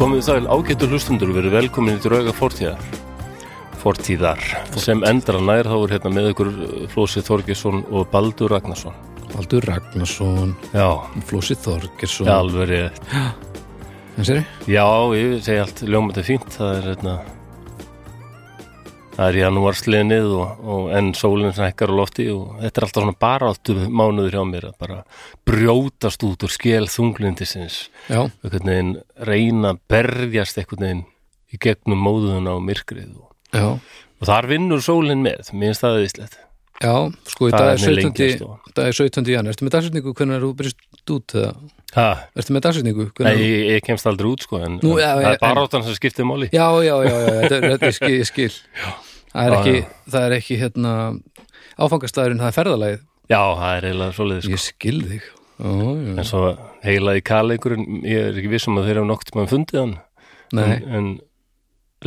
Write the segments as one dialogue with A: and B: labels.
A: Komið sæl ágættu hlustundur og verið velkomin í drauga fortíðar Fortíðar sem endra nær þá er hérna með ykkur Flósi Þorgesson og Baldur Ragnarsson
B: Baldur Ragnarsson,
A: Já,
B: Flósi Þorgersson
A: Já, alveg rétt
B: En sér,
A: Já, ég segi allt ljómandi fínt það er hérna það er janúarsliðnið og, og enn sólinn sem hekkar á lofti og þetta er alltaf svona bara allt mánuður hjá mér að bara brjótast út úr skél þunglindisins
B: já,
A: einhvern veginn reyna að berjast einhvern veginn í gegnum móðuna og myrkrið og,
B: já
A: og þar vinnur sólinn með, mér finnst það viðslegt
B: Já, sko, í
A: Það
B: dag
A: er
B: er
A: mér
B: 17.
A: lengi að stofa.
B: Dag er 17. janúar, ertu með dagsetningu, hvernig er þú byrjast út eða?
A: ha,
B: Ertu með dagsetningu?
A: nei,
B: hvenær þú-
A: ég, ég kemst aldrei út sko en
B: Nú, já,
A: það
B: já,
A: er bara áttan sem skiptir máli
B: Já, já, já, já, þetta er, þetta er skil, ég skil. Það er
A: Já,
B: ekki,
A: já.
B: það er ekki, hérna, áfangastæðurinn, það er ferðalagið.
A: já, það er eiginlega svoleiðis sko.
B: Ég skil þig. Ó, já,
A: en svo heila í kaleikurinn ég er ekki vissum að þeir hafa nokkuð mann fundið hann
B: nei,
A: en, en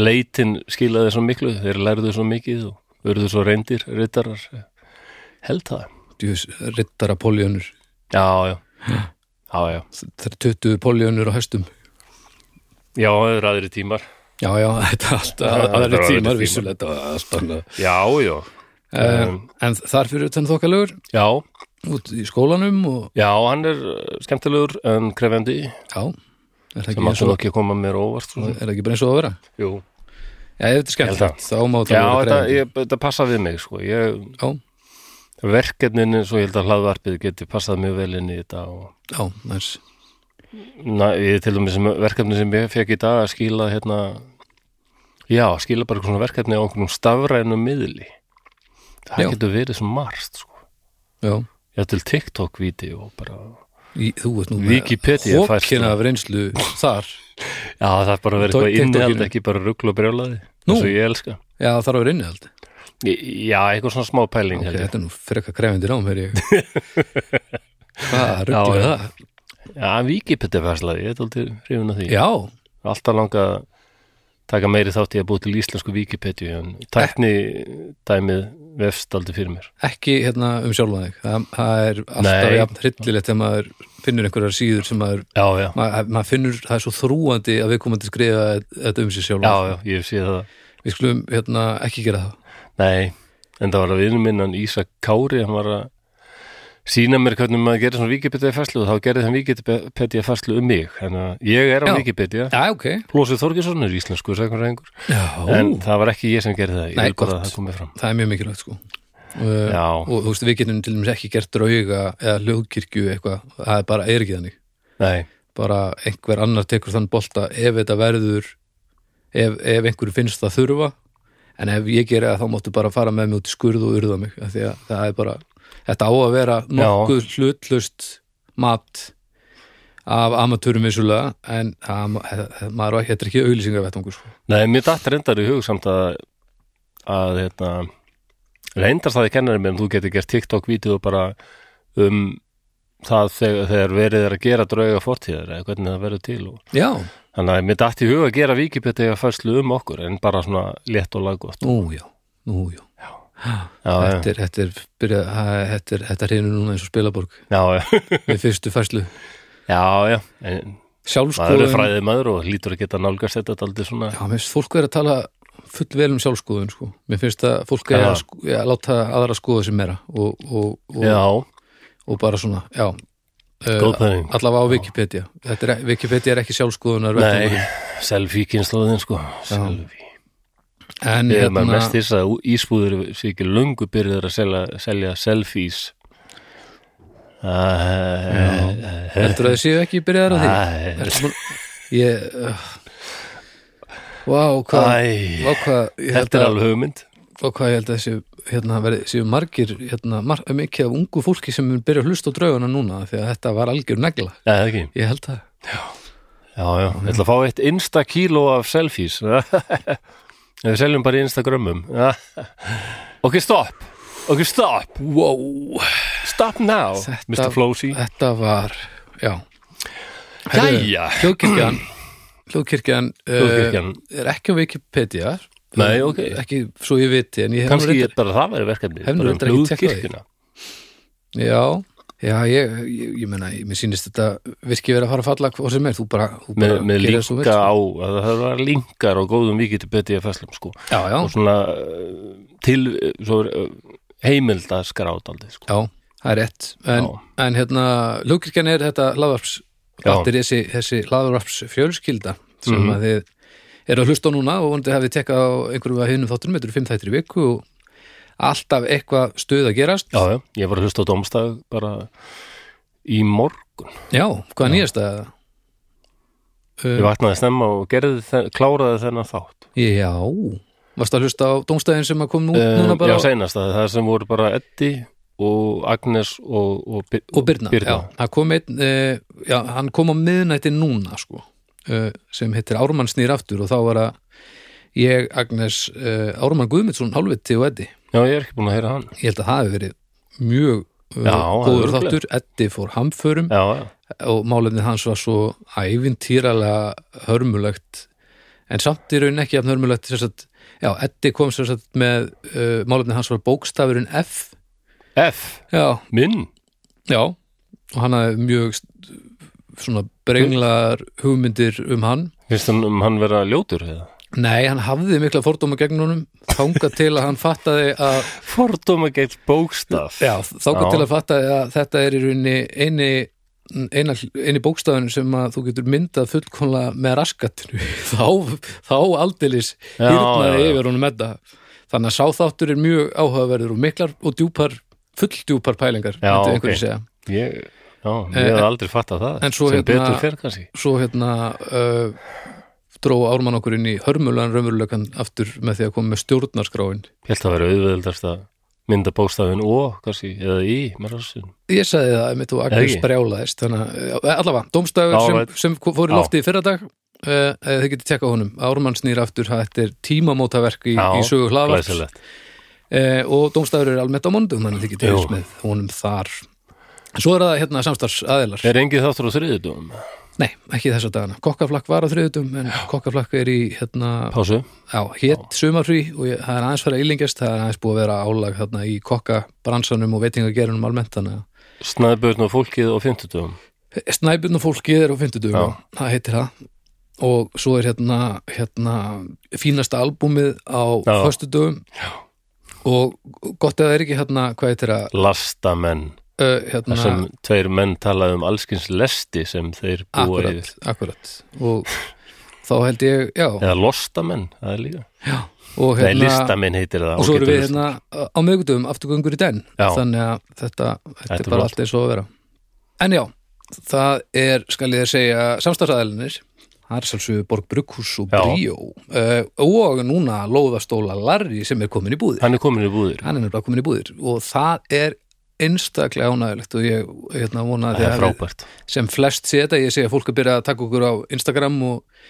A: leitin skilaði svo miklu þeir lærðu svo mikið og urðu svo reyndir rittarar held það,
B: djús, rittara poljónur.
A: já, já já, já,
B: Það er 20 poljónur á höstum.
A: já, það eru aðri tímar
B: Já, já, þetta er
A: Já,
B: alltaf,
A: þetta er
B: aðri
A: aðrir tímar.
B: tímar, vissulega, þetta var alltaf annað.
A: já, já,
B: Um, en þar fyrir utan þokkalögur
A: já
B: út í skólanum og
A: Já, hann er uh, skemmtilegur en krefendi
B: já, er það ekki,
A: sem
B: eins
A: áttu
B: og,
A: ekki að koma mér á óvart svo
B: er
A: sem.
B: það ekki bara eins og að vera
A: Jú.
B: já, ef þetta er
A: Ég held
B: skemmt, þá má
A: Já,
B: það vera
A: þetta,
B: krefjandi.
A: ég, þetta passa við mig sko. ég,
B: já,
A: verkefnin eins og ég held að hlaðvarpið geti passað mjög vel inn í þetta og
B: já, næs
A: Na, ég, til dæmis sem verkefni sem ég fekk í dag að skila hérna já, skila bara eitthvað svona verkefni á einhvernum stafrænum miðli það
B: Já.
A: getur verið svo margt sko.
B: já,
A: ég til TikTok-vídeó bara
B: í, þú veist nú
A: Wikipedia sko. færsla.
B: hókina af reynslu þar
A: Já, það er bara að vera
B: Tók
A: eitthvað innihald
B: TikTokinu.
A: ekki bara rugl og brjólaði
B: Nú.
A: eins og ég elska
B: já, þar á reyni allt okay,
A: Í- Já, eitthvað svona smá pæling held ég
B: þetta er nú freka krefindi rám, heyr ég hvað, ruggið
A: Já,
B: við
A: já.
B: það
A: Já, Wikipedia-verslaði, ég er aldrei hrifin af því.
B: já,
A: Alltaf langa að taka meiri þátt í að búi til íslensku Wikipedia, en tækni dæmið vefst aldrei fyrir mér.
B: ekki hérna um sjálfan þig það, það er alltaf
A: Nei.
B: jafn hryllilegt þegar maður finnur einhverjar síður sem maður
A: Já, já,
B: maður maður finnur, það er svo þrúandi að við komandi skrifa þetta um sér sjálf
A: já, já, ég sé það.
B: við skulum hérna, ekki gera það
A: Nei, en það var að vinur minn, hann Ísak Kári, hann var að sína mér hvernig maður gerir svona Wikipedia-ferslu og þá gerði hann Wikipedia-ferslu um mig. Þannig að ég er á
B: Já.
A: Wikipedia.
B: Já, ok
A: Plósið Þorgesson er íslensku, sagður einhver.
B: Já,
A: En það var ekki ég sem gerði það, ég
B: Nei,
A: vil bara
B: gott.
A: að það komið fram.
B: það er mjög mikilvægt sko Uh,
A: Já.
B: og þú veist, við getum til dæmis ekki gert drauga eða hljóðkirkju eitthvað, það er bara er ekki þannig
A: Nei,
B: bara einhver annar tekur þann bolta ef þetta verður ef, ef einhver finnst það þurfa en ef ég gera það, þá máttu bara fara með mig út í skurð og urða mig, af því að það er bara þetta á að vera nokkuð hlutlust mat af amatúrum vissulega en það- maður á ekki, þetta er ekki auglýsingavettangur sko.
A: Nei, mér datt reyndar í hug samt að, að hérna, reyndar það í kennari minn, þú getur gert TikTok-vídeó bara um það þegar, þegar verið er að gera drauga fortíðar eða hvernig það verður til og,
B: já,
A: þannig að mér datt í hug að gera Wikipedia færslu um okkur en bara svona létt og laggótt
B: nú já, nú já
A: já,
B: þetta er, þetta er, byrja, þetta er þetta hreinur núna eins og spilaborg
A: já, já,
B: við fyrstu færslu
A: já, já Sko, um- en maður er
B: sjálfskoðun,
A: fræðið maður og lítur að geta nálgast þetta aldrei svona,
B: já, mér finnst fólk verið að tala full vel um sjálfskoðun sko. mér finnst að fólk er
A: Já.
B: að sko, já, láta aðra skoða sem meira og, og, og,
A: já,
B: og bara svona, já
A: góð pæling
B: allavega á Wikipedia þetta er, Wikipedia er ekki sjálfskoðunar
A: Nei, selfie kynslaðin sko selfie
B: en
A: Ég er maður
B: hérna,
A: mest þess að ísbúður sé ekki löngu byrjuður að selja, selja selfies Æ,
B: heldur að þið séu ekki byrjaðar að því
A: Æ.
B: Ertu búin- ég uh, wow, hvað
A: Æ,
B: vá, hvað, ég held
A: Þetta er
B: að-
A: alveg hugmynd
B: og hvað ég held að séu, hérna, veri, séu margir hérna, mar mikið af ungu fólki sem mun byrja að hlusta á draugana núna því að þetta var algjör negla,
A: Já, það ekki
B: ég held það
A: Já, já, ég ætla að fá eitt insta kíló af selfies Ef við seljum bara í instagrömmum Ok, stopp Ok, stopp
B: wow.
A: Stop now,
B: Þetta-
A: Mr. Flósi
B: þetta var, já
A: Jæja
B: hljóðkirkjan hljóðkirkjan uh,
A: Þjóðkirkjan.
B: er ekki á Wikipedia
A: Nei, ok.
B: ekki svo ég viti en ég hef nú
A: Kannski
B: reyndar-
A: ég bara það verið verkefni
B: Hef
A: bara
B: nú
A: um
B: reyndar ekki tékkað
A: hljóðkirkjuna.
B: já, Já, ég, ég, ég meina, ég- mér sýnist þetta virki verið að fara að falla hvað sem er, þú bara, þú sko.
A: með,
B: bara
A: með
B: gerir svo vel,
A: linka á að það var linkar á góðum vikið til BDFS-lum sko
B: Já, já,
A: og svona eh, til eh, svo, heimildaskrá daldið sko
B: já, það er rétt en, en hérna, lúkirkjan er þetta laðvarps,
A: Já.
B: þetta er þessi, þessi laðvarps fjölskylda sem
A: Mhm.
B: að þið eru að hlusta á núna og vonandi hafið tekkað á einhverju að hinum þáttunum, þetta eru fimm þættir í viku og alltaf eitthvað stuð að gerast
A: Já, já, ég var að hlusta á domstag bara í morgun.
B: Já, hvað er nýjast að
A: Ég vaknaði snemma og gerði þe kláraði þennan þátt.
B: Já, varst að hlusta á dómstæðin sem að kom nú, núna
A: Eh,
B: bara
A: já, seinast að það sem voru bara Eddi og Agnes og, og, Bir
B: og Birna, Já, hann kom, einn, uh, já, hann kom á miðnætti núna sko, uh, sem heitir Ármann snýr aftur og þá var að ég, Agnes, uh, Ármann Guðmundsson hálfviti og Eddi,
A: Já, ég er ekki búin að heyra hann.
B: ég held að það hefur verið mjög uh,
A: Já, það er
B: góður
A: örugglega.
B: þáttur Eddi fór hamförum
A: Já, já,
B: og málefnið hans var svo ævintýralega hörmulegt en samt í raun ekki jafn hörmulegt sem sagt, já, Eddi kom sem sagt með uh, málefnið hans var bókstafurinn F
A: F,
B: já,
A: minn.
B: já og hann hafði mjög st- svona brenglar hugmyndir um hann
A: Finnst hann um hann vera ljótur eða?
B: nei, hann hafði mikla fordóma gegn honum þangað til að hann fattaði að
A: Fordóma geitt bókstaf.
B: já, þangað
A: Já.
B: til að fattaði að þetta er í rauninni eini eina, eini bókstafun sem að þú getur myndað fullkomlega með raskatinu þá, þá aldeilis
A: Já, já,
B: hýrnaði
A: já.
B: yfir honum þetta þannig að sáþáttur er mjög áhugaverður og miklar og djúpar, fulldjúpar pælingar
A: Já,
B: myndi
A: ok.
B: einhverjir segja.
A: Ég, já, ég hef aldrei fattað það.
B: Eh, en svo
A: sem
B: hérna-
A: betur fer kannski.
B: svo hérna uh, dró Ármann okkur inn í hörmulegan raunverulegan aftur með því að koma með stjórnarskráin
A: Ég held að vera auðveldast að mynda bókstafin og kannski, eða í, með rassin.
B: ég sagði það, einmitt og Agnes
A: Ekki?
B: brjálaðist þannig að, já, allavega, dómstafur
A: Já,
B: sem,
A: right.
B: sem fór í
A: Já.
B: lofti í fyrradag uh, eh, þið getið tekka honum, Ármann snýr aftur það- þetta er tímamótaverk í, í sögu hlaðvarps uh,
A: glæsilegt.
B: og dómstafur er almennt á mondum þannig að þið getið
A: Jú.
B: eins með honum þar svo er það hérna samstars aðilar
A: Er engið þáttur á þriðutum?
B: nei, ekki þessa dagana, kokkaflakk var á þriðutum en kokkaflakk er í hérna
A: Pásu?
B: Já, hétt sumarfrí og ég, það er aðeins fara ílengjast, það er aðeins búið að vera álag þarna í kokkabransanum og veitingagerunum almennt þannig að
A: Snæðbjörn og fólkið á 50
B: snæbjörn og fólkið er á fimmtudugum,
A: Já.
B: það heitir það og svo er hérna, hérna fínasta albúmið á
A: Já.
B: föstudugum og gott að það er ekki hérna, hvað heitir það,
A: Lastamenn
B: uh,
A: þar
B: hérna
A: sem tveir menn tala um allskins lesti sem þeir búa
B: akkurat,
A: yfir
B: akkurat og þá held ég, já,
A: eða lostamenn, það er líka
B: og
A: Nei,
B: hérna
A: listamenn heitir það
B: og svo
A: ágætur
B: erum við
A: listamenn.
B: hérna á miðgudum afturgöngur í den
A: Já.
B: þannig að þetta, þetta
A: Þetta
B: er
A: er
B: bara
A: flott.
B: allt eins og að vera en já, það er skal ég segja samstagsæðalinir það er sálsögu Borg Brugghús og
A: Já.
B: Bríó uh, og núna Lóðastóla Larri sem er komin í búðir
A: Hann er komin í búðir
B: hann er nefnilega komin í búðir og það er einstaklega ánægilegt og ég hérna vona að
A: Það er
B: þið hafið-
A: frábært
B: sem flest sé þetta, ég sé að fólk er byrjað að taka okkur á Instagram og,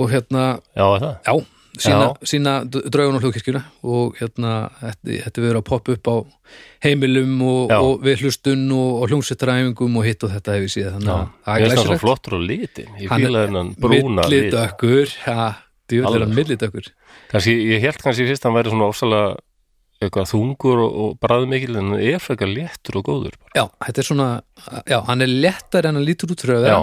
B: og hérna
A: Já, er það
B: Já, sína, sína draugun og hljókirkjuna og hérna, þetta, þetta verður að poppa upp á heimilum og,
A: Já.
B: og við hlustun og, og hljómsveitræfingum og hitt og þetta hefur síðan þannig að
A: Ég
B: það er
A: er það svo
B: glæsilegt
A: flottur á litin Ég
B: Hann er
A: fílaði hennan brúna lit
B: Millidökkur, ja, djúðlega
A: Alveg.
B: millidökkur
A: Kanski, ég held kannski fyrst að hann væri svona ósalega eitthvað þungur og, og bræðmikil en hann er frekar léttur og góður bara.
B: Já, þetta er svona, já, hann er lettar en hann lítur út fröðu
A: Já,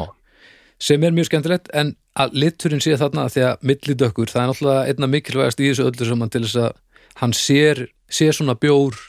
B: sem er mjög skemmtilegt en að liturinn sé þarna því að millidökkur, það er náttúrulega einna mikilvægast í þessu öllu saman til þess að hann sér, sér svona bjór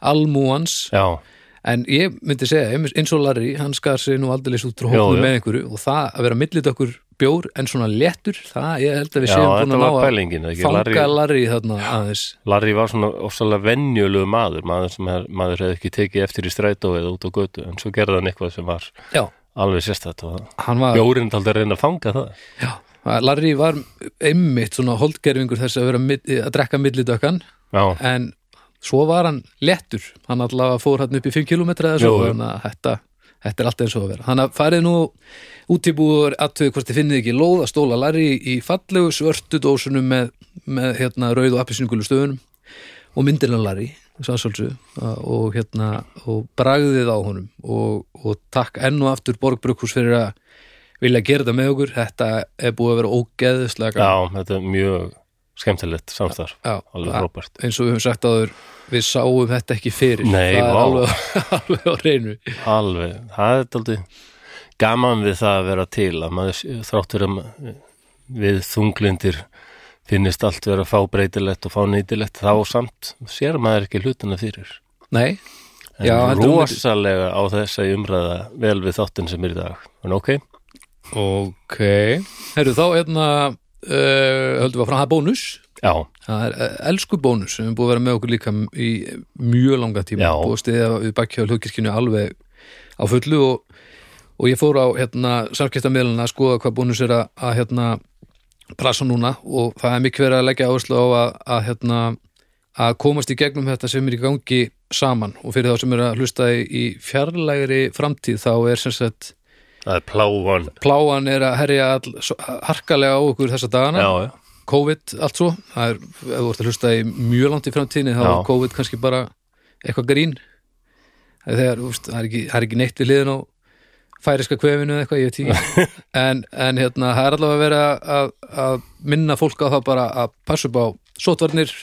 B: almúans
A: já,
B: En ég myndi segja, einmitt eins og Larry, hann skar sig nú aldrei út frá
A: Já,
B: hóknum
A: já.
B: með einhverju og það að vera millit okkur bjór en svona léttur, það ég held að við
A: já
B: séum búin
A: þetta
B: að ná
A: var
B: að
A: pælingin ekki?
B: fanga
A: Larry-
B: Larry, þarna aðeins.
A: Larry var svona ofsalega venjulegu maður, maður sem er, maður hefði ekki tekið eftir í strætó eða út á götu, en svo gerði hann eitthvað sem var
B: Já,
A: alveg sérstætt og það.
B: hann var,
A: Bjórinn taldi að reyna að fanga það.
B: já, Larry var einmitt svona holdgerfingur þess að vera mill- að drekka millidökkan
A: Já,
B: en svo var hann léttur, hann allavega fór hann upp í 5 km eða
A: Jú,
B: svo,
A: jú.
B: þannig að þetta Þetta er allt eins og að vera. Þannig að farið nú út í búður aðtöðu hvort þið finnið ekki lóð að stóla larri í fallegu svörtu dósunum með, með hérna, rauð og appisynugulu stöðunum og myndirlega larri sannsálsu og, hérna, og bragðið á honum og, og takk enn og aftur Borg Brukhús fyrir að vilja gera þetta með okkur. Þetta er búið að vera ógeðislega
A: já, þetta er mjög skemmtilegt samstarf,
B: já,
A: alveg
B: það-
A: Robert
B: eins og við höfum sagt áður við sáum þetta ekki fyrir
A: Nei,
B: það er
A: vá.
B: alveg, alveg á reynu
A: alveg, það er aldrei gaman við það að vera til að maður þráttur um við þunglindir finnist allt vera fábreytilegt og fánetilegt þá samt sér maður ekki hlutina fyrir
B: nei,
A: en
B: Já, heldur hún myndi-
A: rosalega á þessa umræða vel við þáttin sem er í dag en ok,
B: ok herru þá hérna uh, höldum við að frá það er bónus
A: já,
B: það er eh, elsku bónus sem er búið að vera með okkur líka m- í mjög langa tíma
A: Já.
B: búið að stiða við bakkjá hlugkirkjunni alveg á fullu og, og ég fór á hérna, samskiptameðluna að skoða hvað bónus er að, að hérna, prasa núna og það er mikið verið að leggja áherslu á að, að, hérna, að komast í gegnum þetta sem er í gangi saman og fyrir þá sem er að hlusta í, í fjarlægri framtíð þá er sem sagt
A: það er plávan
B: pláan er að herja all, svo- harkalega á okkur þessa dagana
A: já, já,
B: COVID allt svo það er, ef þú ert að hlusta í mjög langt í framtíðinni þá
A: Já.
B: er COVID kannski bara eitthvað grín þegar, úst, það, er ekki, það er ekki neitt við liðin á færiska kvefinu eða eitthvað, ég veit ekki en, en hérna, það er allavega verið að vera að, að minna fólk á það bara að passa upp á sótvarnir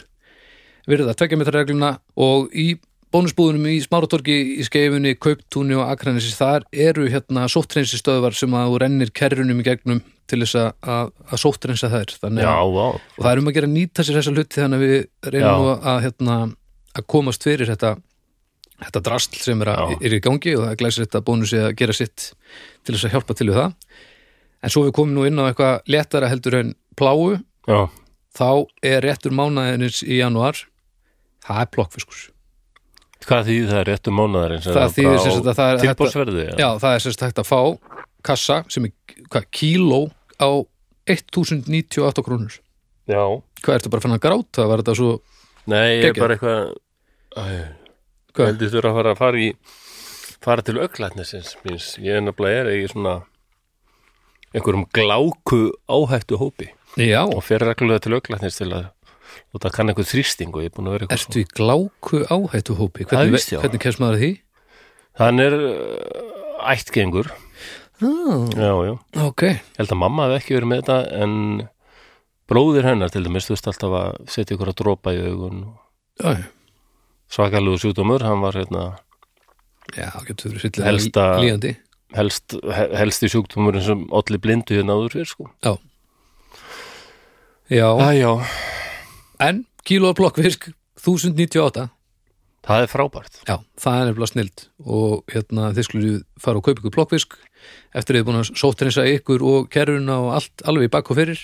B: virða tveggjametraregluna og í bónusbúðunum í Smáratorgi í skeifunni, Kauptúni og Akranessis þar eru hérna sóttreinsistöðvar sem að þú rennir kerrunum í gegnum til þess að, að, að sóttreinsa þær þannig
A: já,
B: að
A: já
B: og það er um að gera að nýta sér þessa hluti þannig að við reynum
A: Já.
B: nú að, hérna, að komast fyrir þetta, þetta drastl sem er, að,
A: Já.
B: er í gangi og það glæsir þetta bónusi að gera sitt til þess að hjálpa til við það en svo við komum nú inn á eitthvað léttara heldur en pláu
A: já,
B: þá er réttur mánaðinins í janúar það er plokkfiskus
A: hvað þýðir það réttum mánaðarins
B: það þýðir sem sagt að það er þetta-
A: tilbúrsverði, já,
B: já, það er sem sagt hægt að fá kassa sem er hvað, kíló á 1098 krónur
A: já.
B: hvað ertu bara fann að gráta, það var þetta svo
A: Nei, ég er
B: Geggjað.
A: bara eitthvað Æ,
B: Hvað?
A: heldur þú að fara að fara í fara til auglætnisins míns ég er nefnilega er í svona einhverjum gláku áhættu hópi
B: já,
A: og fer reglulega til auglætnis til að og það kann einhver þrýsting og ég er búin að vera eitthvað
B: Ertu í gláku áhættu hópi?
A: Það
B: Hvernig,
A: vissi ég á.
B: hvernig kemst maður að því?
A: Hann er uh, ættgengur
B: Ah,
A: Já, já,
B: ok,
A: ég held að mamma hef ekki verið með þetta en bróðir hennar til dæmis, þú veist alltaf að setja ykkur að dropa í augun og
B: já,
A: svakalegu sjúdómur, hann var hérna
B: já, getur verið fyllilega
A: Helsta-
B: líðandi
A: helst, he- helsti sjúkdómurinn sem olli blindu hérna áður fyrir sko
B: Já, já
A: Æjá,
B: en kíló af blokkfisk 1098
A: það er frábært
B: Já, það er nefnilega snild og hérna þið skulle fara og kaupa ykkur blokkfisk eftir þið búin að sóttrensa ykkur og kerruna og allt alveg í bakk og fyrir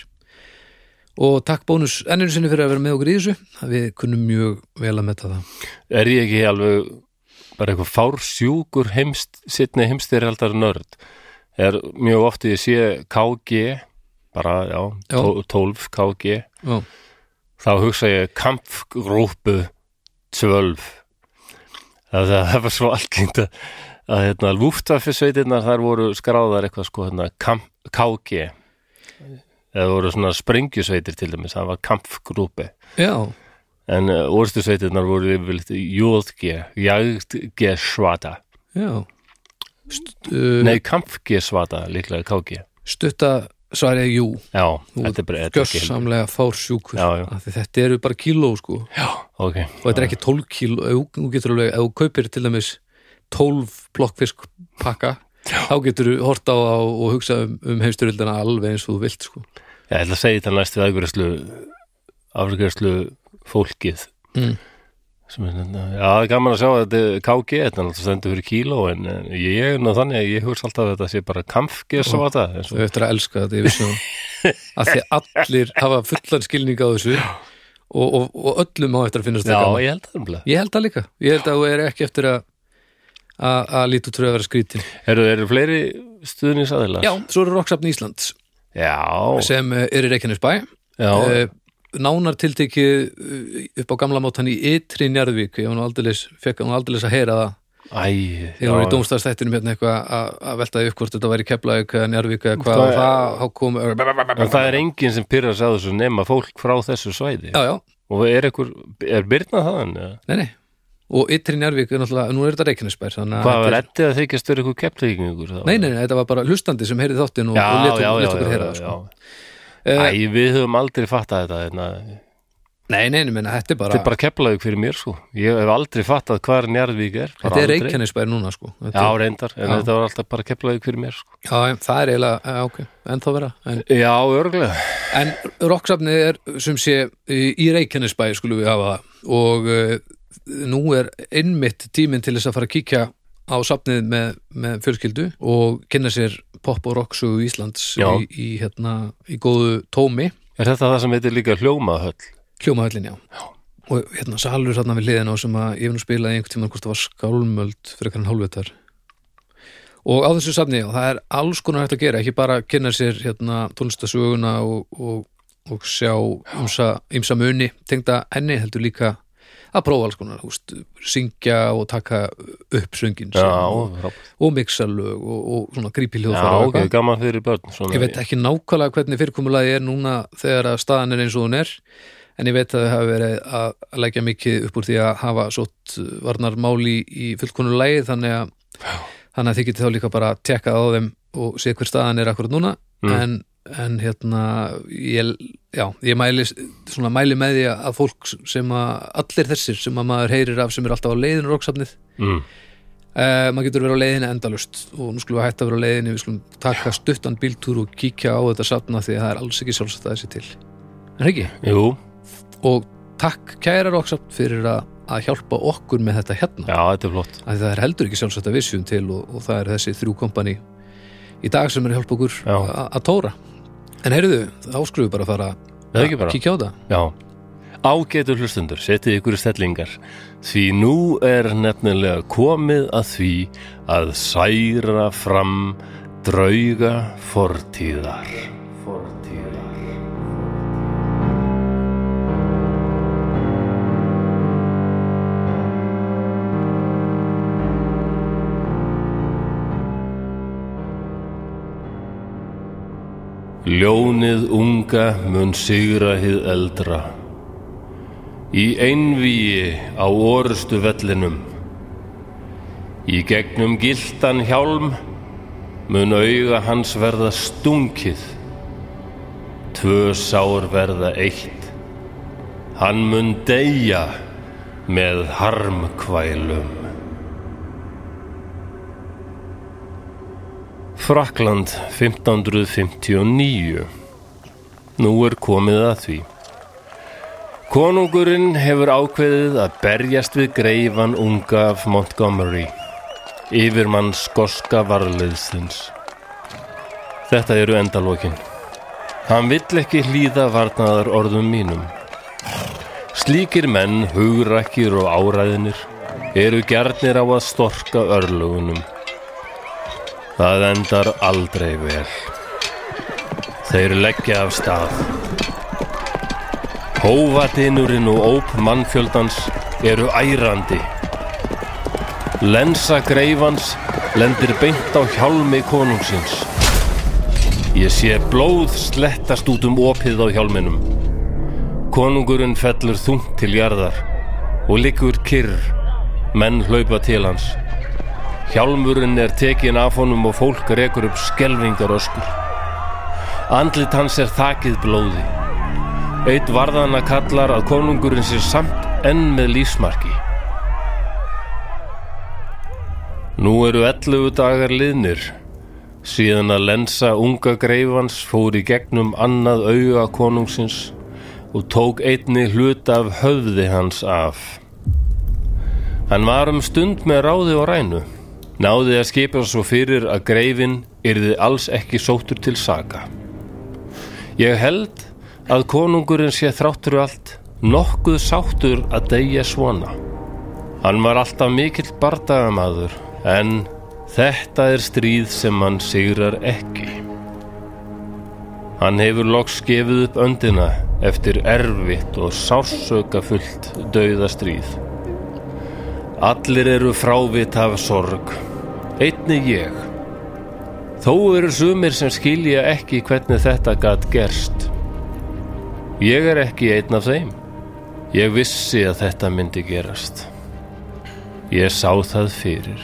B: og takk bónus ennur sinni fyrir að vera með okkur í þessu við kunnum mjög vel að metta það
A: Er ég ekki alveg bara eitthvað fársjúkur heimst, sittni heimstyrjaldar nörd er mjög oft ég sé KG bara, já,
B: Já.
A: tó- 12 KG
B: Já,
A: þá hugsa ég kampfgrúpu 12 það, það, það var svo algengt að, að hérna, lúftafisveitirnar þar voru skráðar eitthvað sko hérna, kamp, KG eða voru svona sprengjusveitir til dæmis, það var kampfgrúpi
B: já,
A: en uh, orðstusveitirnar voru yfirleitt Jóðge, Jagdge Svata
B: já. St uh,
A: nei, Kampfge Svata líklega KG
B: stutta svarið er jú
A: já,
B: Þú
A: þetta er bara þetta er ekki heldur.
B: gjörsamlega fársjúkur
A: Já, já.
B: Af því þetta eru bara kíló sko
A: já, ok,
B: og þetta er ekki 12 kíló ef þú- þú getur alveg, ef þú kaupir til dæmis 12 blokkfisk pakka þá getur þú hort á það og- og hugsa um, um heimstyrildina alveg eins og þú vilt sko
A: ég ætla að segja þetta næst við afgjörslu afgjörslu fólkið
B: Mm.
A: sem er þetta, já, það er gaman að sjá að þetta er KG, þetta er náttúrulega stendur fyrir kíló en eh, ég er nú þannig að ég hugsa alltaf að þetta sé bara Kampfge Svata eins og-
B: Þú eftir að elska þetta, ég vissi það að því allir hafa fullan skilning á þessu og, og, og öllum á eftir að finnast
A: já,
B: þetta gaman.
A: ég held það umlega
B: ég held það líka, ég held að þú er ekki eftir að að að lítu tröðu að vera skrítin
A: eru þeir fleiri stuðningsaðilar?
B: Já, svo eru Rocksafn Íslands
A: já,
B: sem eh, er í Reykjanesbæ
A: já,
B: Eh, nánar tiltekið eh, upp á gamla mátan í ytri njörðvík ég var nú aldeilis, fekk nú aldeilis að heyra það
A: æ
B: þegar hún var
A: já.
B: í dómstæðstættinum hérna eitthvað að- að velta upp hvort þetta væri keflaðið eða njörðvík eða hvað
A: Það
B: og
A: er-
B: það þá kom
A: En það er enginn sem pyrrar sig á þessu nema fólk frá þessu svæði
B: já já,
A: og er, ekkur, er Birna þaðan? eða?
B: nei nei og ytri njörðvík er náttúrulega, nú er þetta Reykjanesbær þannig
A: Hvað var
B: þetta er-
A: reddið að þykja störu ykkur keppleikingur?
B: nei nei, nei, þetta var bara hlustandi sem heyrið þáttinn og,
A: já, já,
B: og leta
A: já, já,
B: okkur heyra það
A: já, já.
B: sko. Eh,
A: Æ, við höfum aldrei fattað þetta hérna.
B: nei, nei, nei, menna, þetta er bara,
A: Þetta er bara keplaug fyrir mér sko Ég hef aldrei fattað hvar Njarðvík er bara
B: þetta er
A: aldrei.
B: reikjanisbær núna sko.
A: Já,
B: þetta,
A: reyndar, en
B: Já.
A: þetta var alltaf bara keplaug fyrir mér sko
B: já, en það er eiginlega, já, ok, ennþá vera en,
A: Já, örglega
B: en rocksafnið er sem sé í í reikjanisbæ skulum við hafa það og uh, nú er innmitt tíminn til þess að fara að kíkja á safnið með, með fjölskyldu og kynna sér pop og rocksugu Íslands
A: Já.
B: í, í, hérna, í góðu tómi
A: Er þetta það sem heitir líka hljómahöll?
B: Hljómahöllin, já. Og hérna salur hérna við hliðina á sem að ég hef nú spilaði einhvern tímann hvort það var skálmöld fyrir kannan hálfvetar. Og á þessu safni, já, það er alls konar hægt að gera, ekki bara kynna sér hérna tónlistasöguna og, og, og sjá ymsa, ymsa muni tengda enni heldur líka að prófa alls konar, húst, syngja og taka upp söngin
A: Já,
B: sinn og,
A: frábært.
B: og mixalög og, og svona grípi
A: já
B: hljóðfæra og
A: ok, gaman fyrir börn svona.
B: Ég veit ekki nákvæmlega hvernig fyrirkomulagi er núna þegar að staðan er eins og hún er en ég veit að þau hafa verið að að leggja mikið upp úr því að hafa sótt varnarmáli í fullkonulagi þannig að, þannig að þið getið þá líka bara tekkað á þeim og sé hver staðan er akkurat núna
A: Mm.
B: en, en hérna ég, já, ég mæli, svona, mæli með því að fólk sem að allir þessir sem að maður heyrir af sem er alltaf á leiðinu roksafnið
A: mm.
B: Uh, maður getur verið á leiðinu endalust og nú skulum við hætta að vera á leiðinu við skulum taka stuttan bíltúr og kíkja á þetta safna því að það er alls ekki sjálfsagt að þessi til en ekki,
A: Jú,
B: og takk kæra Rocksaft fyrir að, að hjálpa okkur með þetta hérna,
A: já, þetta er flott
B: af því það er heldur ekki sjálfsagt að við séum til og, og það er þessi þrjú kompani í dag sem er að hjálpa okkur
A: Já.
B: a- að tóra en heyrðu, þá skulum við bara fara
A: Það er ekki bara
B: kíkja á það
A: Já, ágætur hlustundur, setið ykkur í stellingar því nú er nefnilega komið að því að særa fram drauga fortíðar Fortíðar Ljónið unga mun sigra hið eldra. Í einvíi á orustu vellinum. Í gegnum giltan hjálm mun auga hans verða stungið. Tvö sár verða eitt. Hann mun deyja með harmkvælum. Frakland 1559 Nú er komið að því Konungurinn hefur ákveðið að berjast við greifan unga af Montgomery yfirmann skoska varliðsins Þetta eru endalókin Hann vill ekki hlýða varnaðar orðum mínum Slíkir menn, hugrakkir og áræðinir eru gjarnir á að storka örlugunum Það endar aldrei vel. Þeir leggja af stað. Hóvatinurinn og óp mannfjöldans eru ærandi. Lensa greifans lendir beint á hjálmi konungsins. Ég sé blóð slettast út um opið á hjálminum. Konungurinn fellur þungt til jarðar og liggur kyrr. Menn hlaupa til hans. Hjálmurinn er tekin af honum og fólk rekur upp skelvingar öskur. Andlit hans er þakið blóði. Eitt varðana kallar að konungurinn sér samt enn með lífsmarki. Nú eru 11 dagar liðnir síðan að lensa unga greifans fór í gegnum annað auga konungsins og tók einni hlut af höfði hans af. Hann var um stund með ráði og rænu. Náði að skipa svo fyrir að greifin yrði alls ekki sóttur til saga. Ég held að konungurinn sé þráttur allt nokkuð sáttur að deyja svona. Hann var alltaf mikill bardagamaður en þetta er stríð sem hann sigrar ekki. Hann hefur loks gefið upp öndina eftir erfitt og sársökafullt dauða stríð. Allir eru frávit af sorg. Einni ég. Þó eru sumir sem skilja ekki hvernig þetta gat gerst. Ég er ekki einn af þeim. Ég vissi að þetta myndi gerast. Ég sá það fyrir.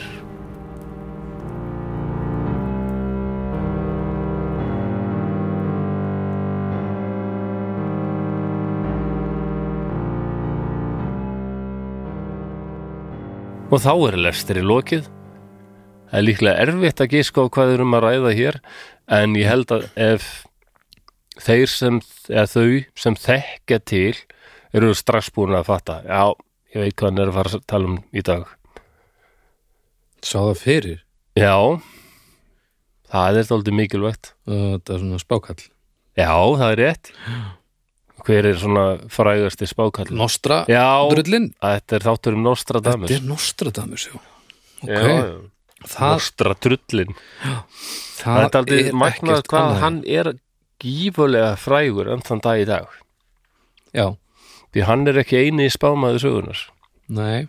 A: Og þá er lestir í lokið. Það er líklega erfitt að gíska á hvað við erum að ræða hér, en ég held að ef þeir sem, eða þau sem þekkja til, eru strax búin að fatta. Já, ég veit hvað hann er að fara að tala um í dag.
B: sá það fyrir
A: Já, það er þóldið mikilvægt.
B: Uh, þetta er svona spákall
A: Já, það er rétt. Hver er svona frægasti spákall?
B: Nostra
A: Já,
B: drullin
A: þetta er þáttur um Nostradamus.
B: Þetta er Nostradamus, já Ok,
A: Já,
B: það,
A: Nostradrullin.
B: það,
A: Það er aldrei magnað
B: ekkert
A: hvað
B: annað.
A: hann er gífulega frægur enn þann dag í dag.
B: Já,
A: Því hann er ekki eini í spámaður sögunar.
B: nei,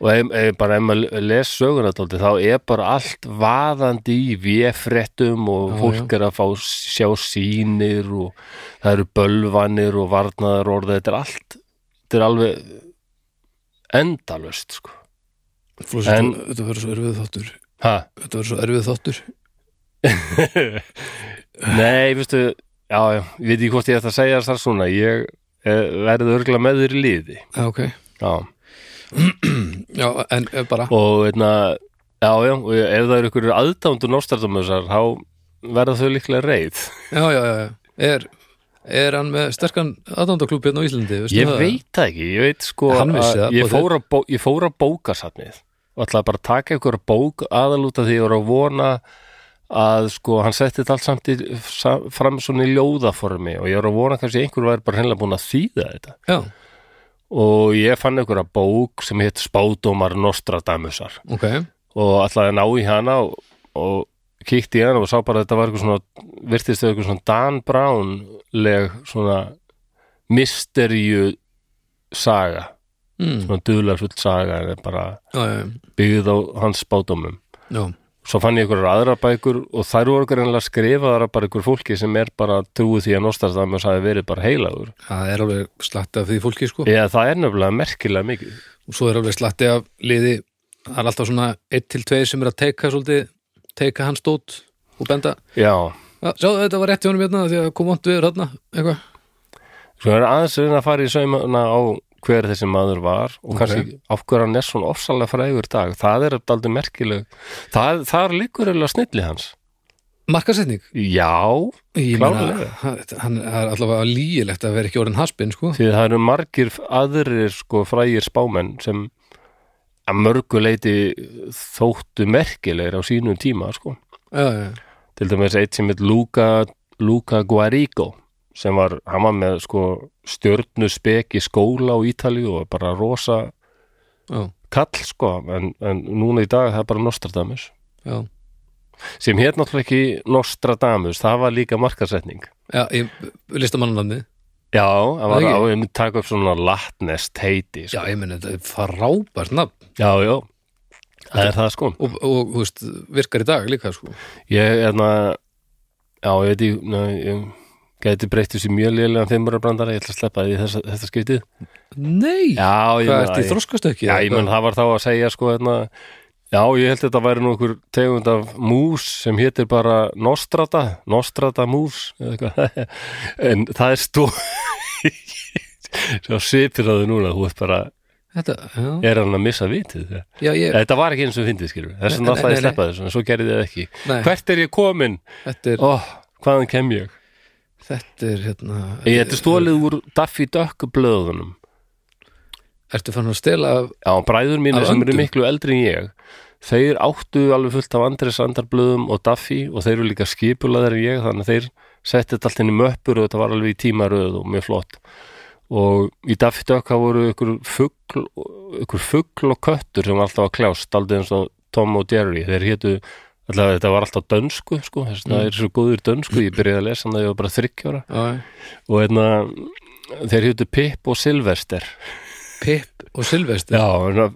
A: Og ef, ef, bara ef maður les sögunatóldi þá er bara allt vaðandi í véfrettum og
B: Já,
A: fólk er að fá sjá sýnir og það eru bölvanir og varnaðar orða. Þetta er allt, þetta er alveg endalöst, sko.
B: Flósi,
A: En-
B: þetta verður svo erfið þáttur
A: Ha?
B: Þetta verður svo erfið þáttur
A: Nei, veistu, já, já, ég veit ekki hvort ég ætti að segja þar svona. Ég eh, verði örgla með þér í liði.
B: Já, ok
A: Já.
B: Já, en eh, bara
A: og einna, já, já, og ef það eru ykkur aðdándur Nostradamusar þá verða þau líklega reið
B: Já, já, já, já. er, er hann með sterkan aðdándaklúb hérna á Íslandi veistu
A: ég
B: það?
A: veit það ekki, ég veit sko
B: Hann vissi
A: að
B: það,
A: ég
B: og
A: fór, að bó, ég fór að bóka satnið og ætlaði bara að taka ykkur bók aðalúta því ég voru að vona að sko hann setti þetta allt samt í, sa- fram svona í ljóðaformi og ég voru að vona kannski einhver væri bara hennilega búin að þýða þetta
B: Já,
A: og ég fann ykkur að bók sem hétt Spádómar Nostradamusar
B: ok
A: og ætlaði að ná í hana og, og kíkti í hana og sá bara að þetta var eitthvað svona virtist þau eitthvað svona Dan Brown leg svona misterju saga
B: mm.
A: svona duðlega full saga en er bara
B: Já, já, já.
A: byggð á hans spátumum
B: já,
A: svo fann ég einhverjar aðra bækur og þær voru greinlega skrifaðar af bara einhver fólki sem er bara trúið því að Nostradamus hafi verið bara heilagur
B: það er alveg slatti af því fólki sko
A: eða það er nefnilega merkilega mikið
B: og svo er alveg slatti af liði það er alltaf svona 1-2 sem er að teika svolítið, teika hans dót og benda,
A: já,
B: "Ja, sjáðu þetta var rétt hjá honum hérna því að kom vont viður hérna eitthvað,
A: svo er aðeins að reyna að fara í saumana á hver þessi maður var og
B: Ok.
A: kannski af hverju hann er svona ofsalega frægur í dag, það er aldrei merkileg það, þar liggur eiginlega snilli hans
B: markasetning
A: já,
B: ég
A: Klárlega.
B: meina, hann hann er allavega lígilegt að vera ekki orðin haspin sko,
A: því það eru margir aðrir sko frægir spámenn sem að mörgu leiti þóttu merkilegir á sínum tíma sko,
B: já, já,
A: til dæmis eitt sem heit Luca, Luca Guarigo sem var, hann var með sko stjörnuspek í skóla á Ítalíu og bara rosa
B: já,
A: kall sko en, en núna í dag það er bara Nostradamus
B: já.
A: sem hér náttúrulega ekki Nostradamus það var líka markarsetning
B: já ég, listamannanandi
A: já, það
B: Það
A: var
B: ekki?
A: á einu taka upp svona latnest heiti
B: já,
A: sko.
B: ég meni, þetta er frábært nafn
A: já, já, það er það sko
B: og, og þú veist, virkar í dag líka sko
A: ég er það já, ég veit ég, na, ég gæti breytt þessu mjög lélega fimmurabrandara ég ætla að sleppa því í þessa, þetta skiptið
B: nei,
A: já, ég
B: hvað
A: meina
B: ertu í
A: ég-
B: þroskast ekki
A: já, ég menn það var þá að segja sko hérna Já, ég held þetta væri nú einhver tegund af mús sem hétir bara Nostrata, Nostrata mús eða eitthvað, en það er stó svo svipir að þau núna, þú veist bara
B: þetta, já,
A: er hann að missa vitið ja.
B: já, ég,
A: Þetta var ekki eins og fyndið skilur, þess
B: Nei,
A: vegna
B: nei,
A: alltaf ég
B: nei, nei.
A: sleppa þessu en svo gerði ég það ekki.
B: Nei.
A: Hvert er ég komin?
B: þetta er
A: Ó, hvaðan kem ég?
B: þetta er hérna
A: Ég þetta er stólið úr Daffy Duck blöðunum
B: ertu fann að stela af
A: Já, bræður mínu
B: Af
A: sem eru
B: öndum?
A: miklu eldri en ég þeir áttu alveg fullt af Andrés Andarblöðum og Daffy og þeir eru líka skipulaðar en ég þannig að þeir setti þetta allt inn í möppur og þetta var alveg í tímaröð og mjög flott og í Daffy Duck það voru ykkur fugl, ykkur fugl og köttur sem var alltaf að kljást aldrei eins og Tom og Jerry þeir hétu, allavega þetta var alltaf dönsku sko, þess að það er svo góður dönsku ég byrjaði að lesa hann þegar ég var bara þryggjóra
B: Já,
A: og einna, þeir hétu Pip og Silvester
B: Pip og Silvestir
A: Já, svona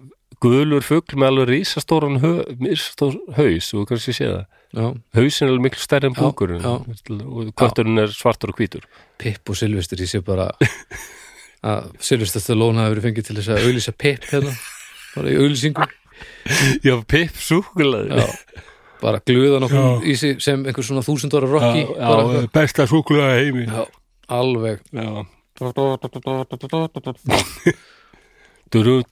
A: gulur fugl með alveg rísastóran hö, rísastór haus og kannski sé það.
B: Já,
A: Hausin er alveg miklu stærri en
B: Já,
A: búkurinn
B: já.
A: og kötturinn er svartur og hvítur.
B: Pip og Silvestir ég sé bara að Silvestir Stallone hafi verið fengið til þess að auðlýsa Pip hérna, bara í auðlýsingu
A: Já, pipp súkulaði.
B: Já, bara gluðan okkur í sig sem einhver svona þúsund ára rocki bara,
A: besta súkulaði heimi.
B: já, alveg
A: Já. Hvernig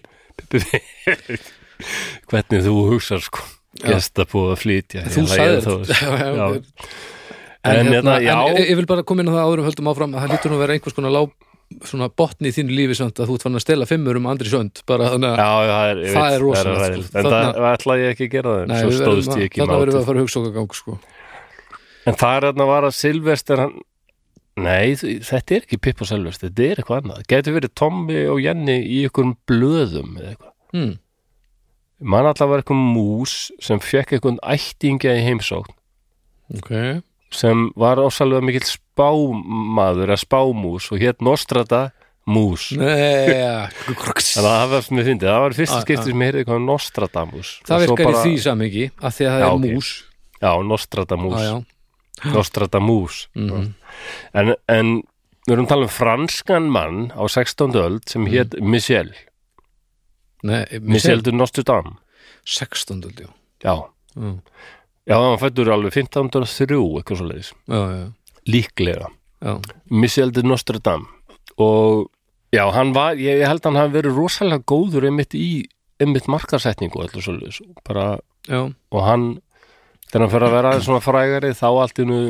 A: þú hugsar sko Gesta búið að flytja
B: Þú
A: Ég lagði
B: sagðir
A: þá-
B: þetta. Já, já,
A: Já.
B: ok.
A: En
B: En,
A: hérna,
B: hérna,
A: já.
B: en ég- ég vil bara koma inn á það áður um höldum áfram að það lítur nú að vera einhvers konar lá, svona botni í þínu lífi samt að þú ert fann að stela fimmur um Andri Sönd bara þannig að
A: Já, já, það er, ég
B: Það
A: veit,
B: er rosalegt,
A: það ræðilegt.
B: sko.
A: En
B: Þarna-
A: það ætlaði ég ekki að gera það en
B: Nei,
A: Svo
B: við verðum
A: stóðst
B: að-
A: ég ekki
B: þarna verðum við
A: mátið
B: að fara að hugsa okkar gang sko.
A: En það er þarna var að Silvester hann Nei, þ- þetta er ekki Pippa Silvester, þetta er eitthvað annað. Gæti verið Tommi og Jenny í einhverjum blöðum eða eitthvað.
B: hmm.
A: Man alltaf var eitthvað mús sem fekk einhvern ættingja í heimsókn
B: ok,
A: sem var ásalega mikill spámaður eða spámús og hétt Nostrata mús.
B: neja
A: En það var sem ég fyndi, það var fyrsta
B: Ah,
A: skipti
B: ah.
A: sem ég heyrði eitthvað um Nostradamus.
B: það
A: Og svo
B: virkar
A: bara-
B: í því samingi að því að það
A: Já,
B: er
A: ok.
B: mús
A: Já, Nostradamus.
B: Ah, já, já.
A: Nostradamus
B: Mhm.
A: en, en við erum að tala um franskan mann á 16. öld sem hétt Mhm. Michel
B: Nei,
A: Michel
B: Michel
A: de Nostradam
B: 16. já.
A: já,
B: Mm.
A: já hann fættur alveg 1503 eitthvað svo leiðis,
B: já, já,
A: líklega
B: já
A: Michel de Nostradam og já, hann var, ég, ég held að hann hafi verið rosalega góður einmitt í einmitt markarsetningu og allir svo leiðis bara,
B: já,
A: og hann þegar hann fyrir að vera aðeins svona frægari þá allt innu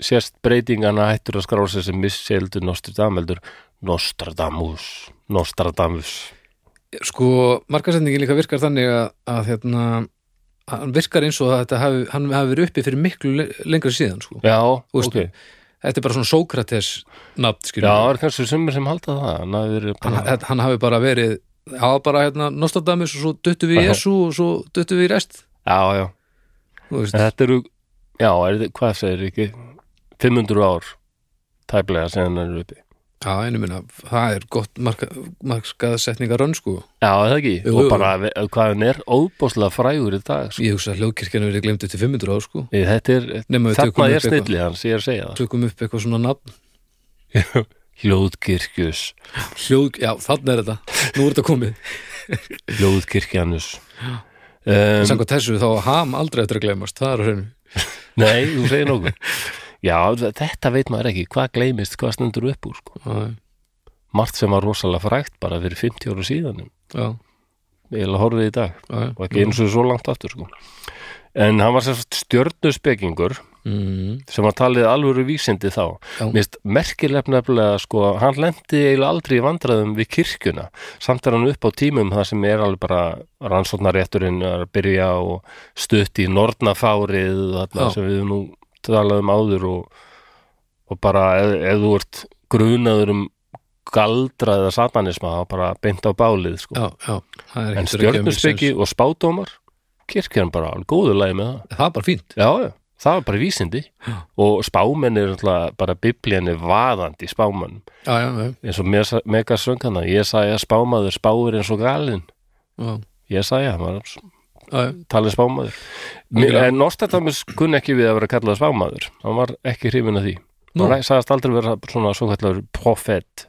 A: sérst breytingana hættur að skrá sig sem misseldu Nostradam heldur Nostradamus Nostradamus
B: sko, markasendingin líka virkar þannig að, að hérna hann virkar eins og að þetta hafi, hann hafi verið uppi fyrir miklu le- lengra síðan sko.
A: Já,
B: veist,
A: ok Já,
B: þetta er bara svona Sókrates nafn,
A: það
B: skiljum
A: er kannski sumir sem halda það hann hafi verið
B: hann,
A: bara
B: hann- hann hafi bara verið hann var bara hérna Nostradamus og svo duttu við í
A: Já.
B: Jesu og svo duttu við í rest
A: Já, já,
B: þú veist,
A: en þetta eru Já, er, þið- hvað segir ekki 500 ár tæplega sem hann er uppi
B: já, einu minna það er gott marka, markaðsetningar rönn sko,
A: Já, er það ekki,
B: Jú,
A: og
B: jú.
A: bara ve- hvað hann er óbúslega frægur í dag sko.
B: ég hugsa að hljóðkirkjan verið glemt eftir 500 ár sko,
A: Ég- Þetta er,
B: nema við tökum
A: þarna er
B: upp, eitthvað,
A: snillið hans, ég er að segja það
B: tökum upp eitthvað svona nafn
A: Hljóðkirkjus
B: hljóð, já, þannig er þetta, nú er þetta komið
A: Ljóðkirkjanus um,
B: samkvæmt þessu þá á ham aldrei eftir að gleymast það er á hreinu
A: Nei, þú segir nokkuð Já, þetta veit maður ekki, hvað gleymist hvað stendur upp úr, sko
B: Já,
A: Margt sem var rosalega frægt bara fyrir 50 ára síðan
B: já,
A: Ég er að horfið í dag
B: já, já.
A: og ekki eins og svo langt aftur, sko En hann var sem sagt stjörnuspekingur
B: Mm,
A: sem var talið alvöru vísindi þá
B: Já.
A: Mér finnst merkilegt nefnilega, sko hann lendi eiginlega aldrei í vandræðum við kirkjuna samt er hann upp á tímum það sem er alveg bara rannsóknarétturinn er að byrja og stutt í nornafárið og þarna
B: Já.
A: sem við nú talaðum áður og, og bara ef, ef þú ert grunaður um galdra eða satanisma þá bara beint á bálið sko.
B: já, um já, það
A: en
B: er ekkert að gera mikið
A: stjörnuspeki
B: sens.
A: og spádómar kirkjan bara alveg góðu lagi með það
B: það er bara fínt
A: Já, já, það var bara vísindi
B: Já.
A: og spámenn er alltaf bara biblíani vaðandi spámann
B: já, já, já,
A: eins og Mesa- mega söngana ég sagði að spámaður spáir eins og galinn
B: já,
A: ég sagði að hann var
B: já, já.
A: talið spámaður Mér,
B: Algjörlega.
A: en Nostradamus kunni ekki við að vera kallað spámaður hann var ekki hrifin af því
B: Nú.
A: hann sagðist aldrei vera svona svo kallar profet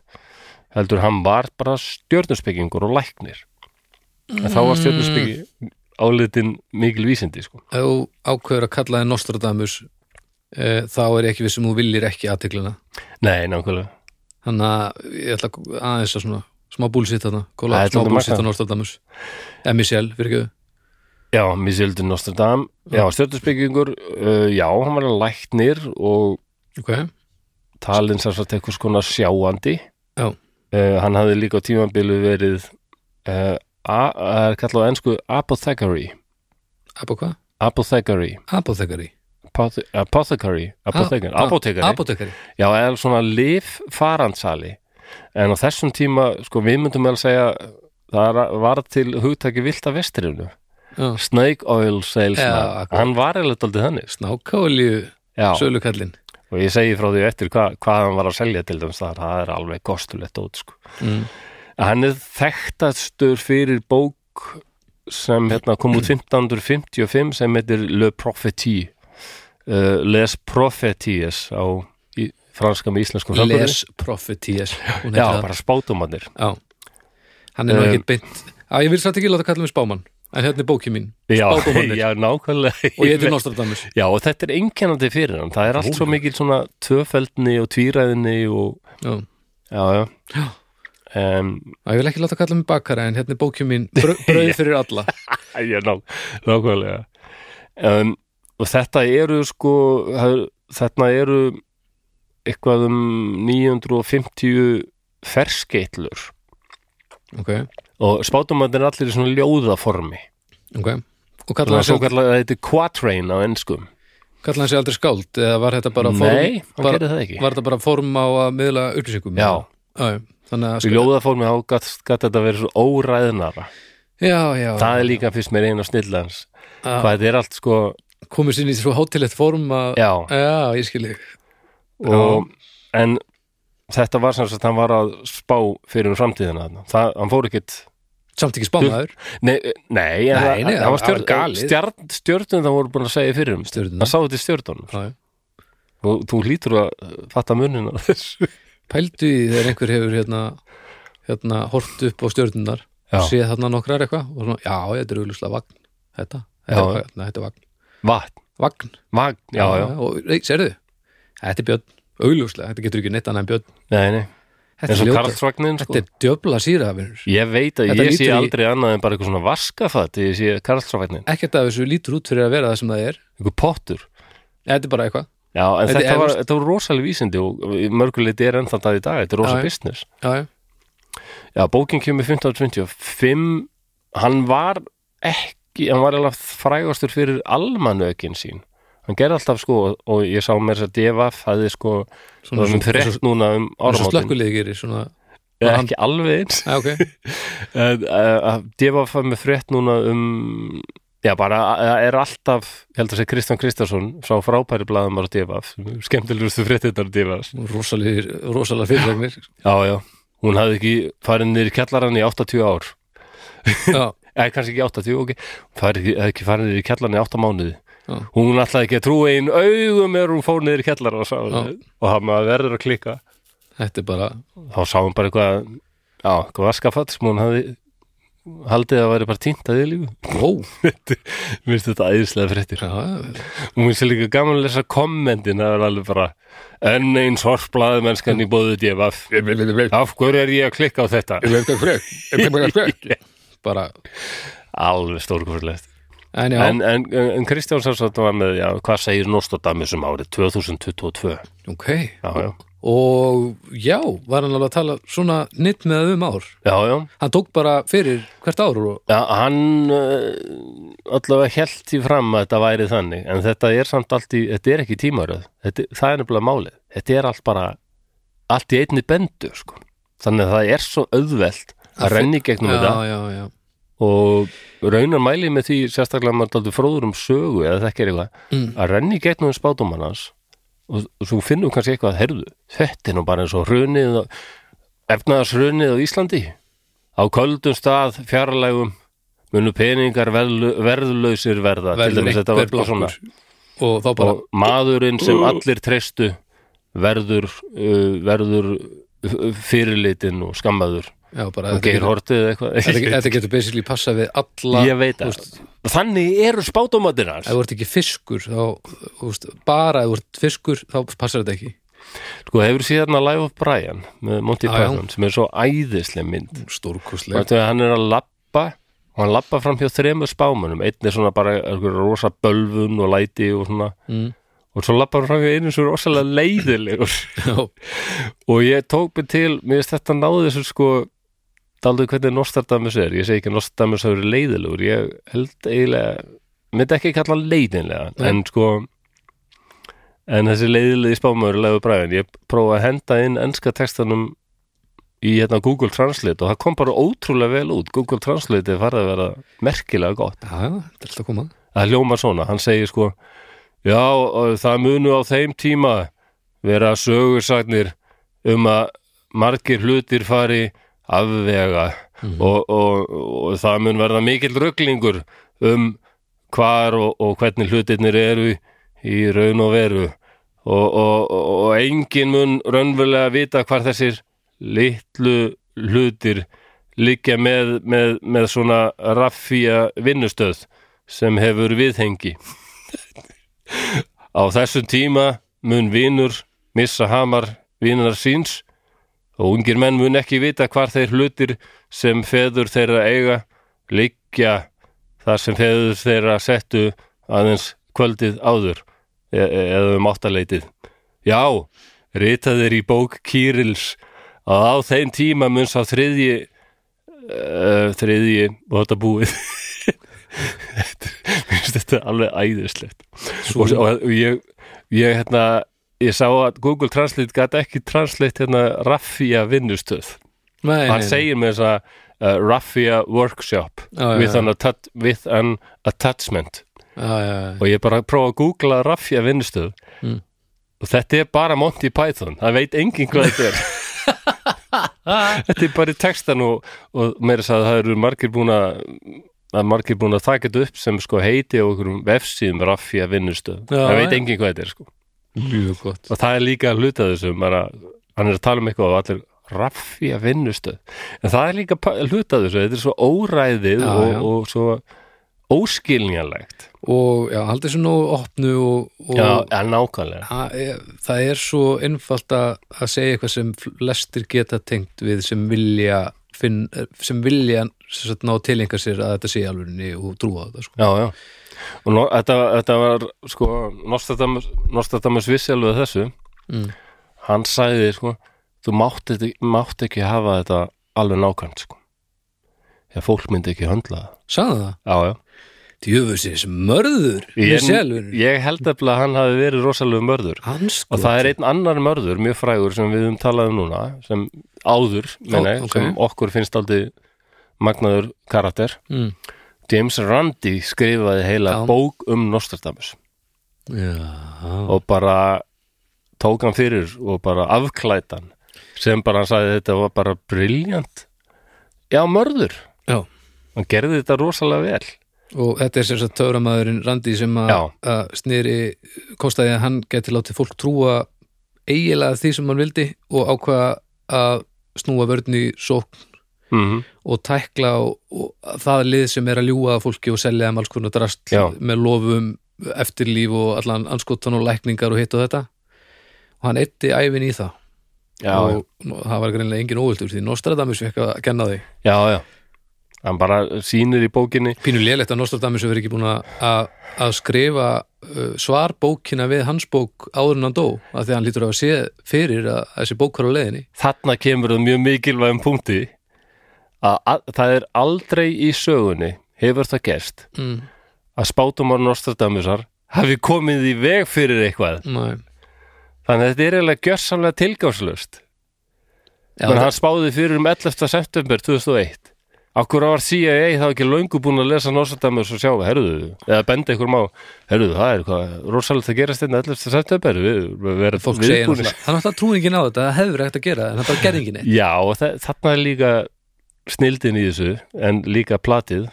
A: heldur hann var bara stjörnuspekingur og læknir en þá var
B: Mm.
A: stjörnuspeki álitin mikil vísindi sko.
B: ef þú ákveður að kalla þið Nostradamus e, þá er ég ekki vissum þú viljir ekki aðteglina
A: nei, nákvæmlega
B: þannig að ég ætla að- aðeins að svona smá búlsitt þarna, kóla
A: Það er
B: smá
A: dálítið
B: búlsitt á
A: magnað.
B: Nostradamus MSL, virkuðu
A: Já, Misildur Nostradam Já,
B: Mm.
A: stjörnuspekingur, uh, já, hann var læknir og
B: ok,
A: talin sem sagt eitthvað skona sjáandi
B: Já.
A: uh, Hann hafði líka á tímambilu verið uh, a- það er kallað á ensku apothecary
B: apa hvað?
A: Apothecary
B: Apothekari
A: Apothe- Apothecary
B: Ah,
A: Apothecary, apothecary.
B: Apotekari
A: Já, eða svona lif farandsali en á þessum tíma, sko, við myndum vel segja það er- var til hugtaki vilta vestrinu
B: Já.
A: Snake oil salesman
B: Já, akkurat.
A: Hann var eða aldrei þannig
B: Nákvæmlíu
A: Já.
B: sölukallin
A: og ég segi frá því eftir hva, hvað hann var að selja til dæmis þar, það er alveg kostulegt út sko.
B: mm.
A: hann er þekktastur fyrir bók sem hérna, kom út 1555 sem heitir Le Prophétie uh, Les Prophéties á í, franska með íslenskum framburði.
B: Les Propheties Hún
A: Já,
B: heitir það.
A: bara spátumannir
B: Já, hann er nú
A: Um,
B: ekkert beint Já, ég vil satt ekki láta kalla mig spámann En hérna er bókið mín,
A: Já,
B: Spádómarnir.
A: já, nákvæmlega
B: og ég um heiti Nostradamus
A: Já, og þetta er einkennandi fyrir hann það er allt svo mikil svona tvöfeldni og tvíræðni og
B: já.
A: já, já.
B: Já.
A: Um,
B: Æ, ég vil ekki láta kalla mig bakara en hérna er bókjum mín brau- brauð fyrir alla
A: ég er nák, nákvæmlega um, og þetta eru sko það- þarna eru eitthvað um 950 ferskeitlur
B: ok,
A: og spátumættin er allir í svona ljóðaformi
B: ok og
A: það
B: kallaði
A: er svo
B: hann,
A: kallar þetta er quatrain á ennskum
B: kalla hann sér aldrei skáld eða var þetta bara form,
A: nei, hann
B: bara,
A: gerir það ekki
B: var þetta bara form á að miðla upplýsingum
A: já,
B: Já, já. þannig að sko-
A: í ljóðaformi þá gætt gat þetta verið svo óræðnara
B: já, já,
A: það er líka fyrst mér einu á snillans
B: að
A: hvað þetta er allt sko,
B: komið sinni í svo hátilegt form að
A: já
B: já, ég skil þig
A: og, en þetta var sem sagt hann var að spá fyrir um framtíðina þarna. það, hann fór ekkit
B: samt ekki spámaður,
A: nei, eh, nei, en
B: Nei,
A: það,
B: nei, það
A: var
B: var
A: stjörn,
B: galið.
A: stjörn, stjörnum það voru búin að segja fyrir um
B: Stjörnurnar.
A: það sá þetta í stjörnunum
B: já, já
A: og þú hlýtur að eh, fatta munin á þessu
B: pældu í þegar einhver hefur hérna, hérna hort upp á stjörnunar
A: Já.
B: og séð þarna nokkrar eitthvað og svona, já, þetta er auðvitað vagn þetta, þetta,
A: Já.
B: er, nei, þetta er vagn
A: vatn,
B: vagn,
A: vagn, já, já,
B: og nei, sérðu, þetta er björn auðvitað, þetta getur ekki neitt annað en björn
A: nei, nei
B: þetta
A: eins
B: er
A: og
B: ljóta,
A: karlsvagnin sko.
B: þetta er djöfla sírafinur
A: ég veit að
B: Þetta
A: ég
B: lítur
A: sé
B: í-
A: aldrei annað en bara eitthvað svona vaskafat ég sé karlsvagnin,
B: ekkert af þessu lítur út fyrir að vera það sem það er
A: eitthvað pottur
B: þetta er bara eitthvað,
A: já, en
B: Þetta
A: þetta,
B: er
A: var,
B: eflaust-
A: þetta var rosalega vísindi og mörguleiti er ennþá það í dag þetta er rosa
B: Já, já.
A: business
B: já, já,
A: Já, bókin kemur 1525 hann var ekki hann var alveg frægastur fyrir almanökin sín hann gerði alltaf sko og ég sá mér þess að DFF hafði sko, það
B: svona
A: var um
B: eins
A: frétt núna um
B: og- eins og
A: áramótin,
B: slökkulegir gerir svona,
A: Eða
B: hann-
A: ekki alveg eins
B: já, ok
A: En, eh, að DFF hafði með frétt núna um já bara eh, er alltaf ég held að segja Kristján Kristjánsson sá frábæri blaðum á DFF skemmtilegustu fréttinnar DFF
B: rosalegir, rosalega fyrirlegnir
A: já já, hún hafði ekki farin niður í kjallarann í 80 ár
B: já,
A: eða kannski ekki 80, ok það er ekki, það er ekki farin niður í kjallarni í 8 mánuði
B: Já.
A: hún ætlaði ekki að trúa einu augum er hún fór niður í kjallar og sá það
B: Já.
A: og það maður verður að klikka
B: þetta er bara
A: þá sá hún bara eitthvað já, eitthvað vaskafatt sem hún hafði haldið að væri bara tínt að þið lífu
B: wow,
A: mér finnst þetta æðislega fréttir
B: já, já,
A: og mér finnst líka gaman að lesa kommentin það er alveg bara enn eins horsblaði mennskan í bóðu djöfaf af hverju er ég að klikka á þetta
B: bara
A: alveg stórkvörlegt
B: en já,
A: en, en, en Kristján Sársson var með, já, hvað segir Nostradamus um árið 2022
B: ok
A: já, já,
B: og já, var hann alveg að tala svona nýtt með um ár
A: já, já,
B: hann tók bara fyrir hvert ár og
A: já hann uh, allavega held því fram að þetta væri þannig, en þetta er samt allt í, þetta er ekki tímaröð þetta, það er nefnilega málið, þetta er allt bara allt í einni bendu, sko þannig að það er svo auðvelt
B: Að
A: að renni gegnum
B: já,
A: þetta
B: já, já,
A: og raunar mælið með því sérstaklega að maður daldur fróður um sögu eða þekkir eitthvað
B: Mm.
A: að renni í gegnum spátumann hans og, og svo finnum kannski eitthvað að herðu þetta er nú bara eins og hrunið efnaðarshrunið á Íslandi á köldum stað fjarlægum munu peningar verðlu- verðlausir verða til
B: verður
A: dæmis þetta
B: einhver
A: var eitthvað
B: blokkur
A: svona
B: og þá bara, Uh.
A: og maðurinn sem allir treystu verður uh, verður uh, fyrirlitinn og skammaður
B: já, bara
A: og
B: þetta
A: geir
B: getur-
A: hortið eða eitthvað
B: þetta getur- þetta getur basically passað við alla
A: ég veit að þannig eru spátumattir hans
B: ef þú ert ekki fiskur þá, úst, bara ef þú ert fiskur þá passar þetta ekki
A: Sko hefur síðan að Life of Brian með Monty
B: Já, já.
A: Python sem er svo æðisleg mynd
B: stórkostlega
A: Þannig að hann er að labba og hann labba fram hjá þremur spámunum einn er svona bara einhver rosa bölvun og læti og svona
B: mm.
A: og svo labba hann fram hjá einu sem er rosalega leiðilegur
B: já,
A: og ég tók mig til, mér finnst þetta náði þessu sko daldur hvernig Nostradamus er ég segi ekki að Nostradamus hafi verið leiðilegur ég held eiginlega myndi ekki kalla hann leiðinlega
B: Nei.
A: en sko en þessi leiðilegi spámaður er leiður bræðin ég prófaði að henda inn enska textanum í hérna Google Translate og það kom bara ótrúlega vel út Google Translate er farið að vera merkilega gott
B: já, þetta er alltaf að koma
A: það hljómar svona, hann segir sko já, og það munu á þeim tíma vera sögursagnir um að margir hlutir fari afvega og, og, og það mun verða mikill rugglingur um hvar og, og hvernig hlutirnir eru í raun og veru og, og, og, og engin mun raunverulega vita hvar þessir litlu hlutir liggja með, með, með svona raffía vinnustöð sem hefur viðhengi. Á þessum tíma mun vinur missa hamar vinar síns og ungir menn mun ekki vita hvar þeir hlutir sem feður þeirra eiga liggja þar sem feður þeirra settu aðeins kvöldið áður e e- eða um áttaleitið. Já, rita þeir í bók Kýrils að á þeim tíma mun sá þriðji uh, þriðji og þetta búið Þetta- mér finnst þetta alveg æðislegt
B: Svo-
A: og, og, og ég, ég hérna ég sá að Google Translate gæti ekki translate hérna raffía vinnustöð
B: Nei,
A: hann
B: nei, nei.
A: segir með þess að uh, raffía workshop
B: Já, já,
A: with,
B: já.
A: An attach, with an attachment
B: Já, já, já.
A: og ég bara prófa að googla raffía vinnustöð
B: Mm.
A: og þetta er bara Monty Python það veit enginn hvað þetta er þetta er bara í textan og, og meira þess að það eru margir búin að að margir búin að taka þetta upp sem sko heiti á okkurum vefsíðum raffía vinnustöð
B: Já,
A: það veit
B: já.
A: enginn hvað þetta er sko
B: Mjög gott
A: og það er líka að hluta af þessu bara, hann er að tala um eitthvað og allir raffi að vinnustöð en það er líka pa- hluta af þessu, þetta er svo óræðið
B: Já,
A: og,
B: já.
A: og svo óskiljanlegt
B: og já, haldið sér nógu opnu og, og
A: já, en nákvæmlega
B: það er- það er svo einfalt að, að segja eitthvað sem flestir geta tengt við sem vilja finn, e, sem vilja sem sagt, ná tilengar sér að þetta sé alveg og trúa á þetta sko.
A: já, já og no, þetta, þetta var sko Nostradamus, Nostradamus vissi alveg þessu
B: mm.
A: hann sagði sko þú mátt, þetta- mátt ekki hafa þetta alveg nákvæmt sko þegar fólk myndi ekki höndla það
B: Sæða það?
A: já, já
B: Djöfusins mörður
A: ég,
B: með sjálfurinn
A: ég held eftir að hann hafi verið rosalegu mörður
B: Hans
A: Og það er einn annar mörður, mjög frægur sem við um talaðum núna, sem áður, meni,
B: ok.
A: sem okkur finnst aldrei magnaður karakter.
B: mm.
A: James Randi skrifaði heila
B: Já.
A: bók um Nostradamus
B: Já,
A: og bara tók hann fyrir og bara afklætt hann sem bara hann sagði þetta var bara briljant. Já, mörður.
B: já.
A: Hann gerði þetta rosalega vel.
B: Og þetta er sem sagt töframæðurinn Randi sem að
A: Já.
B: að sneri kostaði að hann geti látið fólk trúa eiginlega því sem hann vildi og ákvaða að snúa vörn í sókn
A: Mm
B: og tækla og, og það lið sem er að ljúga að fólki og selja þeim alls konar drast
A: Já.
B: með lofum, eftirlíf og allan anskotan og lækningar og hitt og þetta og hann eitti ævin í það
A: Já,
B: og nú- það var greinlega engin óvildur því Nostradamus fekk að genna því
A: já, já. Hann bara sýnir í bókinni.
B: pínu lélegt að Nostradamus hefur ekki búin að- að að skrifa uh, svarbókina við hans bók áður en hann dó af því að hann lítur að sé fyrir að, að þessi bók var á leiðinni
A: þarna kemur það mjög mikilvægum punkti að, að það er aldrei í sögunni hefur það gerst
B: mm,
A: að spátumar Nostradamusar hafi komið í veg fyrir eitthvað
B: nei.
A: þannig að þetta er eiginlega gjörsamlega tilgangslust
B: Já,
A: þannig að
B: það,
A: hann spáði fyrir um 11. september 2001 Akkur var CIA þá ekki löngu búin að lesa Nostradamus og sjá, herruðu, eða benda einhverjum á, herruðu, það er hvað, rosalegt að gerast þetta 11. september, við, við erum
B: fólk segir náttúrulega hann alltaf trúin ekki á þetta, það hefur ekkert að gera en hann bara gerði ekki neitt
A: Já, og þa- þarna er líka snildin í þessu, en líka platið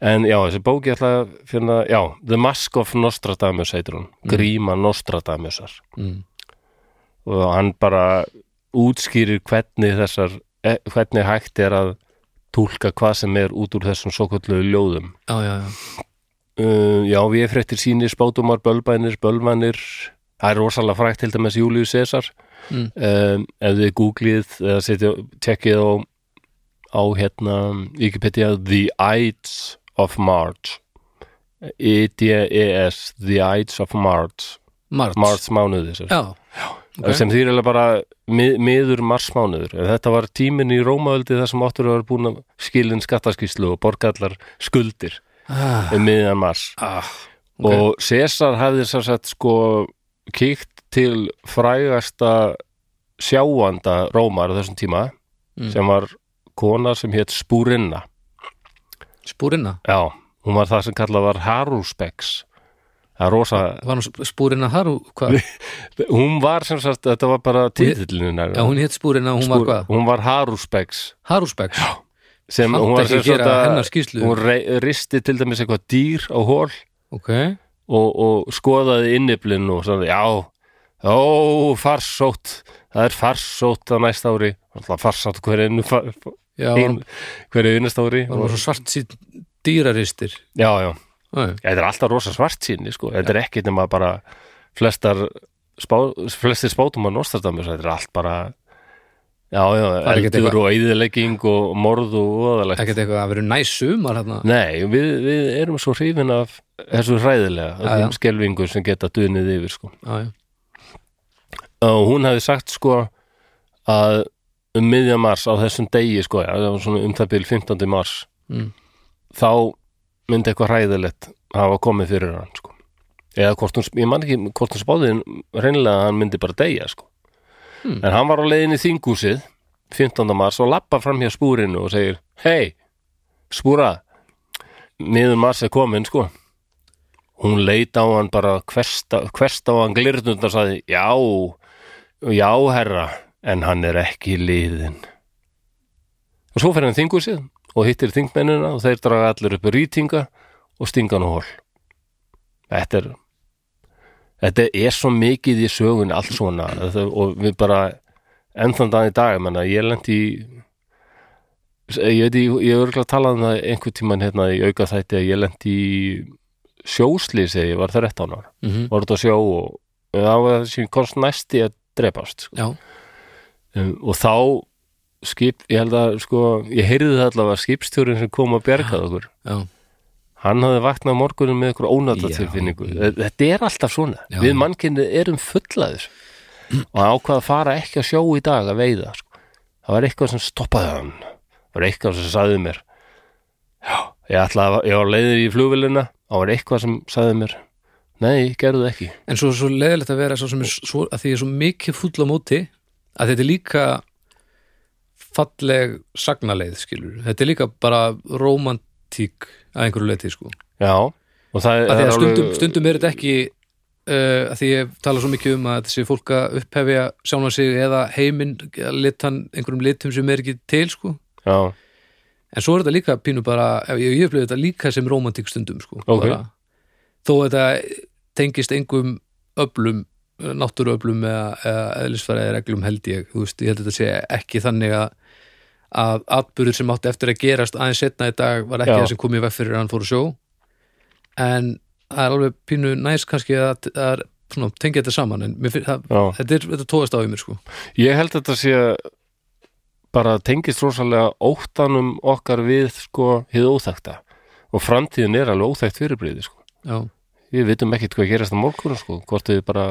A: en já, þessi bók ég ætla að finna, já, The Mask of Nostradamus heitir hún, Gríma Nostradamusar
B: mm,
A: og hann bara útskýrir hvernig þessar eh, hvernig hægt er að túlka hvað sem er út úr þessum svo kvöldlegu ljóðum
B: já, já, já,
A: Uh, já, við fréttir sínir, spátumar, bölbænir, bölvanir Það er rosalega frægt til dæmis Július César
B: Mm.
A: um, Ef þið googlið eða setja, tekkið á, á hérna, Wikipedia The Ides of March E-D-E-S The Ides of March
B: margt
A: March mánuði sér.
B: já, ok.
A: sem þýr alveg bara mið, miður marsmánuður en þetta var tíminn í Rómaöldi þar sem áttur var búin að skilin skattaskýslu og borgallar skuldir
B: ah,
A: um miðan mars
B: ah, ok.
A: og César hafði sér sett sko kíkt til frægasta sjáanda rómar á þessum tíma
B: Mm.
A: sem var kona sem hétt Spúrinna
B: spúrina,
A: já, hún var það sem kallað var Haruspex það er rosa
B: var hann spúrina þar og hvað,
A: hún var sem sagt, þetta var bara titillinu
B: já hún hétt spúrina og hún var hvað,
A: hún var Haruspex
B: Harusbæk
A: sem
B: Mátti
A: hún var
B: ekki
A: sem sagt
B: gera hennar
A: að
B: skýrslu.
A: hún rei- risti til dæmis eitthvað dýr á hól
B: ok,
A: og, og skoðaði inniblinn og sagði, já, ó, farsótt, það er farsótt á næsta ári, alltaf farsótt hverju einu, fa-
B: já, var
A: ein-
B: hann,
A: hverju einasta ári.
B: var hann svo svart síð dýraristir
A: Já, já,
B: Æ,
A: þetta er alltaf rosa svart síni, sko, þetta er ekkit nema bara flestar, spá, flestir spátum að Nostradamus, þetta er allt bara já, já,
B: er ekkert
A: eldur
B: eitthvað-
A: og eyðilegging og morð og oðalegt
B: ekkert eitthvað að vera næs sumar hérna
A: Nei, við, við erum svo hrifin af þessu hræðilega,
B: Já, já.
A: þessum skelfingur sem geta dunið yfir sko.
B: já, já,
A: og hún hafi sagt sko að um miðja mars á þessum degi sko, já, það var svona um það byrjum 15. mars
B: Mm.
A: þá myndi eitthvað hræðilegt hafa komið fyrir hann sko eða hvort hún, ég man ekki hvort hún spáði reynilega að hann myndi bara deyja sko
B: Mm.
A: en hann var á leiðinni í þingúsið 15. mars og lappa fram hjá spúrinu og segir, hei spúra, miður mars er komin sko hún leit á hann bara hverst á hverst á hann glirnund og sagði já, já herra en hann er ekki liðin og svo fer hann þingur sig og hittir þingmennina og þeir draga allir upp rýtinga og stinga hann á hól þetta er þetta er svo mikið í sögun allt svona þetta, og við bara ennþann dag í dag menna, ég lent í ég veit, ég, ég er örgulega að tala um það einhvern tímann hérna í auka þætti að ég lent í sjóslýsi ég var 13 ára,
B: mhm,
A: var út á sjó og það var það sem komst næsti að drepast sko.
B: já,
A: um, og þá skip, ég held að sko, ég heyrði það allavega að skipstjórin sem kom að bjargað okkur
B: já,
A: hann hafði vaknað á morgunum með ykkur ónatatilfinningu
B: Já.
A: þetta er alltaf svona,
B: Já.
A: við mannkynni erum fullaðir og hann ákvað að fara ekki að sjó í dag að veiða sko. það var eitthvað sem stoppaði hann það var eitthvað sem sagði mér já, ég ætlaði að ég var leiðir í flugvélina, það var eitthvað sem sagði mér, nei, gerðu það ekki
B: en svo, svo leðilegt að vera svo sem er, svo, að því ég er svo mikið fúll á móti að þetta er líka falleg sagnaleið skilur, þetta er líka bara romantík að einhverju leiti sko
A: já, og það,
B: að því
A: það
B: að
A: er
B: stundum,
A: alveg-
B: stundum er þetta ekki uh, að því ég tala svo mikið um að þetta sé fólk að upphefja sjálfan sig eða heiminn að lit hann einhverjum litum sem er ekki til sko
A: já,
B: en svo er þetta líka pínu bara ég, ég upplifði þetta líka sem romantík stundum sko
A: Ok.
B: bara, þó þetta tengist engum öflum náttúruöflum eða, eða eðlisfæraði reglum held ég þú veist, ég held að þetta sé ekki þannig að að atburður sem átti eftir að gerast aðeins setna í dag var ekki
A: Já.
B: það sem kom í veg fyrir að hann fór að sjó en það er alveg pínu næst kannski að, að svona, tengja þetta saman en mér finn, það,
A: já
B: þetta, er, þetta tóðast á í mér sko
A: Ég held að þetta sé bara tengist rosalega óttanum okkar við sko hið óþækta og framtíðin er alveg óþækt fyrirbriði sko.
B: já,
A: Við vitum ekkit hvað gerast á morgunum sko, hvort við bara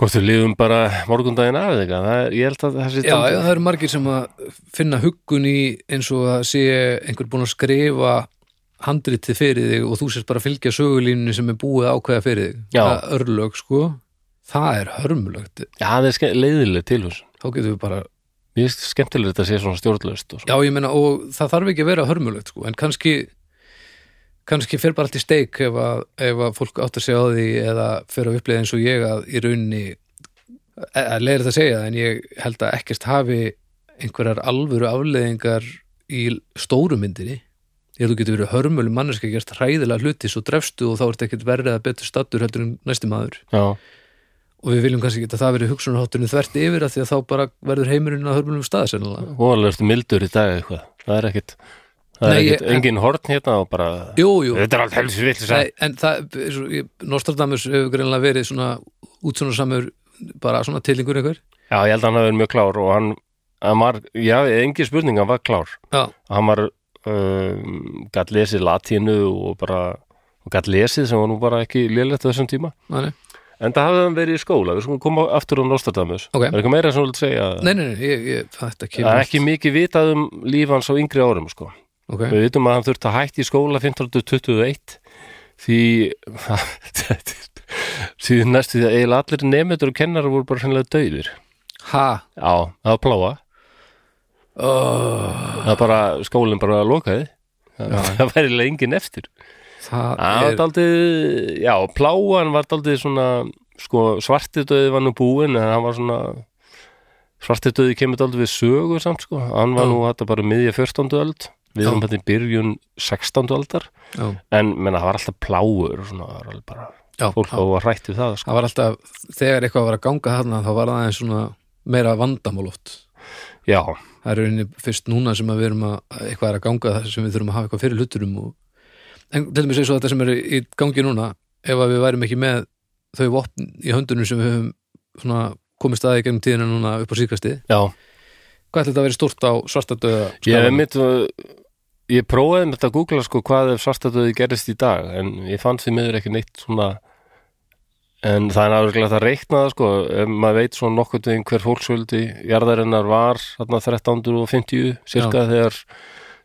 A: hvort við lifum bara morgundaginn af eða eitthvað. Það er- Ég held að það sé
B: já, já,
A: dálítið-
B: það eru margir sem að finna huggun í eins og að sé einhver búin að skrifa handritið fyrir þig og þú sérst bara að fylgja sögulínunni sem er búið að ákveða fyrir þig
A: Já.
B: það örlög sko það er hörmulögt,
A: Já, það er ske- leiðileg tilhús.
B: þá getum við bara
A: Mér finnst skemmtilega þetta sé svona stjórnlaust og svona.
B: Já, ég meina, og það þarf ekki að vera hörmulegt sko, en kannski kannski fer bara allt í steik ef að, ef að fólk áttar sig á því eða fer að upplega eins og ég að í raunni að leiðir þetta að segja það, en ég held að ekkert hafi einhverjar alvöru afleðingar í stóru myndinni ég held að þú getur verið hörmuleg manneska gerst hræðilega hluti svo drefstu og þá ertu ekkert verið að betur stattur heldur en næsti maður
A: Já,
B: og við viljum kannski geta það verið hugsunarhátturinn þvert yfir að því að þá bara verður heimurinn að hörmulegum stað sennilega
A: voðalega ertu mildur í dag eitthvað. Það er ekkit, það
B: Nei,
A: er ekkit
B: ég-
A: engin horn hérna og bara,
B: Jú, jú,
A: þetta er allt helst vill
B: Nei, en það, eins og ég- Nostradamus hefur greinlega verið svona útsjónarsamur bara svona tilingur einhver
A: Já, ég held að hann hafi verið mjög klár og hann, hann var, já, engi spurning, hann var klár.
B: Já,
A: Hann var, um, gætt lesið latínu og bara, og gætt lesið sem var nú bara ekki lélegt á þessum tíma.
B: nei, nei,
A: En það hafði hann verið í skóla, við skulum koma aftur á Nostradamus.
B: Ok.
A: Er eitthvað meira sem þú vilt segja?
B: nei, nei, nei ég, ég, þetta kemur
A: Það er ekki mikið vitað um líf hans á yngri árum, sko.
B: okay.
A: Við vitum að hann þurfti að hætti í skóla 1521 því því næstu því að eiginlega allir nefnendur og kennarar voru bara hreinlega dauðir.
B: Ha,
A: Já, það var pláa.
B: oh,
A: það bara, skólinn bara lokaði það væri eiginlega enginn eftir
B: það
A: það var
B: er
A: daldið, já, pláan var daldið svona, sko, svartidauði var nú búinn, en hann var svona svartidauði kemur daldið við sögu samt, sko, hann var
B: Já.
A: nú þetta bara miðja 14. öld, við
B: Já.
A: erum þetta í byrjun 16. öldar,
B: já,
A: en menna, það var alltaf pláur, og svona, það var alveg bara
B: já,
A: fólk á
B: það,
A: að rætt við það, sko
B: það var alltaf þegar eitthvað var að ganga þarna þá var það aðeins svona meira vandamál oft
A: já,
B: það er rauninni fyrst núna sem að við erum að að eitthvað er að ganga það sem við þurfum að hafa eitthvað fyrir hluturum og... en til dæmis eins og þetta sem er í gangi núna ef að við værum ekki með þau vopn í höndunum sem við höfum svona komist aðeins gegnum tíðina núna upp á síkastið
A: já,
B: hvað ætla þetta að vera stórt á svartadöða
A: ég er mitt ég prófaði með þetta að googla sko hvað ef svartadöði gerist í dag en ég fann því miður ekki neitt svona en það er náttúrulega það reiknaða sko ef maður veit svona nokkuð veginn hver fólksvöldi jarðarinnar var þarna 1350 cirka þegar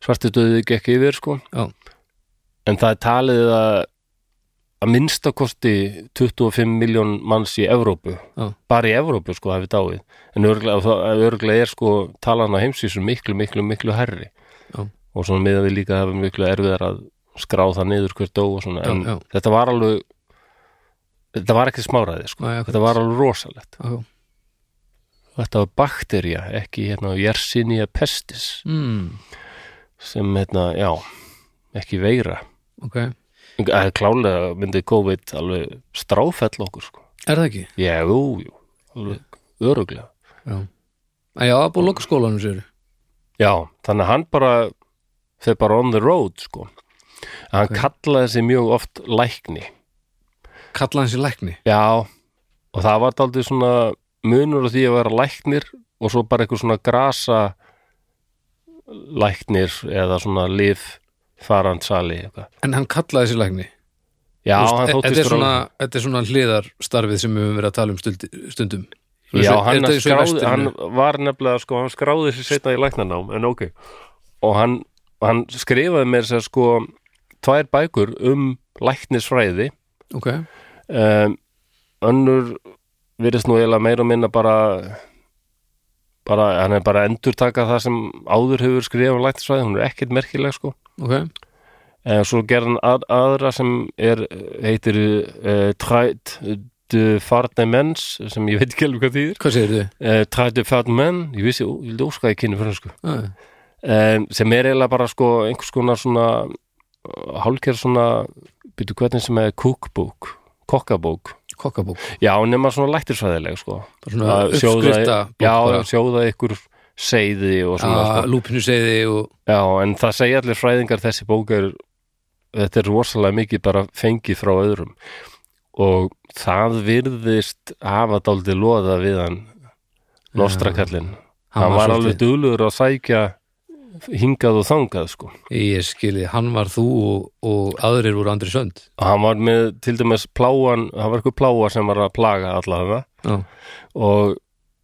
A: svartadöði gekk yfir sko
B: Já.
A: en það er talið að að minnsta kosti 25 miljón manns í Evrópu
B: Já.
A: bara í Evrópu sko hafi dáið en örglega er sko talan á heimsvísu miklu, miklu, miklu herri
B: Já.
A: og svona miðað við líka hafa miklu erfiðar að skrá það niður hver dó og svona
B: Já,
A: en
B: já.
A: þetta var alveg þetta var ekki smáraði sko
B: Nei, akkurat.
A: þetta var alveg rosalegt
B: Já, já.
A: þetta var bakterja, ekki hérna Yersinia pestis Hmm.
B: mm,
A: sem hérna, já ekki veira
B: ok, er
A: Eh, klálega myndi COVID alveg stráfell okkur sko
B: það ekki?
A: Já, jú, jú, alveg öruglega.
B: Já, að já, það er búið að loka skólanum sér
A: Já, þannig að hann bara, þeir bara on the road, sko. En hann
B: Ok.
A: kallaði sig mjög oft lækni.
B: kalla hans í lækni
A: Já, og það var daldið svona munur á því að vera læknir og svo bara eitthvað svona grasa læknir eða svona lif farandsali eitthvað.
B: en hann kallaði sér lækni
A: Já,
B: Þú veist,
A: hann
B: e-
A: þóttist
B: þetta er,
A: vera-
B: svona, þetta er svona hliðarstarfið sem við höfum verið að tala um stund, stundum Þú veist,
A: Já,
B: er- er
A: hann,
B: þetta eins og í
A: skráði,
B: vestrinu?
A: hann var nefnilega sko, hann skráði sér setna í læknarnám en ok, og hann, hann skrifaði mér sér sko tvær bækur um læknisfræði
B: ok,
A: um, önnur virðist nú eiginlega meira og minna bara bara, hann er bara að endurtaka það sem áður hefur skrifað um læknisfræði, hún er ekkert merkileg sko
B: ok,
A: en svo gerði hann að, aðra sem er, heitir uh, Træt de Farnemens sem ég veit ekki alveg hvað þýðir
B: hvað segir þið?
A: uh, Trættu fætt menn, ég vissi, ó, ég ljóska ég kynni fransku
B: Ah,
A: um, sem er eiginlega bara sko einhvers konar svona uh, hálfgerð svona, byrju hvernig sem er cookbook, kokkabók
B: kokkabók,
A: já, nema svona lættisfæðileg sko
B: bara svona
A: Að
B: uppskrifta
A: já, sjóða ykkur seiði og svona sko.
B: lúpinu segði og
A: já, en það segja allir fræðingar þessi bók er þetta er rosalega mikið bara fengið frá öðrum og það virðist hafa dálítið loða við hann nostrakallin hann var alveg duglugur að sækja hingað og þangað sko
B: Ég skilji, hann var þú og, og aðrir voru andri sönd
A: og hann var með til dæmis pláan hann var eitthvað pláa sem var að plaga allavega
B: Já,
A: og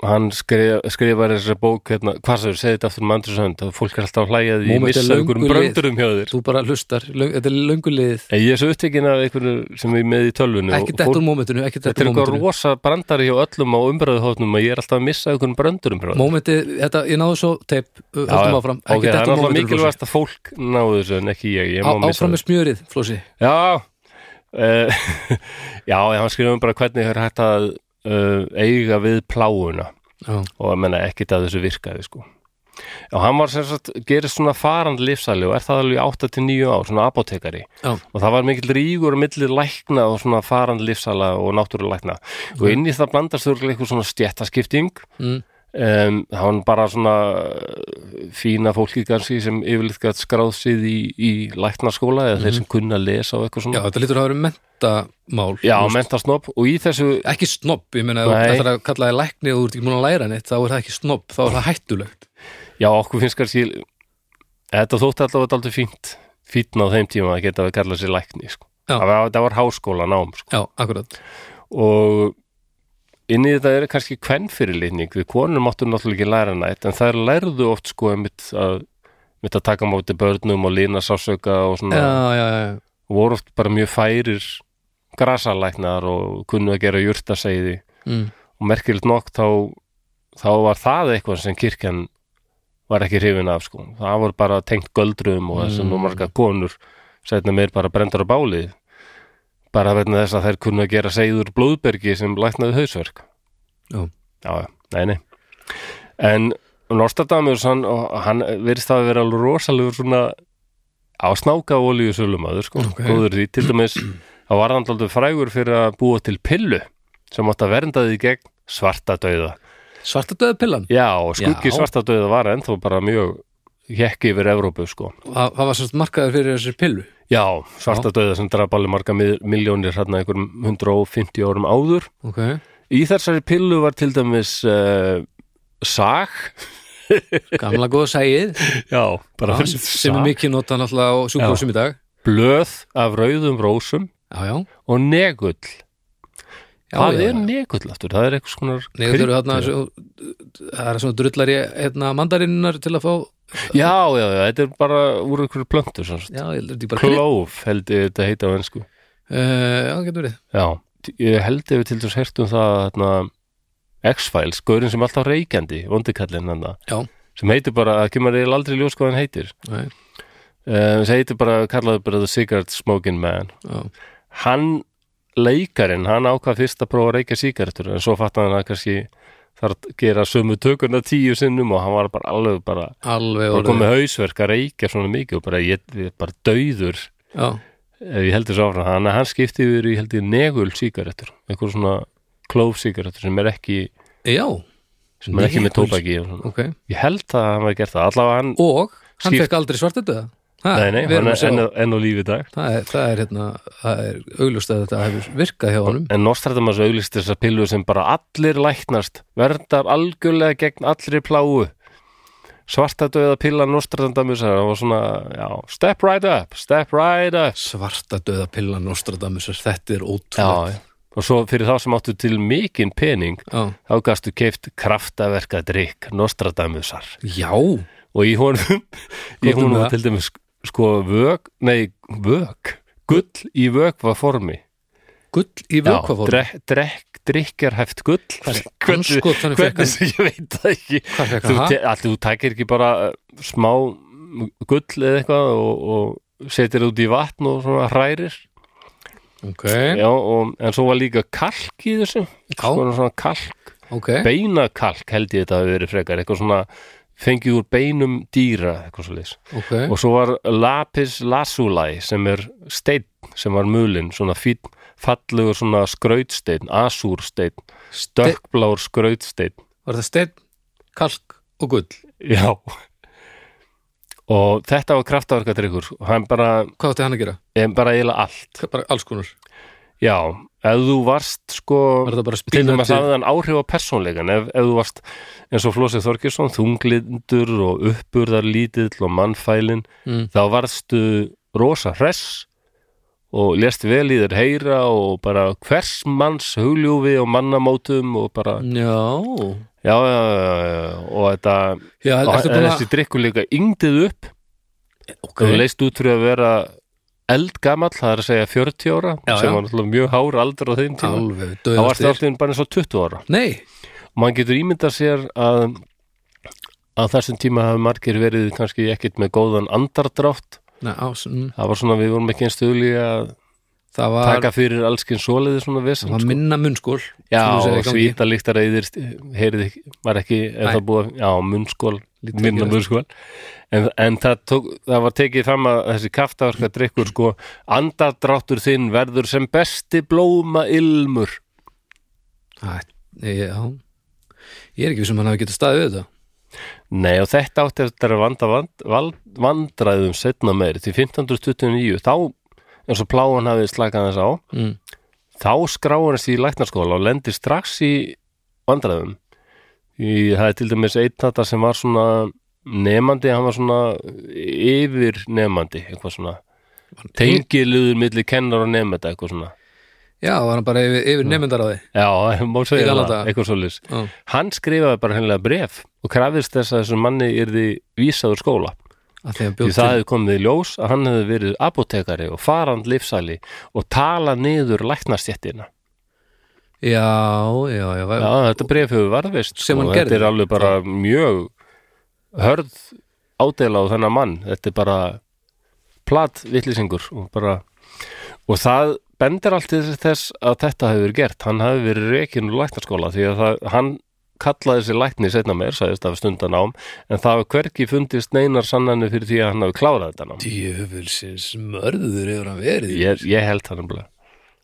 A: hann skrif, skrifar þessari bók hérna, hvað sem við segið þetta aftur um andri sönd og fólk er alltaf að hlæja því
B: Moment
A: ég missa
B: er löngu
A: einhverjum
B: lið.
A: bröndurum hjá þér
B: þú bara hlustar, löng, þetta er löngulegið
A: en ég er svo upptekinn af einhverju sem ég er með í tölvunni
B: ekki
A: og
B: þetta
A: fólk,
B: úr mómentinu, ekki
A: þetta er
B: þetta úr
A: eitthvað
B: mómentinu
A: rosa brandari hjá öllum á umbröðuhóttnum og ég er alltaf að missa einhverjum bröndurum hjá þér
B: Mómentið, þetta, ég náðu svo teip,
A: Já,
B: uh,
A: já.
B: höldum áfram
A: ok, það
B: ekki
A: er
B: þetta úr
A: alltaf
B: mómentinu, Flósi.
A: mikilvægast að fólk náðu þessu en ekki ég, ég má
B: Á-
A: missa
B: áfram með smjörið, Flósi
A: Já uh, Já, hann skrifum bara hvernig er hægt að uh, eiga við pláuna
B: Já,
A: og að menna ekkit að þessu virkaði sko og hann var sem sagt, gerist svona farand lífsæli og er það alveg í 8-9 ár, svona apotekari
B: Já.
A: og það var mikill rígur á milli lækna og svona farand lífsæla og náttúrulækna og inn í það blandast þurrlega eitthvað svona stjættaskipting
B: mm,
A: um, hann bara svona uh, fína fólki kannski sem yfirleitt gætt skráð sig í, í læknaskóla eða þeir sem kunna að lesa og eitthvað svona
B: Mhm. já þetta lítur að hafa verið mentamál
A: Já,
B: Þú veist,
A: mentasnopp og í þessu
B: Ekki snobb, ég meina, ef þú
A: Nei.
B: ætlar að kalla þið lækni og þú ert ekki múin að læra neitt, þá er það ekki snobb, þá er það hættulegt
A: já, okkur finnst kannski þetta þótti alltaf að þetta aldrei fínt fínna á þeim tíma að geta að kalla sér lækni sko.
B: Já.
A: það var, það var háskóla nám sko.
B: Já, akkurat
A: og inn í þetta er kannski kvennfyrirlitning við konur máttum náttúrulega ekki læra nætt en þær lærðu oft sko mitt að, mitt að taka á móti börnum og lína sásauka og svona
B: Já, já, já, já.
A: voru oft bara mjög færir grasalæknar og kunnu að gera jurtaseiði
B: Mm.
A: og merkilegt nokk þá, þá var það eitthvað sem kirkjan var ekki hrifin af sko. það var bara tengt göldrum og þessum
B: Mm.
A: mm. marga konur setna meir bara brendar á bálið bara vegna þess að þær kunnu að gera segður blóðbergi sem læknaði hausverk
B: Já.
A: já, já, nei, nei en Nostradamus hann, og hann verðist það að vera alveg rosalegur svona á snáka olíu sölumæður sko,
B: Ok.
A: góður því, til dæmis það var hann alltaf frægur fyrir að búa til pillu sem átt að vernda því gegn svartadauða.
B: Svartadauða pillan
A: Já, og skuggi
B: Já.
A: svartadauða var ennþá bara mjög hekk yfir Evrópu, sko.
B: Það það var sérst markaður fyrir þessari pillu
A: Já, svartadauða sem draf alveg marga mil- milljónir hérna einhverjum 150 árum áður.
B: Ok,
A: Í þessari pillu var til dæmis uh, sag
B: Gamla góða sæið
A: Já, bara
B: sem,
A: fyrst
B: sem er
A: sag.
B: mikið nota náttúrulega á sjúkvóðsum í dag
A: blöð af rauðum rósum
B: Já, já,
A: og negull
B: já,
A: Hvað
B: já.
A: er negull aftur? Það er eitthvað skonar
B: Nei, það eru þarna svo, það er svona drullari hérna mandarinnar til að fá
A: Já, já, já, þetta er bara úr einhverju plöntu sem sagt.
B: Já, ég heldur því bara krydd.
A: Clove held ég þetta heita á ennsku
B: Eh, Já, það getur verið
A: Já, ég held ef við til dæmis heyrt um það þarna, X-Files, gaurinn sem er alltaf reykjandi vondikallinn hann
B: Já,
A: sem heitir bara, það kemur eiginlega aldrei í ljós hvað hann heitir
B: nei,
A: um, sem heitir bara, kallaði bara The Cigarette Smoking Man
B: já,
A: hann leikarinn, hann ákvað fyrst að prófa að reykja sígarettur en svo fattaði hann að kannski þarf að gera sömu tökuna tíu sinnum og hann var bara alveg bara,
B: alveg
A: bara
B: orðið
A: komið hausverk að reykja svona mikið og bara, ég, ég er bara döður
B: Já,
A: ef ég heldur svo áfram hann, hann skipti yfir í heldur negul sígarettur einhver svona klóf sígarettur sem er ekki,
B: já
A: sem er ekki með
B: Negul-
A: tóbaki og svona.
B: Ok,
A: ég held að hann var gert það allavega hann,
B: og hann
A: Skýrt.
B: fekk aldrei svartetuða ha,
A: nei, nei,
B: við erum
A: hann
B: að
A: er
B: sjá-
A: enn, á- enn á lífi í dag
B: það, er, það er hérna það er augljóst að þetta hefur virkað hjá honum
A: En Nostradamus auglist þessar pillur sem bara allir læknast, verndar algjörlega gegn allri pláu. Svarta döða pilla Nostradamus, það var svona, já, step right up, step right up.
B: Svartadauða pillan Nostradamus þetta er
A: Já,
B: ótrúlega
A: já. og svo fyrir þá sem áttu til mikinn pening,
B: já.
A: þá gastu keift kraftaverka drikk Nostradamusar.
B: já,
A: Og í honum, í
B: Gott um
A: honum var
B: það.
A: til dæmis sko vög, nei, vög, gull í vögva formi.
B: gull í
A: Já,
B: vökvafórum
A: drek, drek, drikjarhæft gull. Hvernig-
B: anskot hann
A: hvernig
B: fekk hann
A: sem ég veit það ekki
B: hvað fekk
A: þú,
B: hann ha?
A: te, all, þú takir ekki bara uh, smá gull eða eitthvað og, og setir út í vatn og svona hrærir
B: ok,
A: já, og, en svo var líka kalk í þessu
B: já,
A: svona, svona kalk,
B: ok
A: beinakalk held ég þetta hafi verið frekar, eitthvað svona fengið úr beinum dýra eitthvað svo
B: ok,
A: og svo var lapis lazuli sem er steinn sem var mulinn, svona fín fallegur svona skrautsteinn, asúrsteinn dökkblár skrautsteinn
B: var það steinn, kalk og gull
A: Já Og þetta var kraftaverkadrykkur Hann bara,
B: hvað átti hann að gera?
A: em, bara eiginlega allt
B: Hvað- bara alls konar,
A: Já, ef þú varst sko
B: var það bara
A: Til þess að
B: spínati
A: hafði hann áhrif á persónleikan ef, ef þú varst eins og Flósið Þorkjesson þunglindur og uppurðarlítill og mannfælin
B: Mm.
A: þá varstu rosa hress og lest vel í þér heyra og bara hvers manns hugljúfi og mannamótum og bara
B: já,
A: já, já, já, já, já, og þetta
B: já,
A: og
B: ertu búin að
A: þessi drykkur líka yngdið upp
B: ok,
A: okay. leist út fyrir að vera eldgamall, það er að segja 40 ára
B: Já,
A: sem
B: já.
A: var náttúrulega mjög hár aldur á þeim tíma
B: alveg
A: þá varstu
B: döðastir
A: alltaf einu bara eins og 20 ára
B: nei,
A: og mann getur ímyndað sér að að þessum tíma hafi margir verið kannski ekkit með góðan andardrátt
B: nei, ás, mm,
A: það var svona, við vorum ekki einn stuðli að
B: það var
A: taka fyrir allskinn svoleiði svona
B: það
A: vesend
B: var
A: sko.
B: minna munnskól
A: já,
B: sem þú segir í
A: og
B: gangi.
A: svíta líktar eðir heyrið ekki, var ekki en
B: Nei.
A: það búið, að- já, munnskól
B: Lítið
A: minna
B: ekki-
A: munnskól en, en það, tók, það var tekið fram að þessi kaftaverka drikkur sko andardráttur þinn verður sem besti blóma ilmur
B: Æ, ég, já. ég er ekki vissum hann hafi getað staðið við þetta
A: Nei og þetta átti eftir að vanda vand, vald, vandræðum setna meir til 1529 þá eins og pláan hafið slakað þess á
B: mm.
A: þá skráður þessi í læknarskóla og lendir strax í vandræðum í, það er til dæmis einn þetta sem var svona nefandi, hann var svona yfir nefandi, eitthvað svona tengiluður milli kennar og nefnda eitthvað svona
B: já, var hann bara yfir, yfir nefndar á því
A: já, má
B: Í
A: segja
B: gamla
A: það,
B: daga.
A: eitthvað svoleiðis
B: já,
A: hann skrifaði bara hennilega bref og krafðist þess að þessum manni yrði vísaður skóla
B: að því að
A: því
B: bjóð
A: það hefði komið í ljós að hann hefði verið apotekari og farand lífsæli og tala niður læknastjættina
B: til já, já, já,
A: já,
B: já.
A: þetta bref hefur varðvist
B: Sem
A: sko,
B: hann
A: þetta
B: gerði.
A: er alveg bara mjög hörð ádela á þennan mann þetta er bara plat vitlisingur og bara og það bendir allt til þess að þetta hefur verið gert, hann hefur verið rekin úr læknaskóla því að það, hann kallaði sér lækni setna meir, sagðist af stundan ám en það hafa hvergi fundist neinar sannanir fyrir því að hann hafi klárað þetta nám
B: djöfulsins mörður hefur hann verið
A: ég, ég held það nefnilega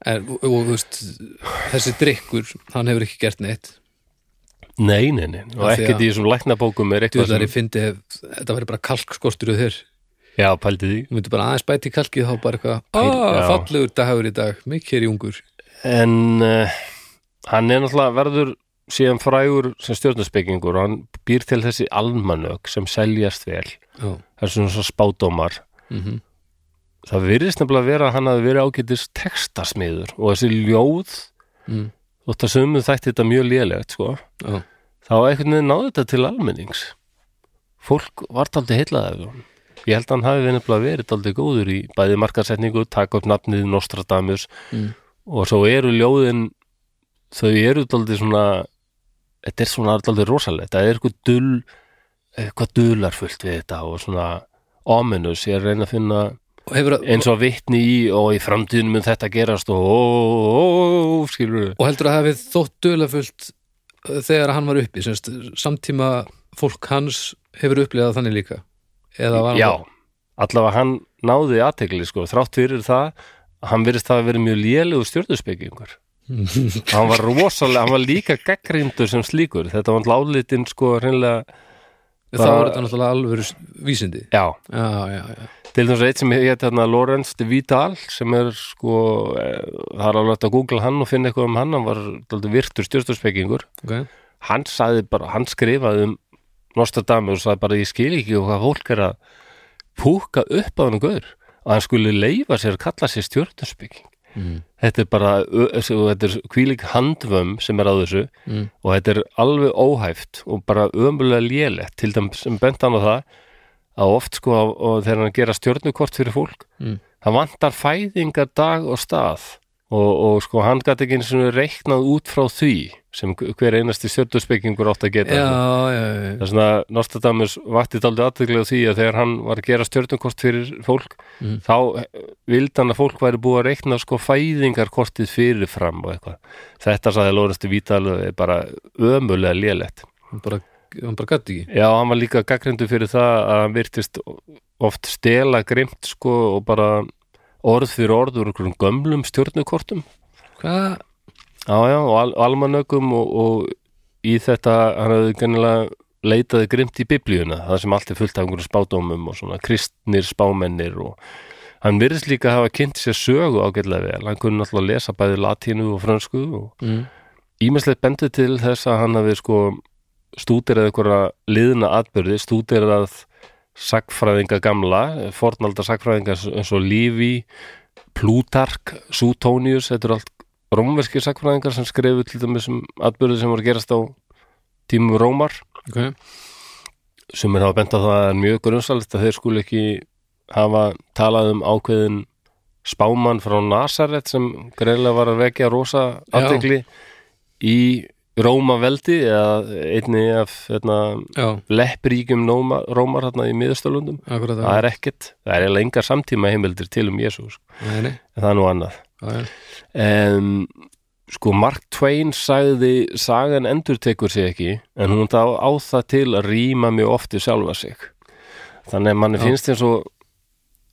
B: en, og, og þú veist, þessi drikkur hann hefur ekki gert neitt
A: Nei, nei, nei, og
B: Af því
A: ekkert
B: að-
A: í þessum læknabókum er eitthvað
B: djöðlar
A: sem,
B: ég fyndi ef þetta verið bara kalkskortur og þér
A: já, pældi því
B: Þú myndir bara aðeins bæti í kalkið þá bara eitthvað
A: Pæl-
B: ah,
A: já.
B: fallegur dagur í dag, mikið er í ungur
A: en uh, hann er náttúrulega verður síðan frægur sem stjórnarspekingur og hann býr til þessi almanök sem seljast vel
B: já,
A: það er svona svo spádómar
B: mm
A: Mhm. það virðist nefnilega að vera að hann hafi verið ágætis textasmiður og þessi ljóð
B: Mm.
A: þótt að sömu þætti þetta mjög lélegt sko,
B: já.
A: þá einhvern veginn náði þetta til almennings fólk var taldi heillað af hún ég held að hann hafi nefnilega verið taldi góður í bæði markarsetningu, taka upp nafnið Nostradamus
B: Mm.
A: og svo eru ljóðin þau eru taldi svona þetta er svona taldi rosalegt það er eitthvað dull eitthvað dullarfullt við þetta og svona ominous, ég er að reyna að finna
B: og hefur að
A: eins og vitni í og í framtíðinu mun þetta gerast og ó, ó, ó, skilur
B: og heldur að hafi þótt dölafullt þegar hann var uppi semst, samtíma fólk hans hefur upplifað þannig líka eða var hann
A: Já, allavega hann náði aðtegli sko, þrátt fyrir það hann virðist það að vera mjög lélegur stjórnuspekingur hann var rosalega, hann var líka gaggrindur sem slíkur, þetta var lálitinn sko hreinlega,
B: þá var þetta náttúrulega alvöru s- vísindi
A: já,
B: já, já, já,
A: til þess að eitt sem heit hérna Lorenz de Vidal sem er sko, eh, það er alveg hægt að googla hann og finna eitthvað um hann, hann var dálítið virtur stjórnuspekingur
B: ok
A: hann sagði bara, hann skrifaði um Nostradamus og sagði bara ég skil ekki hvað fólk er að púka upp á hann guður að hann skuli leifa sér að kalla sér stjórnarspeking
B: mm.
A: þetta er bara, ö- þessi- og þetta er kvílík handvömm sem er á þessu
B: Mm.
A: og þetta er alveg óhæft og bara ömulega lélegt til dæmis sem bent hann á það að oft sko og, og þegar hann gera stjórnukort fyrir fólk
B: Mm.
A: það vantar fæðingar dag og stað og, og sko hann gæti ekki eins og reiknað út frá því sem hver einasti stjórnarspekingur átt að
B: já,
A: geta
B: já, já,
A: Það er svona, Nostradamus vakti dálítið aðteglega því að þegar hann var að gera stjörnukort fyrir fólk,
B: Mm.
A: þá eh, vildi hann að fólk væri búið að reikna sko fæðingarkortið fyrirfram og eitthvað. Þetta sagði Lórenstu Vítal er bara ömulega lélegt.
B: Hann, bara, hann bara gatt ekki
A: Já, hann var líka gaggrindu fyrir það að hann virtist oft stela grimt sko og bara orð fyrir orð úr einhverjum gömlum stjörnukortum.
B: hvað,
A: Já, já, og al almanökum og, og í þetta hann hefði gennilega leitaði grimt í biblíuna, það sem allt er fullt af einhverjum spádómum og svona kristnir spámennir og hann virðist líka að hafa kynnt sér sögu ágætlega vel, hann kunni alltaf að lesa bæði latínu og frönsku og
B: mm.
A: ímestlegt bendu til þess að hann hafi sko stúderað einhverja liðna atbyrði, stúderað sagfræðinga gamla, fornalda sagfræðinga eins og Lífi, Plutark, Suetonius, þetta eru allt rómverski sagfræðingar sem skrifu til dæmis um atbyrði sem voru að gerast á tímum Rómar,
B: ok
A: sem er hafa bent á það að það er mjög grunnsalegt að þeir skulu ekki hafa talað um ákveðin spámann frá Nasaret sem greiðlega var að vekja rosa
B: Já.
A: aftekli í Róma veldi eða einni af hérna,
B: já,
A: leppríkjum Nóma- Rómar hérna í miðurstölundum
B: akkurat
A: það er ekkert, það er lengar samtíma heimildir til um Jésús,
B: nei, nei,
A: en það er nú annað
B: já, já,
A: um, sko Mark Twain sagði sagan endurtekur sig ekki en hún þá á það til að rýma mjög ofti sjálfa sig þannig að manni
B: Já.
A: finnst eins og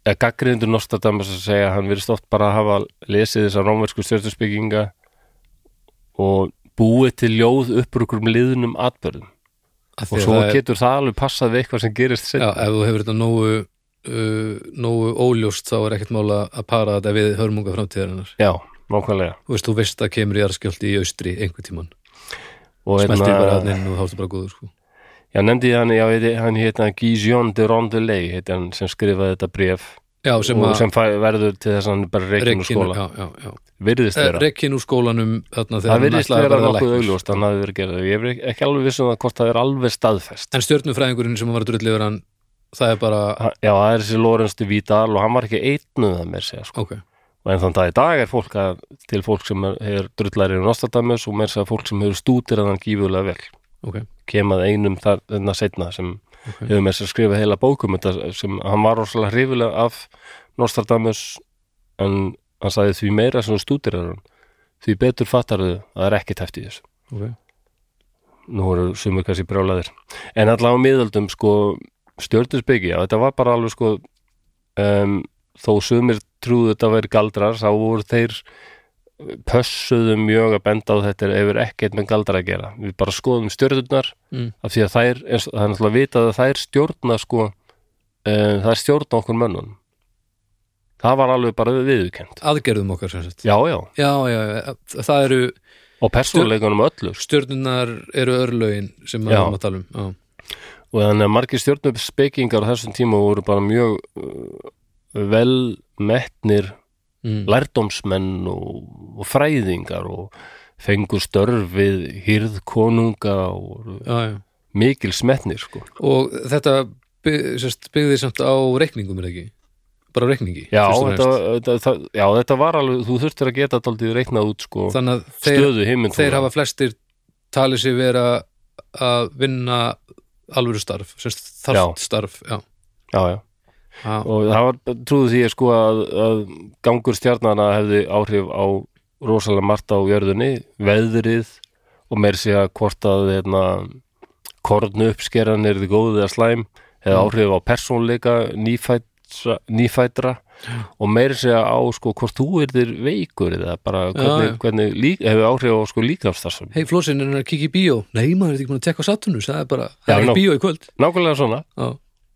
A: að gaggrindur Nostradamus að segja að hann virðist oft bara að hafa lesið þessar rómversku stjórnusbygginga og búið til ljóð uppur okkur um liðnum atbörðum
B: Af því
A: og
B: að
A: svo
B: það er-
A: getur það alveg passað við eitthvað sem gerist
B: já,
A: seinna.
B: ef þú hefur þetta nógu uh, nógu óljóst þá er ekkert mála að para þetta við hörmunga framtíðarinnar
A: já, nákvæmlega
B: þú veist, þú veist að kemur í jarðskjálfti í austri einhvern tímann,
A: og
B: smeltir
A: hérna-
B: bara hann inn og þá ertu bara góður sko.
A: Já, nefndi ég hann, já, heiti- hann hétna Guillaume de Rondeley, heiti hann sem skrifaði þetta bref
B: já, sem
A: og
B: að
A: sem fæ, verður til þess að hann er bara reikinn úr skóla.
B: já, já, já.
A: Virðist vera.
B: rekkin úr skólanum þarna þegar
A: það
B: hann
A: virðist
B: ætlaði að
A: vera
B: verða
A: nokkuð
B: læknir.
A: augljóst, hann hafi verið gerðið. Ég er ekki alveg vissum það hvort það er alveg staðfest.
B: en stjörnufræðingurinn sem var drullið hann það er bara,
A: Ha- Já, það er þessi Lorenz de Vidal og hann var ekki eitnuð það mér segja, sko.
B: ok
A: Og en þann dag í dag er fólk að, til fólk sem er, er drullari en Nostradamus og mér segja fólk sem hefur stútir að hann gífulega vel.
B: ok,
A: Kem að einum þar, þarna setna sem
B: ok,
A: hefur með þess að skrifa heila bókum þetta sem hann var rosalega hrifilega af Nostradamus en hann sagði því meira sem þú stútir hann því betur fattarðu að það er ekkert eftir þessu
B: ok
A: nú eru sumur kannski brjálæðir en allavega á miðöldum sko stjörnusbyggi, já þetta var bara alveg sko um, þó sumir trúðu þetta væri galdrar þá voru þeir eh, pössuðu mjög að benda á þetta ef er ekkert með galdra að gera við bara skoðum stjörnurnar
B: Mm.
A: af því að þær, eins, það er náttúrulega vitað að þær stjórna sko uh, þær stjórna okkur mönnum það var alveg bara viðurkend
B: aðgerðum okkar sem sagt já,
A: já, já,
B: já, já, það eru
A: og persónuleikunum öllu
B: stjörnunar eru örlögin sem maður
A: Já.
B: erum að tala um já.
A: og þannig að margir stjórnubspekingar á þessum tíma voru bara mjög uh, vel metnir
B: Mm.
A: lærdómsmenn og, og fræðingar og fengu störf við hýrð konunga og
B: Já, já.
A: mikil smetnir sko.
B: og þetta byg, sérst, byggði samt á reikningum er það ekki? bara á reikningi
A: já,
B: fyrst og
A: þetta,
B: fremst.
A: þetta, það, já, þetta var alveg þú þurftir að geta daldið reiknað út sko,
B: þannig að þeir,
A: stöðu heiminn
B: þeir hafa flestir talið sér vera að vinna alvöru starf sérst, þarft starf já.
A: já, já.
B: Já.
A: og það var trúðu því sko að, að gangur stjarnana hefði áhrif á rosalega margt á jörðunni veðrið og meir sé að hvort að hérna, kornu uppskeran er þið góð eða slæm hefði
B: Mm.
A: áhrif á persónleika nýfætra, nýfætra og meir sé að á sko hvort þú er þér veikur eða bara hvernig,
B: já.
A: hvernig lík, hefur áhrif á sko líkafstarfsum
B: hei Flósin er hann að kíkja í bíó nei maður er ekki búin að tekka á Saturnus það er bara, það
A: Já,
B: er
A: ná.
B: ekki bíó í kvöld
A: nákvæmlega svona,
B: já,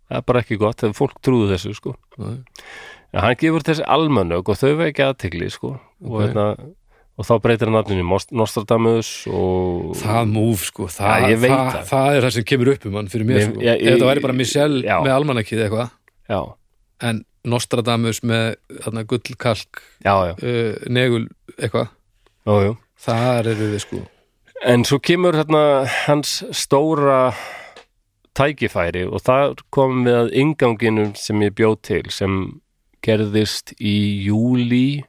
A: það er bara ekki gott þegar fólk trúðu þessu sko
B: já,
A: Já, hann gefur þessi almannög og þau vekja aðtegli sko og,
B: Ok.
A: hérna, og þá breytir hann nafninu í Most- Nostradamus og
B: það múf sko það,
A: Já, ég veit
B: það,
A: það.
B: það er það sem kemur upp um hann fyrir mér
A: Ég-
B: sko.
A: ég-
B: ef þetta væri bara
A: ég-
B: Michelle
A: já.
B: með almanakið eitthvað
A: já,
B: en Nostradamus með þarna, gullkalk
A: já, já,
B: uh, negul eitthvað
A: já, já.
B: þar eru við sko
A: En svo kemur hérna hans stóra tækifæri og þar komum við að inganginum sem ég bjóð til sem gerðist í júli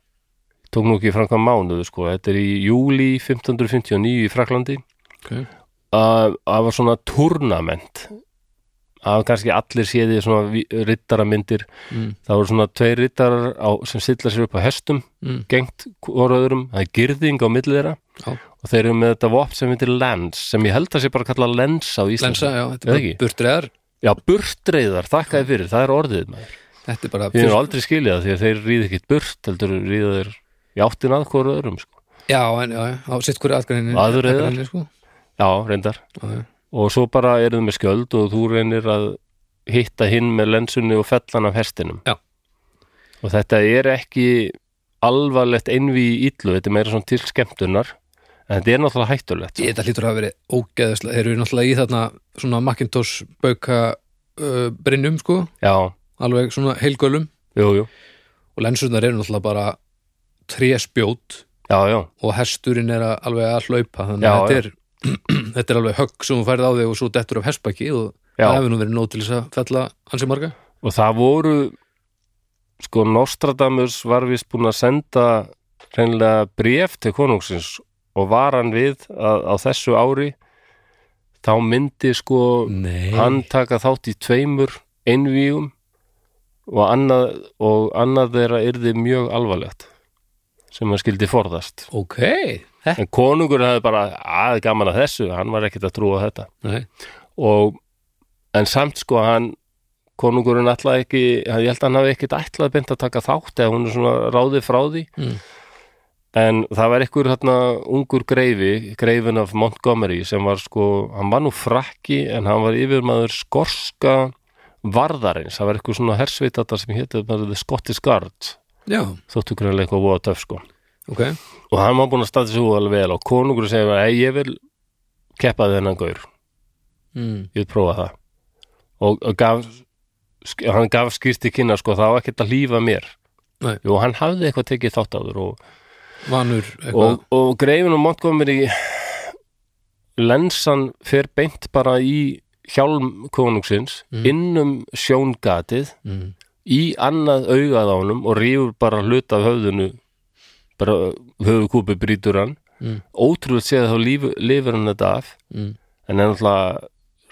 A: tók nú ekki framkvæm mánuðu sko, þetta er í júli 1559 í Fraklandi
B: okay.
A: að það var svona turnament það var kannski allir séði svona rittaramyndir
B: Mm.
A: það voru svona tveir rittarar á, sem silla sér upp á hestum
B: Mm.
A: gengt voru öðrum, það er girðing á milli þeirra
B: Já.
A: og þeir eru með þetta vopn sem heitir lens sem ég held að sé bara kallað lens á Íslandi
B: lensa, já, þetta
A: Eða
B: er
A: ekki?
B: bara burtreðar
A: Já, burtreiðar, þakkaði fyrir, það er orðið maður.
B: þetta er bara
A: Við erum aldrei skiljað það því að þeir ríða ekkit burt heldur ríða þeir í áttin að hvora öðrum sko.
B: já, en, já, já, á sitt hverju aðgrænin
A: Aðreiðar.
B: sko.
A: Já, reyndar
B: Já, já.
A: og svo bara eruðu með skjöld og þú reynir að hitta hinn með lensunni og fellan af hestinum
B: Já.
A: og þetta er ekki alvarlegt einví í illu þetta er meira svona til skemmtunar en þetta er náttúrulega hættulegt sko.
B: Ég, þetta hlýtur að hafa verið ógeðislega þeir eru náttúrulega í þarna svona Macintosh bauka uh, brinnum sko
A: Já,
B: alveg svona heilgölum
A: jú, jú,
B: og lensurnar eru náttúrulega bara tréspjót
A: já, já
B: og hesturinn er að, alveg að hlaupa þannig að
A: Já,
B: þetta er, þetta er alveg högg sem hún færði á þig og svo dettur af hestbaki og
A: Já.
B: það hefur nú verið nót til þess að fella hansi marga
A: og það voru sko Nostradamus var vist búin að senda hreinlega bréf til konungsins og var hann við að á þessu ári þá myndi sko
B: Nei.
A: hann taka þátt í tveimur einvígum og annað, og annað þeirra yrði mjög alvarlegt sem hann skildi forðast
B: ok
A: en konungur hefði bara að gaman að þessu, hann var ekkert að trúa á þetta
B: Nei.
A: og en samt sko hann konungurinn ætlaði ekki, hann- ég held að hann hafi ekkert ætlaði beint að taka þátt eða hún er svona ráði frá því
B: Mm.
A: en það var einhver hérna ungur greifi greifin af Montgomery sem var sko, hann var nú frakki en hann var yfirmaður skorska varðarins, það var einhver svona hersveitata sem hétu bara The Scottish Guard
B: já,
A: þóttu greinlega eitthvað voða töf sko
B: ok
A: og hann var búin að staða svo alveg vel og konungurinn segir að ég vil keppa þennan gaur
B: mm.
A: ég vil prófa það og, og gaf, sk- hann gaf skýrti kynna sko, það var ekkert að lífa mér
B: Nei.
A: Jú, hann hafði eitthvað tekið þátt áður og,
B: vanur eitthvað
A: og, og greifin og Montgomery lensan fer beint bara í hjálm konungsins
B: Mm.
A: innum sjóngatið
B: mm.
A: í annað augað á honum og rífur bara hluta af höfðinu bara höfukúpi brýtur hann
B: Mm.
A: ótrúlega séð þá líf, lifir hann þetta af
B: Mm.
A: en er náttúrulega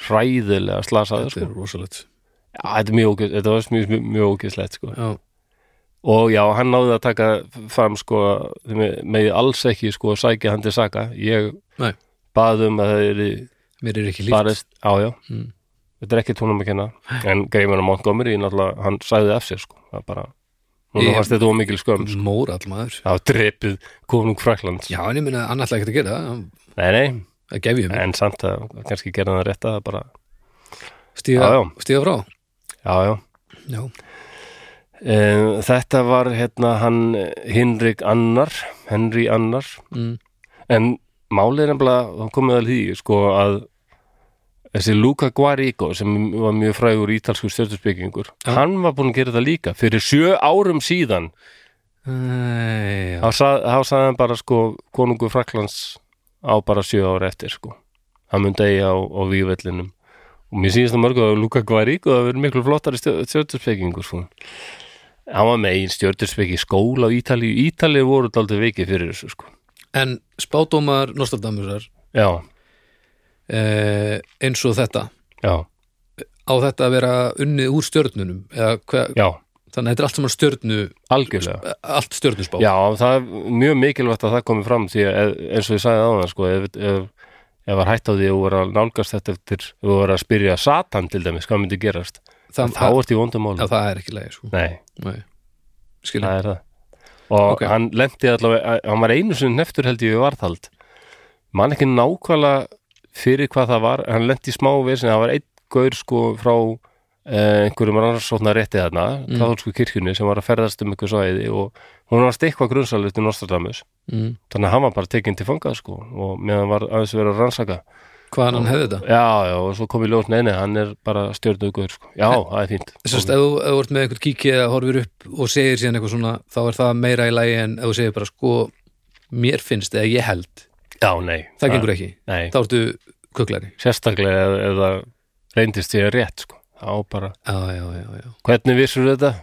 A: hræðilega slasaður
B: þetta
A: sko.
B: er rosalegt
A: Já, þetta er mjög ógeð, þetta var mjög, mjög, mjög ógeðslegt sko.
B: já,
A: og já, hann náði að taka fram sko, með alls ekki sko, sækja hann til saka ég
B: Nei.
A: bað um að það er
B: mér er ekki líkt
A: barist, á já
B: Mm.
A: þetta er ekki tónum að kenna en greifin á Montgomery, náttúrulega, hann sæði af sér sko, það bara núna
B: Ég- Mm.
A: varst þetta ómikil skömm, sko.
B: mórall maður
A: það var drepið konung Fraklands,
B: já, en ég minna annars ekkert að gera það.
A: nei nei,
B: að um. gefjum,
A: en samt að kannski gerði hann rétt að það bara,
B: stíga,
A: Já, já.
B: stíga frá
A: já já
B: já,
A: Um, þetta var hérna hann Hinrik Annar, Henry Annar
B: mm.
A: en málið er nefnilega, þá komið alveg því sko að þessi Luca Guarico sem var mjög frægur ítalsku stjórnusbyggingur
B: Já.
A: hann var búinn að gera þetta líka fyrir sjö árum síðan
B: Æ,
A: þá sa- þá sagði hann bara sko konungur Fraklands á bara sjö ára eftir sko hann mun degja á, á vývellinum og mér síðast að mörgu að Luka Guarík og það verið miklu flottari stjórnurspekingur sko. hann var með einn stjórnurspeki skóla á Ítalíu Ítalíu voru daldið veikið fyrir þessu sko
B: En spádómar Nostradamusar
A: já,
B: eh, eins og þetta
A: já,
B: á þetta að vera unnið úr stjörnunum eða hva,
A: já,
B: þannig að þetta er allt saman stjörnu
A: algjörlega
B: allt stjörnuspá
A: Já, það er mjög mikilvægt að það komi fram því að eins og ég sagði á það sko, ef, ef, ef var hætt á því að þú voru að nálgast þetta eftir, ef þú voru að spyrja Satan til dæmis, hvað myndi gerast
B: það,
A: þá ert í vondumálum
B: já, það er ekki leið sko.
A: Nei,
B: Nei. skilja
A: það er það og
B: Ok.
A: hann lendi allavega, hann var einu sinni neftur held ég við varðhald man ekki nákvæmlega fyrir hvað það var hann lendi í smá vesin, það var einn gaur sko frá eh, einhverjum rannsóknar rétti þarna, mm. katholsku kirkjunni sem var að ferðast um einhver svæði og hún var stikkvað grunnsalut í Nostradamus
B: mm.
A: þannig að hann var bara tekinn til fangað sko og meðan var aðeins verið að rannsaka
B: hvaðan hann hefði þetta
A: já, já, og svo kom í ljós neini, hann er bara stjörnugur sko, já, það er fínt
B: Sest, ef þú ef þú ert með einhvern kíki eða horfir upp og segir síðan eitthvað svona þá er það meira í lagi en ef þú segir bara sko mér finnst eða ég held
A: já, nei,
B: það gengur ekki,
A: nei,
B: þá ertu kuklari
A: sérstaklega ef, ef það reyndist ég rétt sko, þá bara
B: já, já, já, já.
A: hvernig vissur þetta?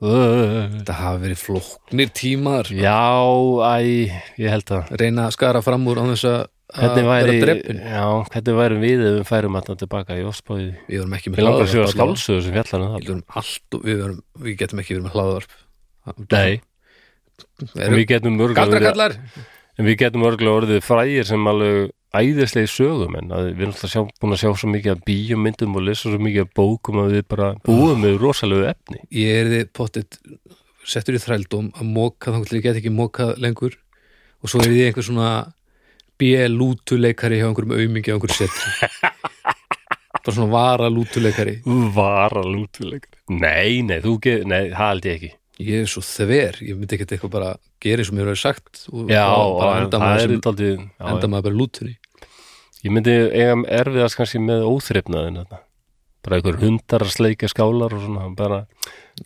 A: Uh,
B: það hafa verið flóknir tímar
A: já, æ, ég held að
B: reyna að skara fram úr á þess að að
A: hvernig væri,
B: vera dreppin
A: já, hvernig væri við ef við færum að það tilbaka í ospáði
B: við vorum ekki
A: við
B: með
A: langar að sjöða
B: hlaðvarp allavega.
A: skálsöðu sem um fjallan
B: við, vorum allt, og- við, vorum, við getum ekki verið með hlaðvarp
A: nei, en
B: Erum-
A: við getum mörgulega verið-
B: galdrakallar
A: En við getum örgulega orðið frægir sem alveg æðislegi sögum en að við erum alltaf sjá, búin að sjá svo mikið af bíómyndum og lesa svo mikið af bókum að við bara búum með rosalegu efni.
B: ég er þið pottit settur í þrældóm að móka þannig til ég get ekki móka lengur og svo er ég einhver svona bjelútuleikari hjá einhverjum aumingi á einhverjum setri bara svona vara lútuleikari
A: Vara lútulegur. Nei, nei, þú getur, nei, það held ég ekki.
B: ég er svo þver, ég myndi ekkert eitthvað bara gera eins og mér hefur sagt og
A: Já,
B: og bara
A: og
B: enda
A: það
B: maður,
A: er
B: sem,
A: þetta aldrei,
B: enda
A: já,
B: maður bara lútunni
A: ég myndi eiga erfiðast kannski með óþrifnaðin þetta. Bara einhver hundar að sleika skálar og svona, bara,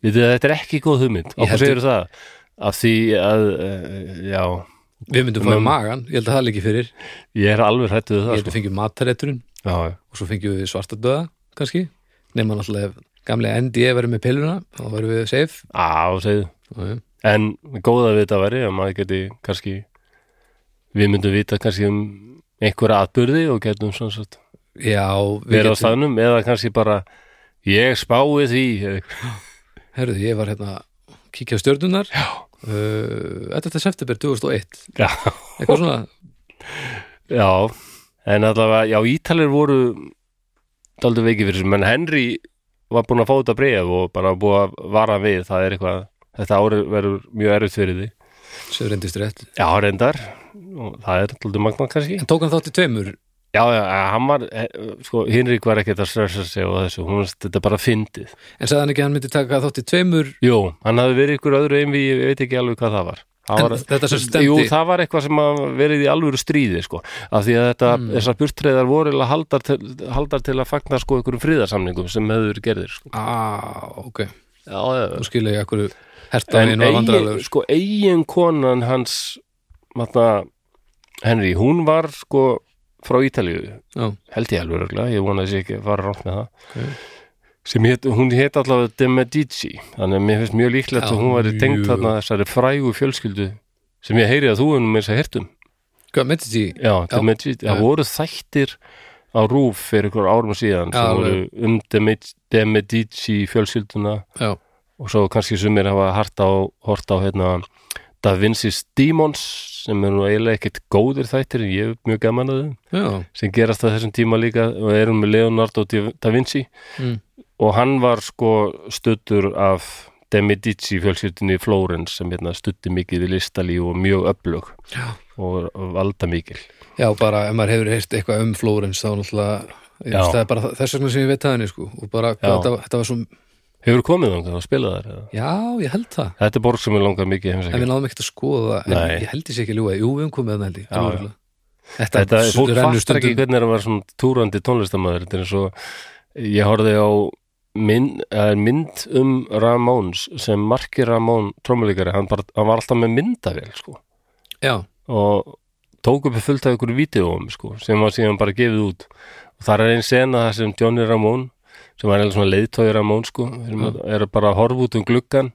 A: við þið, þetta er ekki góð hugmynd.
B: Ég
A: Okkur
B: held-
A: segir það, af því að, eh, já,
B: við myndum fá í
A: Mömmu.
B: magan, ég held að það liggi fyrir ég
A: ég er alveg hrættu við það,
B: held að fengjum matarétturinn
A: sko. Já, já.
B: og svo fengjum við svartadöða kannski, nema náttúrulega ef gamlega NDE verið með piluna, þá verðum við safe
A: Á, segðu.
B: og eh, já
A: En góða við þetta væri að maður geti kannski við myndum vita kannski um einhverja atbyrði og getum svona sett
B: Já, við
A: verið á
B: getum,
A: staðnum eða kannski bara ég spái því
B: herðu, ég var hérna að kíkja á stjörnunar Já uh, 11. september 2001
A: já,
B: eitthvað svona,
A: já en allavega, já Ítalir voru daldur veikið fyrir þessu, menn Henry var búin að fá þetta bregð og bara búið að vara við, það er eitthvað þetta ári verður mjög erfitt fyrir því
B: sem reyndist rétt
A: já, reyndar, og það er daldur magnað kannski
B: En tók hann þátt í tveimur
A: Já, já, hann var, eh, sko, Hinrik var ekkert að stressa sig og þessu, hún veist, þetta er bara fyndið.
B: En sagði hann ekki að hann myndi taka þátt í tveimur
A: Jú, hann hafði verið ykkur öðru einví, ég veit ekki alveg hvað það var. Það
B: En
A: var
B: þetta sem stemdi-
A: Jú, það var eitthvað sem að verið í alvöru stríði, sko, af því að þetta,
B: Mm.
A: þessar burtreiðar voru eiginlega haldar til, haldar til að fagna, sko, einhverjum friðarsamningum sem hefur verið gerðir, sko.
B: Á, Ah, ok,
A: Já, já,
B: þú skilja ég akkur hertan
A: en
B: minn og
A: eigin,
B: vandrarlegur
A: sko, eigin konan hans matna, Henry, hún var sko frá Ítalíu
B: Já.
A: held ég alveg örgulega, ég vona að ég ekki að fara rátt með það sem hét, hún hét allavega De Medici þannig að mér finnst mjög líklegt
B: Já,
A: að hún væri
B: mjög.
A: tengt þarna þessari frægu fjölskyldu sem ég heyri að um. þú ennum mér sér hertum
B: Hvað myndi því?
A: já,
B: Já.
A: De Medici,
B: Já.
A: það voru þættir á rúf fyrir ykkur árum síðan
B: Já,
A: sem voru um De Medici, De Medici fjölskylduna
B: Já,
A: og svo kannski sumir hafa hart á, hort á hérna, Da Vinci's Demons sem er nú eiginlega ekkert góðir þættir en ég er mjög gaman að þau
B: já,
A: sem gerast á þessum tíma líka og erum með Leonardo Di- da Vinci
B: Mm.
A: og hann var sko stuttur af De Medici fjölskyldinni í Flórens sem hérna, stutti mikið í listalíu og mjög öflug
B: Já.
A: og valda mikil
B: já, bara ef maður hefur heyrt eitthvað um Flórens þá náttúrulega ég
A: Já.
B: veist, það er bara þess vegna sem ég veit að henni sko og bara,
A: Já.
B: hvað, þetta, þetta var svo
A: Hefur komið þangað og spilað þar? Eða?
B: Já, ég held það
A: Þetta er borg sem er langað mikið
B: En
A: heimsækja
B: við náðum ekkert að skoða en
A: Nei.
B: ég held ég sé ekki að ljúga, jú við höfum komið að held ég
A: Já,
B: alveg örugglega. Þetta,
A: þetta er fólk
B: rennur
A: fattar ekki hvernig er að vera svona túrandi tónlistamæður þetta er eins og ég horfði á mynd, það er mynd um Ramóns sem markir Ramón trómuleikari, hann, bara, hann var alltaf með myndavél sko
B: Já,
A: og tók upp fullt af ykkur vídeóum sko, sem var síðan bara gefið út og þar er einn sena þar sem Johnny Ramón sem var einhver svona leiðtói Ramón sko, sem
B: Mm.
A: er bara að horfa út um gluggan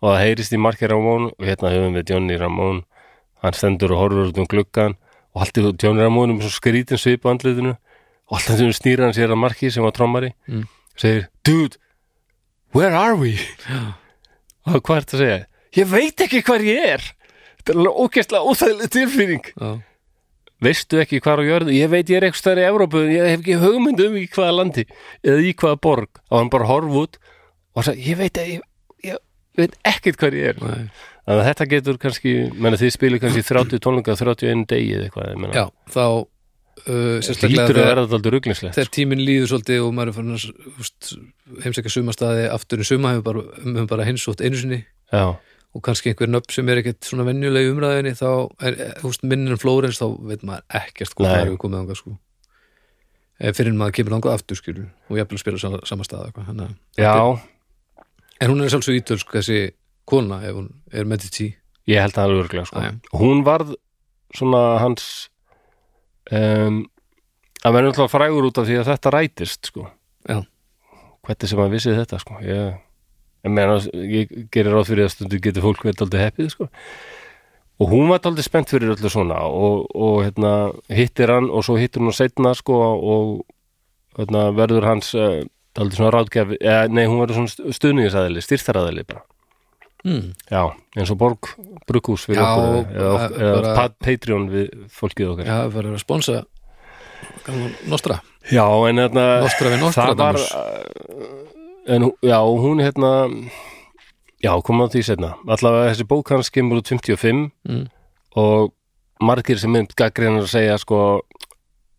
A: og það heyrist í marki Ramón og hérna höfum við Johnny Ramón hann stendur og horfur út um gluggan og alltaf Johnny Ramón um svo skrítin svip á andlitinu og alltaf sem snýra hann sér að marki sem var trommari
B: Mm.
A: segir, dude where are we? og hvað er þetta að segja? ég veit ekki hvar ég er þetta er alveg ógæstlega óþægileg tilfinning
B: já,
A: veistu ekki hvar á jörðu, ég veit ég er eitthvað stær í Evrópu, en ég hef ekki hugmynd um í hvaða landi eða í hvaða borg og hann bara horf út og sagði, ég veit, ég, ég, veit ekkert hvar ég er
B: nei,
A: þannig að þetta getur kannski, menna þið spilir kannski 30 tónleika, 31 degi eða eitthvað ég meina.
B: já þá uh, sérstaklega
A: lítur að
B: þegar,
A: verða þetta aldrei ruglingslegt
B: þegar tíminn líður svolítið og maður er fann að heimsækja sumastaði aftur en suma hefur bara, hefur bara hinsótt einu sinni
A: já,
B: og kannski einhver nöfn sem er ekkert svona venjuleg umræðinni þá er, er, húst, minnir en Flórens þá veit maður ekkert hvað
A: Nei.
B: það eru komið ánga sko Eh, fyrir en maður kemur ánga aftur skilur og jafnvel að spila sama, sama stað eitthvað, þannig að-
A: já,
B: en hún er sjálfsög ítölsk þessi kona ef hún er með til tí
A: ég held að það er örglega sko.
B: Já, já.
A: hún varð svona hans um, að verður náttúrulega frægur út af því að þetta rætist sko.
B: Já.
A: hvernig sem hann vissi þetta sko. ég, ég, meina, ég gerir ráð fyrir að stundu getur fólk verið aldrei heppið sko. og hún var aldrei spennt fyrir öllu svona og, og hérna, hittir hann og svo hittir hún setna sko, og hérna, verður hans uh, aldrei svona ráðgjafi eh, nei, hún verður svona stuðningisæðili, styrstaræðili bara
B: hmm.
A: Já, eins og borg brukkús fyrir
B: Já,
A: okkur eða,
B: bara-
A: eða
B: bara-
A: pa- Patreon við fólkið okkar
B: já,
A: Já,
B: það er bara að sponsa gaman Nostra,
A: en hérna
B: Nostra við Nostra
A: það var uh, en, hún- Já, hún hérna Já, komum á því setna Allavega þessi bók hans kemur út 55
B: mm.
A: og margir sem mynd gaggrinar að segja sko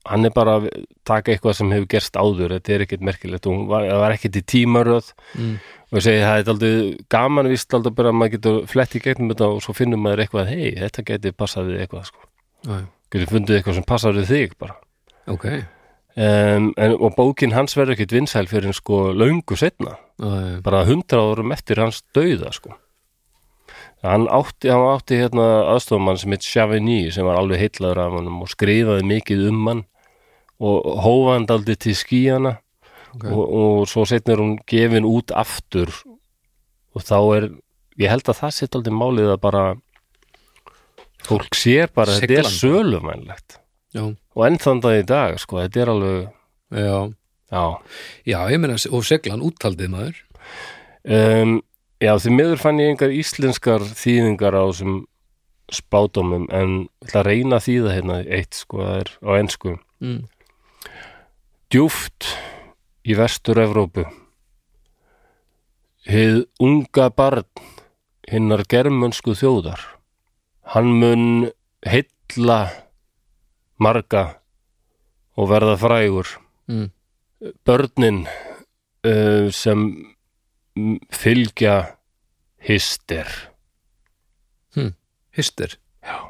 A: hann er bara að taka eitthvað sem hefur gerst áður þetta er ekkert merkilegt og hún var, það var ekkert í tímaröð
B: Mm.
A: og ég segi það er aldrei gaman víst aldrei bara að maður getur flett í gegnum þetta og svo finnum maður eitthvað hei, þetta geti passað við eitthvað sko
B: já, já.
A: getur fundið eitthvað sem passar við þig bara
B: ok já,
A: um, en, og bókin hans verður ekkit vinsæl fyrir en sko löngu setna
B: já.
A: bara hundra árum eftir hans dauða sko hann átti, hann átti hérna aðstofumann sem heit Chavigny sem var alveg heitlaður af honum og skrifaði mikið um hann og hófand aldrei til skíana
B: Ok.
A: og, og svo setna er hún gefin út aftur og þá er ég held að það sitt aldrei málið að bara fólk sér bara að þetta er
B: Siglan.
A: sölumænlegt
B: já,
A: og enn þann dag í dag sko, þetta er alveg
B: já.
A: já,
B: já, ég meina og seglan úttaldið maður
A: um, já því miður fann ég engar íslenskar þýðingar á þessum spátumum en ég ætla að reyna að þýða hérna eitt sko, það er á ensku
B: mm.
A: djúft í vestur Evrópu hið unga barn hinnar germönsku þjóðar hann mun heilla marga og verða frægur
B: Mm.
A: börnin uh, sem mm, fylgja hister
B: Hister
A: Já.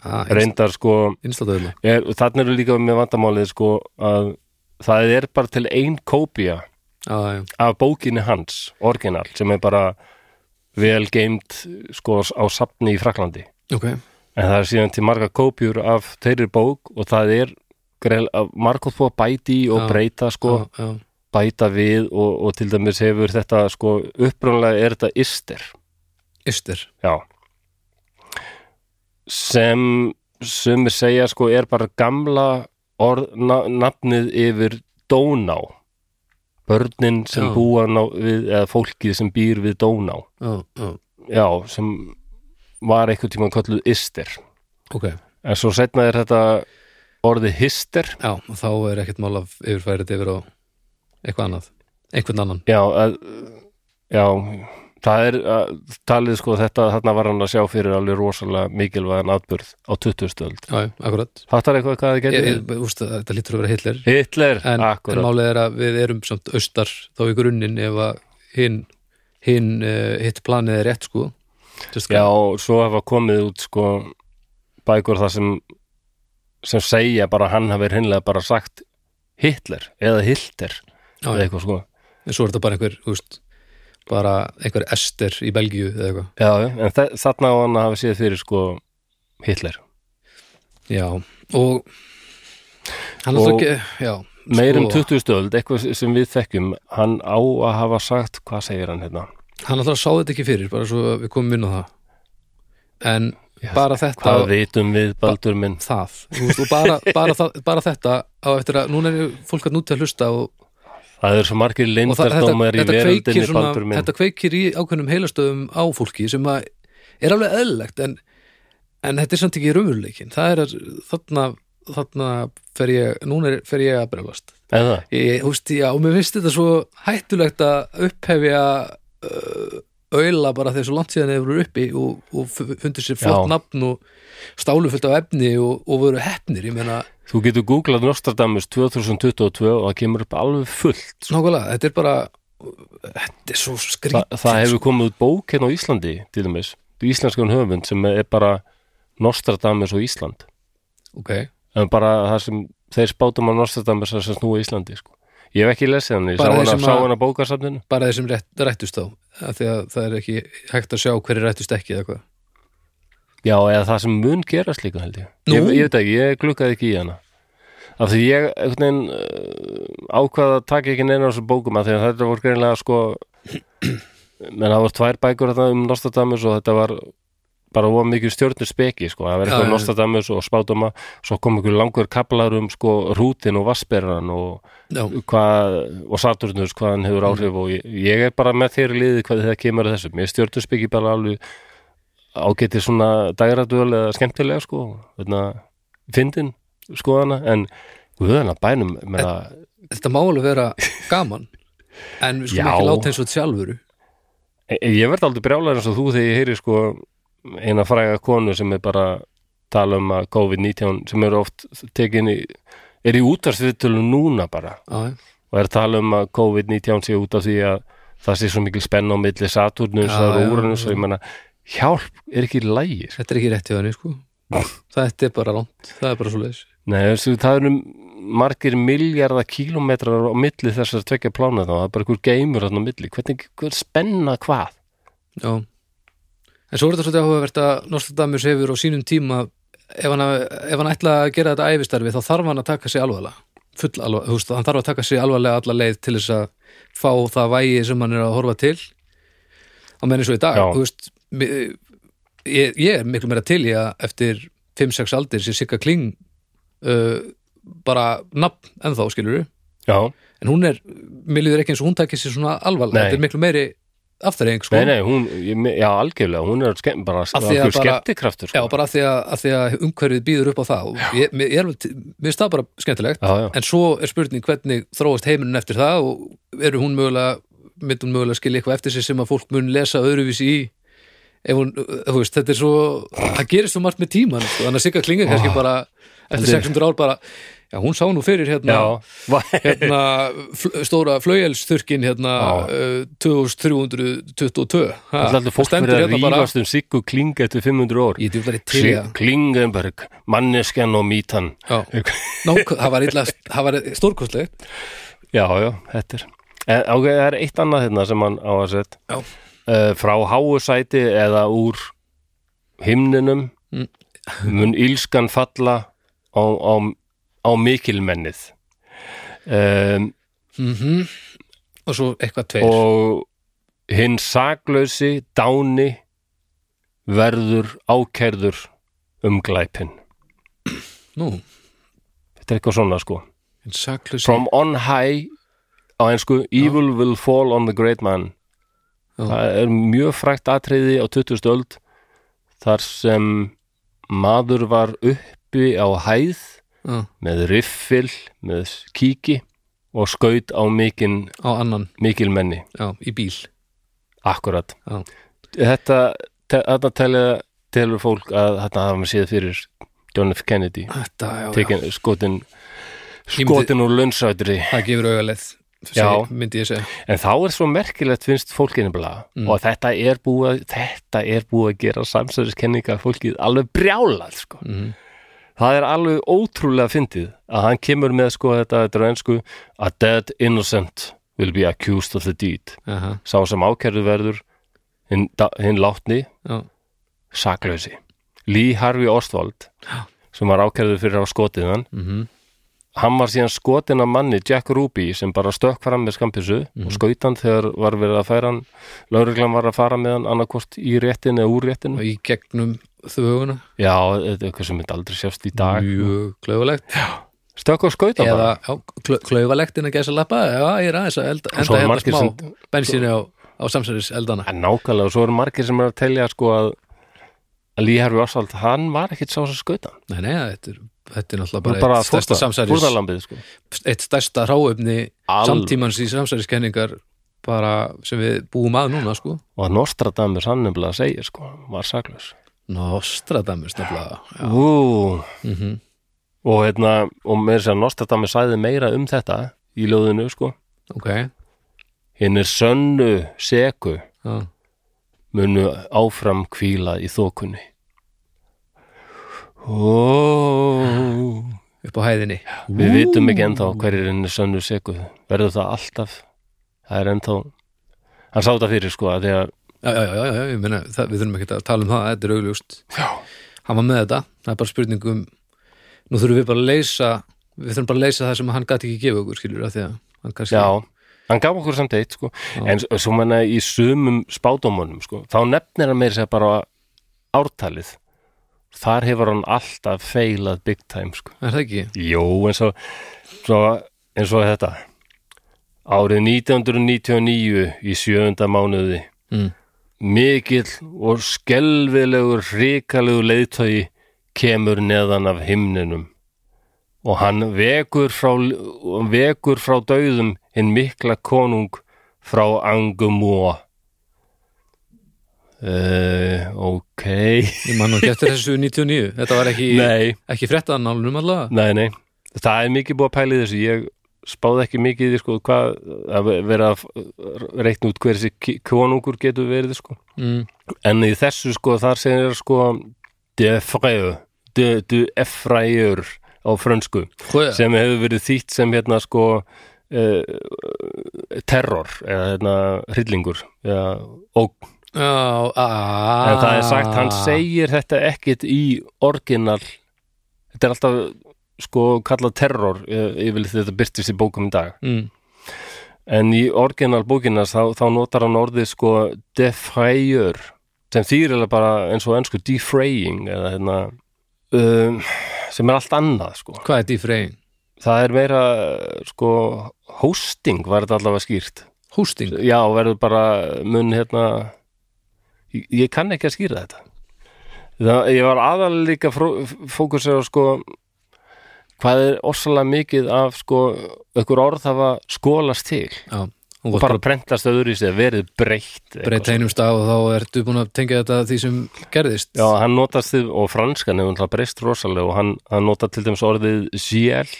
B: ah,
A: reyndar sko
B: Instáðaðurla
A: er, þannig eru líka með vandamálið sko að það er bara til ein kópía
B: ah, já.
A: af bókinni hans, orginal sem er bara vel geimt sko á safni í Fraklandi
B: Ok,
A: en það er síðan til marga kópjur af þeirri bók og það er grel, margótt búið að bæti í og
B: Já.
A: breyta sko,
B: já, já.
A: bæta við og, og til dæmis hefur þetta sko upprunlega er þetta yster
B: Yster
A: já sem sumir segja sko er bara gamla orð, na, nafnið yfir Dóná börnin sem
B: Já.
A: búa ná, við, eða fólkið sem býr við Dóná
B: já, já.
A: já, sem var einhvern tímann kölluð Ister
B: Ok,
A: en svo setna er þetta orðið Hister
B: já, og þá er ekkert mál að yfirfæra þetta yfir á eitthvað annað einhvern annan
A: já, að, já það er að, talið sko þetta þarna var hann að sjá fyrir alveg rosalega mikilvæðan atburð á 20. öld
B: Já, já, akkurat
A: Fattar eitthvað hvað það
B: ég,
A: getur?
B: ég, úst, Þetta lítur að vera Hitler
A: Hitler,
B: en, en
A: akkurat
B: málið er að við erum samt austar þá í grunninn ef að hinn hin, uh, hitt planið er rétt sko Just
A: Já, svo hafa komið út sko bækur þar sem sem segja bara að hann hafi hreinlega bara sagt Hitler eða Hilter
B: Já,
A: eða
B: já.
A: eitthvað sko
B: en svo er þetta bara einhver úst, bara einhver ester í Belgíu eða eitthvað
A: já, já, en þa- þarna á hann að hafa séð fyrir sko Hitler
B: já, og hann
A: Og-
B: er ekki, já
A: meir en
B: sko,
A: 20 stöld, eitthvað sem við þekkjum hann á að hafa sagt, hvað segir hann hérna
B: hann alltaf sá þetta ekki fyrir bara svo við komum inn á það en bara þetta
A: hvað vitum við Baldur minn
B: það þú veist, og bara, bara, það, bara þetta á eftir að núna er fólk að núti að hlusta og,
A: það eru svo margir
B: og það, þetta,
A: lindardómar í
B: þetta,
A: veröldinni
B: kveikir
A: Baldur
B: svona,
A: minn
B: þetta kveikir í ákveðnum heilastöðum á fólki sem að er alveg eðlilegt en, en þetta er samt ekki raunveruleikin það er að þarna, þarna fer ég, núna er- fer ég að bregast
A: eða,
B: ég, húst, já, og mér finnst þetta svo hættulegt að upphefja uh, auðla bara þegar svo langt síðan þeir voru uppi og, og fu- fundu sér flott
A: Já.
B: nafn og stálu fullt af efni og, og voru heppnir, ég meina
A: þú getur googlað Nostradamus 2022 og það kemur upp alveg fullt
B: Nákvæmlega, þetta er bara Þetta er svo
A: Þa,
B: skrýt
A: það hefur komið út bók hérna á Íslandi til dæmis, íslenskan höfund sem er bara Nostradamus og Ísland
B: Ok,
A: en bara það sem þeir spátum á Nostradamus að sem snúa Íslandi sko. ég hef ekki lesið hann, ég sá
B: Bara þeir
A: hann
B: sem
A: að sá
B: að-
A: hann að bókasafninu
B: bara þeir sem rétt, rættust þá af Því að það er ekki hægt að sjá hverju rættust ekki eða hvað
A: já, eða það sem mun gerast líka held ég
B: Nú?
A: ég, ég veit ekki, ég gluggaði ekki í hana af því ég einhvern veginn uh, ákvað að taka ekki neina á þessum bókum af því að þetta voru greinlega sko menn það voru tvær bækur þarna um Nostradamus og þetta var bara of mikið stjörnur speki sko, það var
B: Já,
A: eitthvað
B: já.
A: Nostradamus og spátum svo kom einhver langur kaplar um sko rútin og vassberran og,
B: Já,
A: hvað, og Saturnus hvað hann hefur áhrif og ég, ég er bara með þér í liði hvað þetta kemur að þessu, mér stjörnur speki bara alveg ágæti svona dægradöl eða skemmtilega sko þarna, fyndin sko hana en guðana bænum menna,
B: þetta má alveg vera gaman En við skulum
A: Já.
B: ekki láta eins og þetta sjálfuru
A: E- Ég verð aldrei brjálæður eins og þú þegar ég heyri sko eina fræga konu sem er bara að tala um að COVID-19 sem eru oft tekin í er í útvarsviðtölu núna bara
B: Já,
A: og er að tala um að COVID-19 sé út af því að það sé svo mikil spenna á milli Saturnus
B: Já,
A: og
B: já,
A: Úranus
B: já.
A: og ég menna hjálp er ekki lægi sko.
B: Þetta er ekki rétt hjá henni, sko
A: Ah.
B: Þetta er bara rámt, það er bara svo leis
A: Nei, þessu, það eru margir miljardar kílómetrar á milli þessar tvekja plána þá, það er bara einhver geimur þarna á milli, hvernig hver spenna hvað?
B: Já En svo er þetta svolítið áhugavert að Nostradamus hefur á sínum tíma ef hann, ef hann ætla að gera þetta æfistarfi þá þarf hann að taka sig alvarlega full alvarlega, þú veist, hann þarf að taka sig alvarlega alla leið til þess að fá það vægi sem hann er að horfa til á menni svo í dag,
A: Já.
B: þú veist mi- ég, ég er miklu meira til í að eftir 5-6 aldir sé Sigga Kling uh, bara nafn ennþá skilur
A: Já,
B: en hún er, mér líður ekki eins og hún takir sér svona alvarlega,
A: Nei.
B: þetta er miklu meiri afturreying sko
A: Nei, nei, hún, ég, me- já, algjörlega, hún er skemm, bara
B: Af því að
A: algjör
B: bara-
A: skemmtikraftur
B: Já,
A: sko.
B: bara af því að, að, því að umhverfið býður upp á það og ég, mér, ég er, alveg til- mér finnst það bara skemmtilegt
A: já, já,
B: en svo er spurning hvernig þróast heimurinn eftir það og eru hún mögulega myndi hún mögulega skilja eitthvað eftir sig sem að fólk mun lesa öðruvísi í ef hún, uh, þú veist, þetta er svo það gerist svo margt með tíman, sko, þannig að Sigga Klinga kannski bara eftir
A: Ah, Heldur.
B: 600 ár bara já, hún sá nú fyrir hérna
A: já, va-
B: hérna, fl stóra flögjelsþurkin hérna uh, 2322 ha,
A: Það er alltaf fólk
B: stendur
A: verið að
B: hérna bara-
A: rífast um Siggu Kling eftir 500 ór
B: Ég djúplar í til í það
A: Klingenberg, manneskjan og mítan
B: Já, Nák, það var, illa, það var stórkostlegt
A: Já, já, þetta er en, ok, Það er eitt annað hérna sem hann á að sett
B: Já.
A: uh, Frá háu sæti eða úr himninum
B: Mm.
A: mun ílskan falla á, á, á mikilmennið um,
B: mm Og svo eitthvað tveir
A: og hinn saklausi dáni verður ákærður um glæpin
B: Nú,
A: þetta er eitthvað svona sko
B: en saklaus
A: from on high á einsku evil will fall on the great man
B: Já.
A: það er mjög frægt atriði á 20. öld þar sem maður var uppi á hæð
B: Já,
A: með riffil, með kíki og skaut á mikil,
B: Á annan,
A: mikilmenni
B: já, í bíl
A: akkurat
B: Já,
A: þetta, te- þarna telja telur fólk að þarna hafa maður séð fyrir John F. Kennedy
B: þetta, já, já.
A: tekin, skotin
B: Ég myndi-
A: skotin úr lönnsætri
B: Það gefur augaleið
A: Já.
B: segi- Myndi ég segja
A: en þá er svo merkilegt finnst fólkinu bara og þetta er búið að- þetta er búið að gera samsæðiskenninga fólkið alveg brjálað sko.
B: Mhm.
A: það er alveg ótrúlega fyndið að hann kemur með sko þetta, þetta er á ensku a dead innocent will be accused of the deed
B: Aha,
A: sá sem ákærðu verður hinn da- hinn látni
B: já,
A: saklausi Lee Harvey Oswald sem var ákærðu fyrir að hafa skotið hann
B: mhm,
A: hann var síðan skotin af manni Jack Ruby sem bara stökk fram með skampissu
B: Mhm.
A: og skaut hann þegar var verið að færa hann lauruglan var að fara með hann annarkvort í réttin eða úr réttin
B: og í gegnum þvöguna
A: já, þetta er eitthvað sem myndi aldrei sést í dag
B: mjög klaufalegt
A: stökk og skaut hann
B: eða já, klau- klaufalegt innan gæsa lappa já, ég er aðeins að elda,
A: svo
B: enda
A: er
B: hérna
A: margir
B: smá
A: sem-
B: bensinni á, á samsæris eldana
A: en nákvæmlega, og svo eru margir sem er að telja sko að að Lee Harvey Oswald, hann var ekkit sá sem skaut hann
B: nei, nei, þetta er, þetta er náttúrulega
A: Hann
B: bara,
A: var bara
B: eitt stærsta
A: fórna-
B: samsæris
A: fórnarlambið sko.
B: eitt stærsta ráöfni
A: Alveg.
B: samtímans í samsæriskenningar bara sem við búum að núna sko
A: og að Nostradamus hann nefnilega segir sko, hann var saklaus
B: Nostradamus nefnilega já,
A: Ú,
B: mm -hmm.
A: og hérna og með þess að segja Nostradamus sæði meira um þetta í ljóðinu sko
B: ok
A: hinn er sönnu seku
B: já.
A: munu áfram kvíla í þokunni Ó,
B: upp á hæðinni
A: við vitum ekki ennþá hverjir hinn er sönnu seku verður það alltaf það er ennþá hann sá þetta fyrir sko að því að
B: já, já, já, já, já, ég meina, það, við þurfum ekki að tala um það þetta er augljóst
A: já,
B: hann var með þetta, það er bara spurning um nú þurfum við bara að leysa við þurfum bara að leysa það sem hann gæti ekki gefa okkur skilur að því að hann kannski
A: hann gaf okkur samt eitt sko en s- svo menna í sumum spádómunum sko þá nefnir hann meira sér bara ártalið þar hefur hann alltaf feilað big time sko
B: er það ekki,
A: Jó, eins og, svo, eins og þetta Árið 1999 í sjöunda mánuði
B: Mm.
A: Mikill og skelfilegur hrikalegur leiðtögi kemur neðan af himninum og hann vekur frá, vekur frá dauðum hinn mikla konung frá Angumúa Uh, ok
B: ég man nú ekki eftir þessu 99 þetta var ekki,
A: Nei
B: ekki fréttaðan nálunum allavega
A: Nei, nei, það er mikið búið að pæla í þessu ég spáði ekki mikið í því sko hvað að vera að reikna út hver þessi ki- konungur getur verið sko
B: mm.
A: en í þessu sko þar segir sko de freu de, de efræjur á frönsku
B: Hvað-
A: sem hefur verið þýtt sem hérna sko uh, terror eða hérna hryllingur eða ógn
B: Já, aaa
A: en það er sagt, hann
B: Ah.
A: segir þetta ekkit í orginal þetta er alltaf sko kallað terror eh, yfir þetta byrtist í bókum í dag
B: mm.
A: en í orginal bókinas þá, þá notar hann orðið sko defrayur sem þýr er bara eins og ennsku defraying eða hérna um, sem er allt annað sko
B: Hvað er defraying?
A: það er meira sko hosting var þetta allavega skýrt
B: Hosting
A: já verður bara mun hérna ég, ég kann ekki að skýra þetta það, ég var aðal líka fró- fókusir á sko hvað er orsalega mikið af sko ykkur orð hafa skólast til
B: Já, hún
A: og
B: var bara
A: bara prentast öðru í sig verið breytt eitthvað.
B: breyta einum stað og þá ertu búin að tengja þetta því sem gerðist
A: já hann notast þið og franskan hefur hann breyst rosalega og hann, hann nota til dæmis orðið CL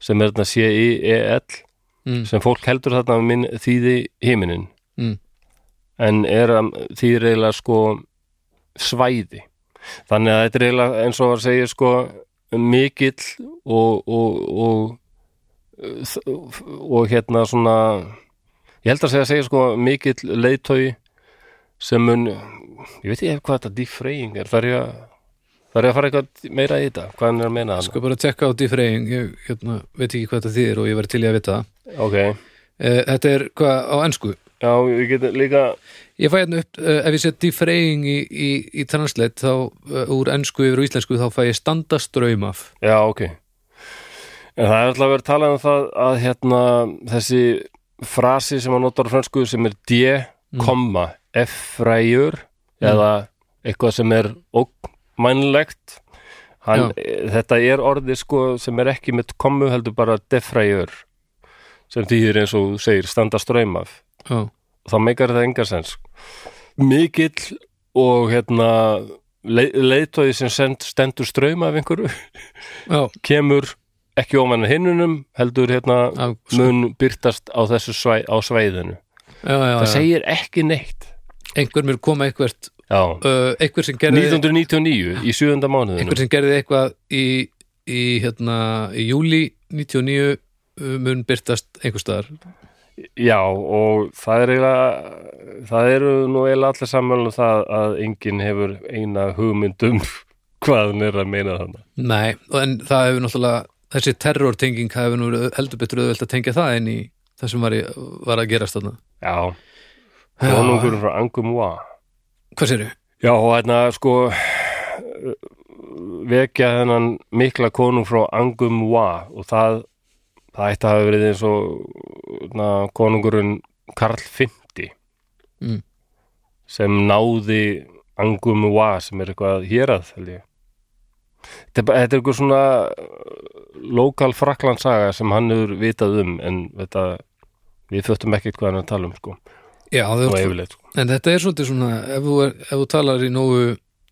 A: sem er þarna C-I-E-L
B: Mm.
A: sem fólk heldur þarna að minn þýði himinin
B: Mm.
A: en er að þýðir eiginlega sko svæði þannig að þetta er eiginlega eins og að segja sko mikill og og, og og, og hérna svona ég held að segja að segja sko mikill leiðtói sem mun ég veit ekki hvað þetta defraying er þar ég að þar ég að fara eitthvað meira í þetta hvað hann er að meina hann
B: Sko bara tjekka á defraying Ég hérna, veit ekki hvað þetta þýðir og ég verið til í að vita það
A: ok,
B: Eh, Þetta er hvað á ennsku
A: já við getum líka
B: Ég fæ hérna upp, uh, ef ég set defraying í, í, í translate þá uh, úr ennsku yfir á íslensku þá fæ ég standastraum af
A: já ok en það er alltaf verið að tala um það að hérna þessi frasi sem hann notar á fransku sem er d, komma, f-fræjur eða eitthvað sem er ógnmænlegt hann, e, þetta er orðið sko sem er ekki með kommu heldur bara defræjur sem þýðir eins og þú segir standa straum af
B: Já,
A: þá meikar það enga sens mikill og hérna le leiðtóði sem send, stendur straum af einhverju
B: já,
A: kemur ekki ofan að hinnunum heldur hérna
B: af, já,
A: mun byrtast á þessu svæ, á svæðinu
B: já,
A: það
B: já.
A: segir ekki neitt
B: Einhver mér koma eitthvert
A: já,
B: uh, einhver sem gerði
A: 1999 í sjöunda mánuðinu
B: einhver sem gerði eitthvað í, í, hérna, í júli 99 uh, mun byrtast einhvers staðar
A: Já, og það er eiginlega það eru nú eiginlega allir saman um það að enginn hefur eina hugmynd um hvað hann er að meina þarna
B: Nei, og en það hefur náttúrulega þessi terrortenging hefur nú verið heldur betur auðvelt að tengja það en í það sem var, í, var að gerast þarna
A: Já,
B: Já.
A: konungur frá Angum Wa
B: Hvað sérðu?
A: Já, og hérna sko vekja þennan mikla konung frá Angum Wa og það, það ætti að hafa verið eins og na, konungurinn Karl V
B: Mm.
A: sem náði Angum Wa sem er eitthvað hérað held ég Þetta er bara- þetta er eitthvað svona uh, lokal fraklandsaga sem hann hefur vitað um en þetta, við föttum ekkert hvað hann er að tala um sko,
B: Já, það
A: og
B: er
A: yfirleitt sko.
B: En þetta er svolítið svona, ef þú, er, ef þú talar í nógu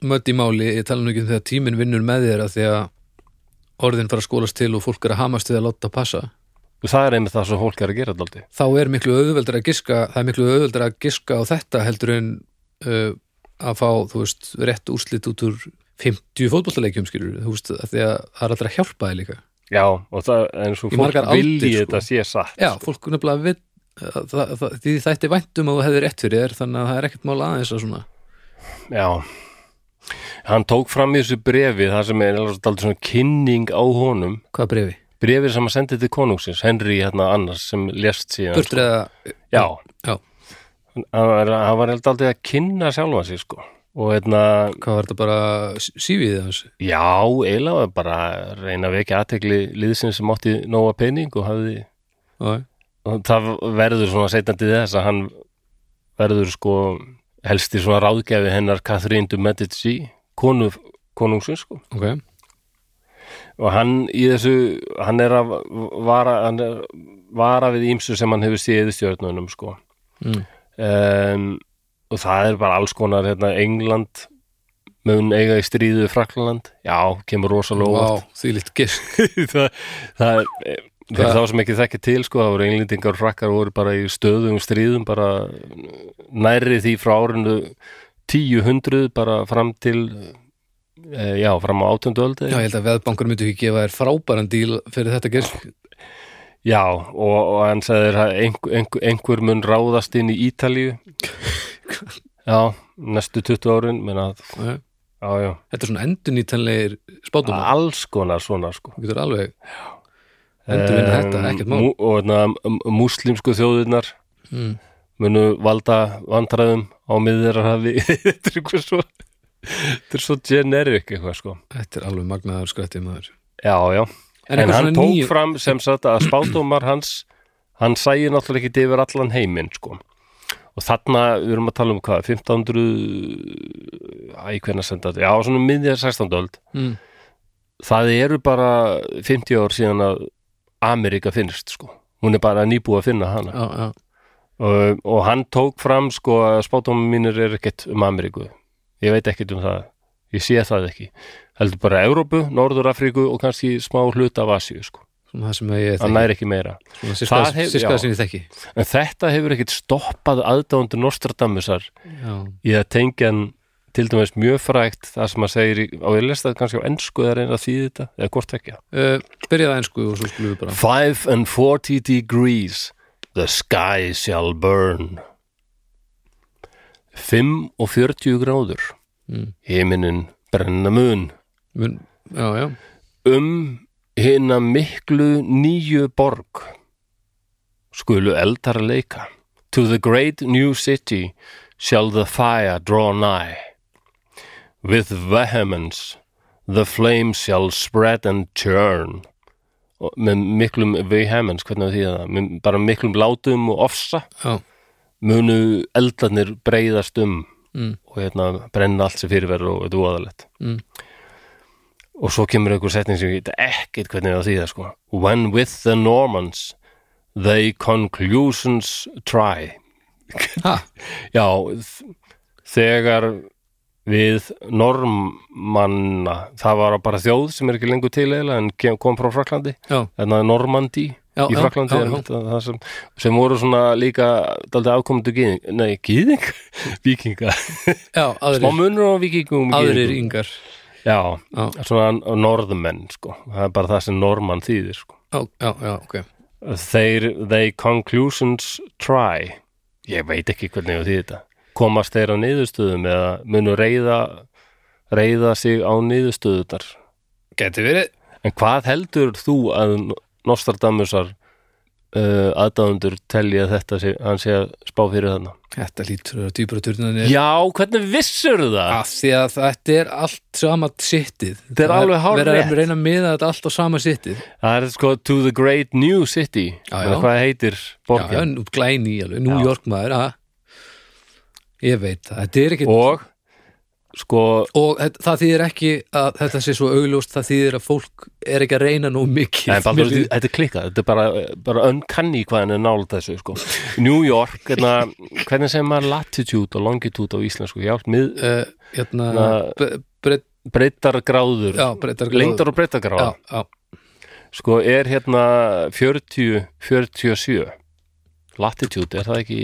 B: mödd í máli, ég tala nú ekki um þegar tíminn vinnur með þér að því að orðin fara að skólast til og fólk er að hamast við að láta passa,
A: og það er einmitt það sem fólk er að gera daldi
B: þá er miklu auðveldur að giska, það er miklu auðveldur að giska á þetta heldur en uh, að fá, þú veist, rétt úrslit út úr 50 fótbollaleikjum skilur, þú veist, að því að það er allra að hjálpa þér líka.
A: Já, og það er eins og
B: Í
A: fólk
B: margar
A: vilji
B: aldir, sko.
A: þetta sé satt
B: Já,
A: sko.
B: fólk nefnilega við, það, það, það, því þætti væntum að þú hefði rétt fyrir þér, þannig að það er ekkert mál aðeins að svona,
A: Já Hann tók fram í þessu brefi það sem er alltaf svona kynning á honum
B: hvað brefi?
A: brefið sem hann sendi til konungsins Henry hérna annars sem lést síðan
B: Burtur eða,
A: Já,
B: já,
A: hann var, hann var alltaf að kynna sjálfa sig sko og hérna,
B: hvað var þetta bara sífið hans?
A: já, eiginlega var bara að reyna að vekja aðtekli liðsinn sem átti nóga pening og hafði
B: Já,
A: og það verður svona setjandi þess að hann verður sko helsti svona ráðgjafi hennar Catherine de Medici konu, konungsins sko
B: ok
A: og hann í þessu hann er að vara, hann er, vara við ímsu sem hann hefur séð í stjörnunum sko
B: mm.
A: um, og það er bara alls konar hérna England mun eiga í stríðu við Frakland já, kemur rosalega óvart
B: Vá, því lít gisk
A: það, það er fyrir þá sem ekki þekki til sko, það voru englendingar og frakkar voru bara í stöðum stríðum bara nærri því frá árinu 1000 bara fram til eh, já, fram á 18. öldi
B: Já, ég held að veðbankur myndi ekki gefa þér frábæran díl fyrir þetta gisk
A: já, og, og hann sagði þér að einhver, einhver, einhver mun ráðast inn í Ítalíu já, næstu 20 árin menna,
B: Já.
A: já, já,
B: Þetta er svona endurnýtanlegir spátum
A: alls konar svona sko
B: Þú getur alveg endurvinna þetta,
A: Em,
B: ekkert mál
A: mú- og þarna múslimsku þjóðirnar
B: mm.
A: munu valda vandræðum á miðurarhafi þetta er eitthvað svo þetta er svo generic eitthvað sko
B: Þetta er alveg magnaður skrættið maður
A: já, já, en,
B: eitthvað
A: hann
B: svona
A: tók
B: nýju-
A: fram sem sagt að spátumar hans hann sæi náttúrulega ekki yfir allan heiminn sko og þarna, við erum að tala um hvað 1500 æ, hvernig senda þetta, já, svona um miðja 16. öld
B: mm.
A: það eru bara 50 ár síðan að Ameríka finnst sko hún er bara nýbúið að finna hana
B: Já, já,
A: og, og hann tók fram sko að spátumum mínir er ekkert um Ameríku ég veit ekkert um það ég sé það ekki, heldur bara Evrópu, Norður Afríku og kannski smá hluta af Asíu sko,
B: svona það sem ég
A: hann
B: þekki
A: næri ekki meira
B: Svona
A: það hef- já.
B: sirkaða sem ég þekki
A: en þetta hefur ekkert stoppað aðdáundur Nostradamusar
B: Já,
A: í að tengja hann til dæmis mjög frægt það sem að segir, í- á ég lest það kannski á ensku eða reyna að þýði þetta, eða hvort ekki
B: uh, byrjaði einsku og svo skulum við bara
A: Five and forty degrees The sky shall burn Fimm og fjörutíu gráður
B: Mm.
A: Himinin brenna mun
B: Mun, Já, já,
A: Um hina miklu nýju borg Skulu eldar leika To the great new city Shall the fire draw nigh With vehemence The flame shall spread and churn Og með miklum vehemence, hvernig því það með bara miklum látum og ofsa
B: já
A: munu eldarnir breyðast um
B: Mm.
A: og hérna brenna allt sem fyrirverður og þetta er voðalegt
B: Mm.
A: og svo kemur einhver setning sem ég veit ekkert hvernig það þýða sko When with the Normans they conclusions try
B: Ha,
A: Já, þ- þegar við normanna það var bara þjóð sem er ekki lengur til eða en kem- kom frá Fraklandi
B: já,
A: þannig að Normandi
B: já, Já,
A: í
B: já,
A: Fraklandi
B: já, já.
A: sem, sem voru svona líka daldið afkomendu gýðing, nei, gýðing? Víkinga,
B: já,
A: smá
B: aðrir,
A: munur á vikingum og
B: aðrir
A: gyðingum.
B: yngar
A: Já,
B: Já.
A: svona norðmenn, sko það er bara það sem normann þýðir, sko
B: já, já, já, ok
A: Þeir, they conclusions try ég veit ekki hvernig því þetta komast þeir á niðurstöðum eða munu reyða reyða sig á niðurstöðutar
B: geti verið
A: en hvað heldur þú að Nostradamusar uh, aðdáðundur telja þetta sig, hann sé að spá fyrir þarna
B: þetta lítur að dýbra turnan
A: Já, hvernig vissur það?
B: af því að þetta er allt sama sittið
A: Þetta er alveg hárrétt.
B: verið að reyna að miða þetta allt á sama sittið
A: Það er sko to the great new city
B: Ah, Já,
A: eða
B: já.
A: hvað heitir
B: já, já,
A: borgin
B: nú glæni í alveg, New
A: Já.
B: York maður að, ég veit, það, þetta er ekki
A: og sko
B: og þetta- það þýðir ekki að þetta sé svo augljóst, það þýðir að fólk er ekki að reyna nóg mikið
A: Nei, Baldur,
B: Mér líður-
A: þetta þetta er klikkað, þetta er bara, bara uncanny hvað hann er nála þessu, sko. New York, hérna, hvernig segir maður latitude og longitude á íslensku, hjálp, mið,
B: Eh, hérna,
A: Na-
B: bre- breytt
A: breytargráður,
B: já, breyttar
A: lengdar og
B: já,
A: breytargráður,
B: já,
A: sko, er hérna 40, 47, latitude, er það ekki,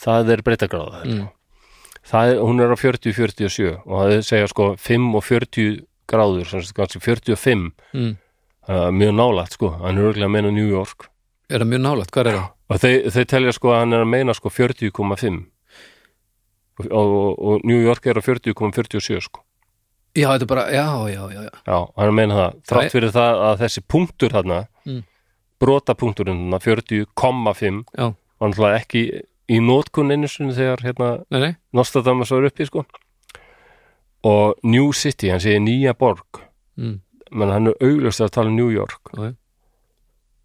A: það er breytargráða,
B: Mm.
A: sko. Það er, hún er á 40, 47 og það er segja, sko, 5 og 40 gráður, sem sagt, kannski 45,
B: mm.
A: uh, mjög nálægt, sko, hann er örgulega að meina New York.
B: er það mjög nálægt, hvað er það?
A: Og þeir, þeir telja sko að hann er að meina sko 40,5 og, og, og New York er að 40,47 sko.
B: já, þetta er bara, já, já, já, já.
A: Já, hann er að meina það.
B: Nei.
A: Þrátt fyrir það að þessi punktur þarna,
B: Mm.
A: brotapunkturinn þarna, 40,5
B: Já.
A: var náttúrulega ekki í nótkunn einu sinni þegar hérna
B: nei, nei,
A: Nostradamus var uppi sko. Og New City, hann segir nýja borg,
B: mm.
A: menn hann er augljóst að tala um New York.
B: Ok.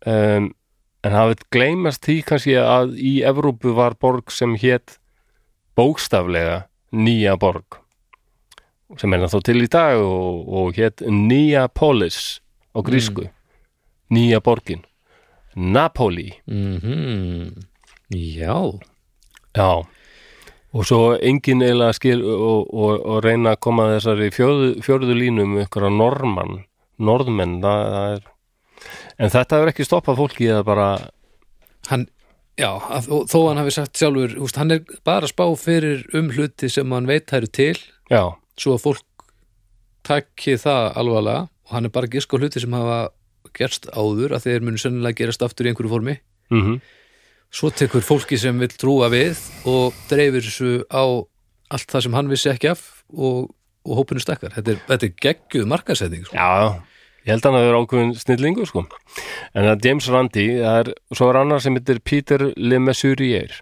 A: um, en það við gleymast því kannski að í Evrópu var borg sem hétt bókstaflega nýja borg sem er þá til í dag og, og hétt nýja polis á grísku nýja borgin Napoli
B: Mm já
A: Já og svo engin eiginlega skil og, og, og reyna að koma að þessari fjörðu, fjörðu línum ykkur að normann norðmenn það, það er... en þetta er ekki stoppað fólki eða bara
B: hann, já, að, og, þó hann hafi sagt sjálfur, húst, hann er bara að spá fyrir um hluti sem hann veit það eru til
A: já,
B: svo að fólk takki það alvarlega og hann er bara að gíska á hluti sem hafa gerst áður að þeir munu sennilega gerast aftur í einhverju formi
A: mhm
B: svo tekur fólki sem vill trúa við og dreifir þessu á allt það sem hann vissi ekki af og, og hópinu stakkar, þetta er, þetta er geggjuð markasetning sko.
A: Já, ég held að hann að vera ákveðin snillingu sko. En að James Randi það er, svo er annar sem heitir Peter Le Mesurier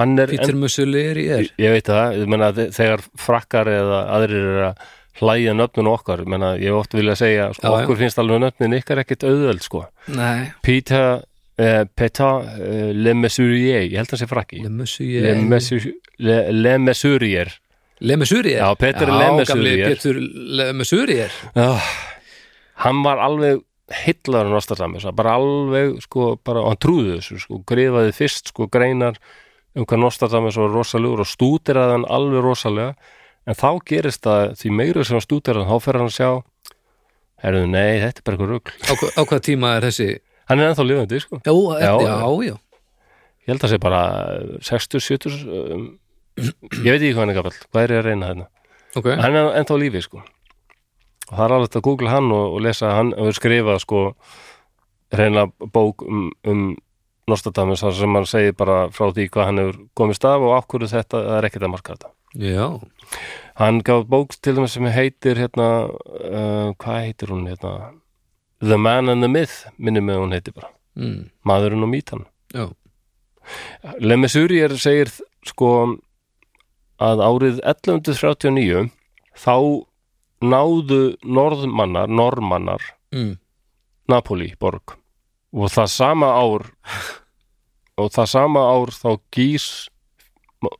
A: Hann er,
B: Peter Mussolini er
A: en, ég veit það ég meina, þe- þegar frakkar eða aðrir er að hlæja nöfnun okkar ég meina, ég hef oft vilja segja, sko,
B: Já, já.
A: okkur finnst alveg nöfnin ykkar ekkit auðveld sko.
B: Nei,
A: Peter eh, Peter eh, Le Mesurier ég held að hann sé frakki
B: Le
A: Le,
B: Mussolini
A: Mesur, Le, Le Mesurier
B: Le Mesurier
A: Já, Peter
B: Já,
A: Le
B: gamli
A: Mesurier.
B: Peter Le Mesurier
A: Já, hann var alveg um heillar Nostradamus, bara alveg sko, bara, og hann trúði þessu, sko, grifaði fyrst sko, greinar um hvað Nostradamus var rosalegur og stúderaði hann alveg rosalega, en þá gerist það því meira sem hann stúderaði, þá fer hann að sjá herðu, nei, þetta er bara eitthvað rugl
B: á, hva- á hvað tíma er þessi?
A: hann er ennþá lifandi, sko
B: Já, já,
A: Já,
B: já, já.
A: ég held að sé bara 60, 70 um, ég veit ekki hvað hann er gafall hvað er ég að reyna hérna?
B: ok
A: hann er ennþá á lífi sko og það er alveg hægt að googla hann og, og lesa hann og skrifa sko reynilega bók um, um Nostradamus þar sem hann segir bara frá því hvað hann hefur komist af og af hverju þetta það er ekkert að marka þetta
B: Já,
A: hann gaf bók til þeim sem heitir hérna, uh, hvað heitir hún hérna The Man and the Myth minnum með hún heitir bara
B: mm,
A: Maðurinn og Mítan
B: já,
A: Lemesurier segir sko að árið 1139 þá náðu norðmannar, normannar
B: mm,
A: Napoli borg og það sama ár og það sama ár þá gís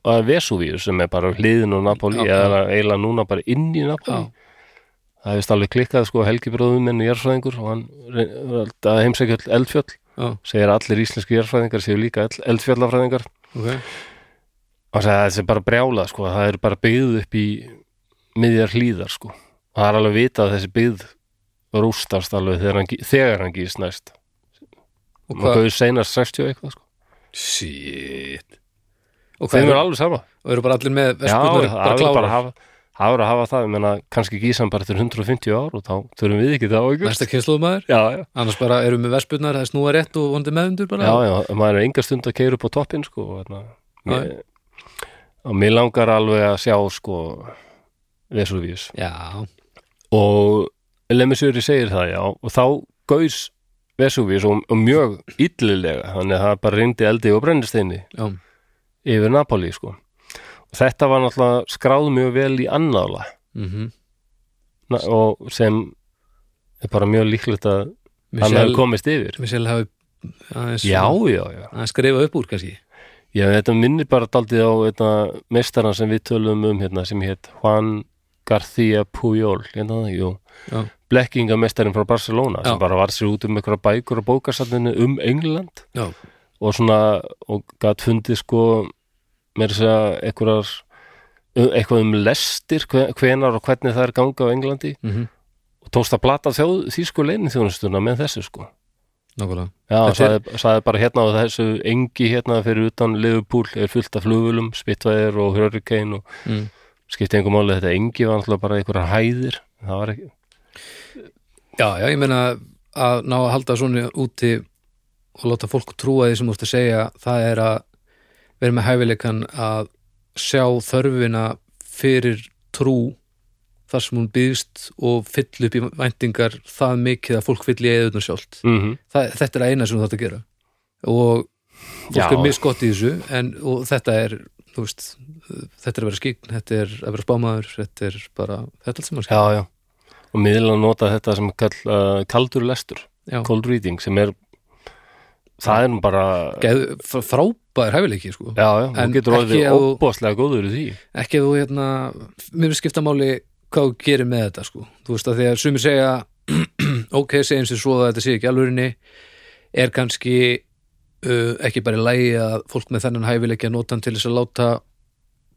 A: að Vesuvíu sem er bara hliðin á Napoli
B: Já,
A: eða eiginlega núna bara inn í Napoli
B: Já.
A: það hefist alveg klikkað sko Helgi bróðum minn og jarðfræðingur og hann reyn- að heimsækja öll eldfjöll
B: já,
A: segir að allir íslensku jarðfræðingar séu líka eld- eldfjallafræðingar
B: ok
A: og sagði að þessi er bara brjála sko, það er bara byggð upp í miðjar hlýðar sko og það er alveg vitað að þessi byggð rústast alveg þegar hann, gí- þegar hann gýst næst
B: og
A: maður
B: hvað,
A: gauði seinast 60 og eitthvað sko.
B: shit og hvað
A: þeim er
B: eru,
A: alveg sama
B: og eru bara allir með
A: já, það
B: vespunar
A: er
B: bara
A: bara að
B: klára,
A: hafa það er að hafa það, ég meina kannski gísan bara til 150 ár og þá þurfum við ekki það á ykkur
B: næsta kynsluðumæður
A: já, já,
B: annars bara eru með vespunar, það er snúa rétt og vondi meðundur bara,
A: já, já, maður er enga stund að keira upp á toppin sko, og, þarna, mér, og mér langar alveg að sjá sko Vesuvius
B: já,
A: og Lemisuri segir það já og þá gaus Vesuvius og, og mjög illilega þannig að það bara reyndi eldi og brennisteini
B: já,
A: yfir Napoli sko og þetta var náttúrulega skráð mjög vel í annála
B: mhm
A: Na, og sem er bara mjög líklegt að hann
B: Michelle-
A: hefur komist yfir
B: Michelle hafi aðeins,
A: já, já, já,
B: aðeins skrifa upp úr kannski
A: já þetta minnir bara daldið á þetta mestaran sem við tölum um hérna sem hétt Juan García Puyol hérna, það, jú
B: Já.
A: blekkingamestarin frá Barcelona
B: Já.
A: sem bara var sér út um einhverja bækur og bókasafninu um England
B: já,
A: og svona og gat fundið sko meira að segja einhverjar eitthvað um lestir, hve- hvenar og hvernig það er ganga á Englandi
B: mhm,
A: og tókst að blata þjóð, því sko leinin þjónustuna með þessu sko
B: nákvæmlega
A: Já,
B: Þetta
A: sagði, sagði bara hérna á þessu engi hérna fyrir utan Liverpool er fullt af flugvölum, Spitfire og Hurricane og
B: mm.
A: skipti einhver máli þetta engi var alltaf bara einhverjar hæðir það var ekki,
B: Já, já, ég meina að ná að halda svona úti og láta fólk trúa því sem þú ert að segja það er að vera með hæfileikan að sjá þörfina fyrir trú þar sem hún byggst og fyll upp í væntingar það mikið að fólk fyll í eðunum sjálft.
A: mm
B: Það, þetta er að eina sem þú þarft að gera og fólk
A: Já.
B: er misgott í þessu en, og þetta er, þú veist þetta er að vera skikn, þetta er að vera spámaður þetta er bara, þetta er allt sem mann
A: já, já og miðlega nota þetta sem kall, uh, kaldur lestur,
B: Já.
A: cold reading sem er, það er nú bara
B: skikn frábær hæfileiki sko
A: já, já, þú
B: En
A: getur
B: ekki
A: orðið
B: ef þú-
A: óbóðslega góður í því
B: ekki að þú hérna mér finnst skipta máli hvað þú gerir með þetta sko. þú veist að því að sumir segja ok, segjum sér svo að þetta sé ekki alvörinni er kannski uh, ekki bara í lægi að fólk með þennan hæfileikja notan til þess að láta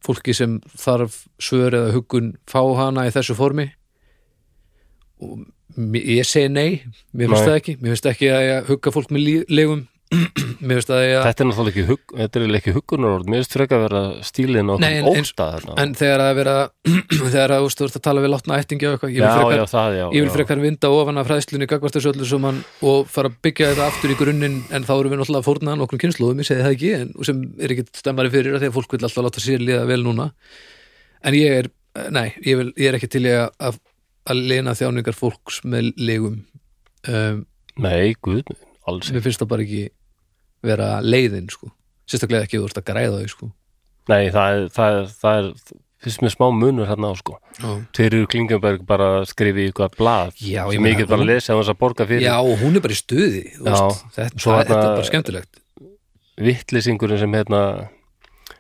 B: fólki sem þarf svör eða huggun fá hana í þessu formi og mér- ég segi nei mér finnst
A: Nei.
B: það ekki, mér finnst ekki að ég hugga fólk með lí- legum mér finnst að ég að
A: þetta er náttúrulega ekki, hug, þetta er eiginlega ekki huggunarorð mér finnst frekar að vera stílinn og
B: Nei, en- eins-
A: óta þarna
B: en þegar að vera þegar að þú veist, þú ert að tala við látna ættingi og eitthvað, ég
A: já,
B: vil frekar
A: já, það, já,
B: ég vil
A: já.
B: frekar vinda ofan af fræðslunni gagvart þessu öllu sem hann og fara að byggja þetta aftur í grunninn en þá erum við náttúrulega að fórna hann okkur kynnslóðum, ég segi það ekki en, og sem er ekki stemmari fyrir að því að fólk vil alltaf láta sér liða vel núna en ég er, nei, ég, vil, ég er ekki til í að- að, að lena þjáningar fólks með legum um,
A: nei, guð, minn, alls
B: mér finnst það bara ekki vera leiðin sko, sérstaklega ekki ef þú ert að græða þau sko
A: Nei, það er, það er, það er finnst mér smá munur hérna á sko Tverir Klingenberg bara skrifi ykkur blað
B: Já, ég
A: sem
B: meina,
A: ég get bara að
B: hún-
A: lesa á þess að borga fyrir
B: Já, og hún er bara í stuði þú
A: Já,
B: veist, þetta,
A: svo
B: þetta
A: þarna-
B: er bara skemmtilegt
A: vittlýsingurinn sem hérna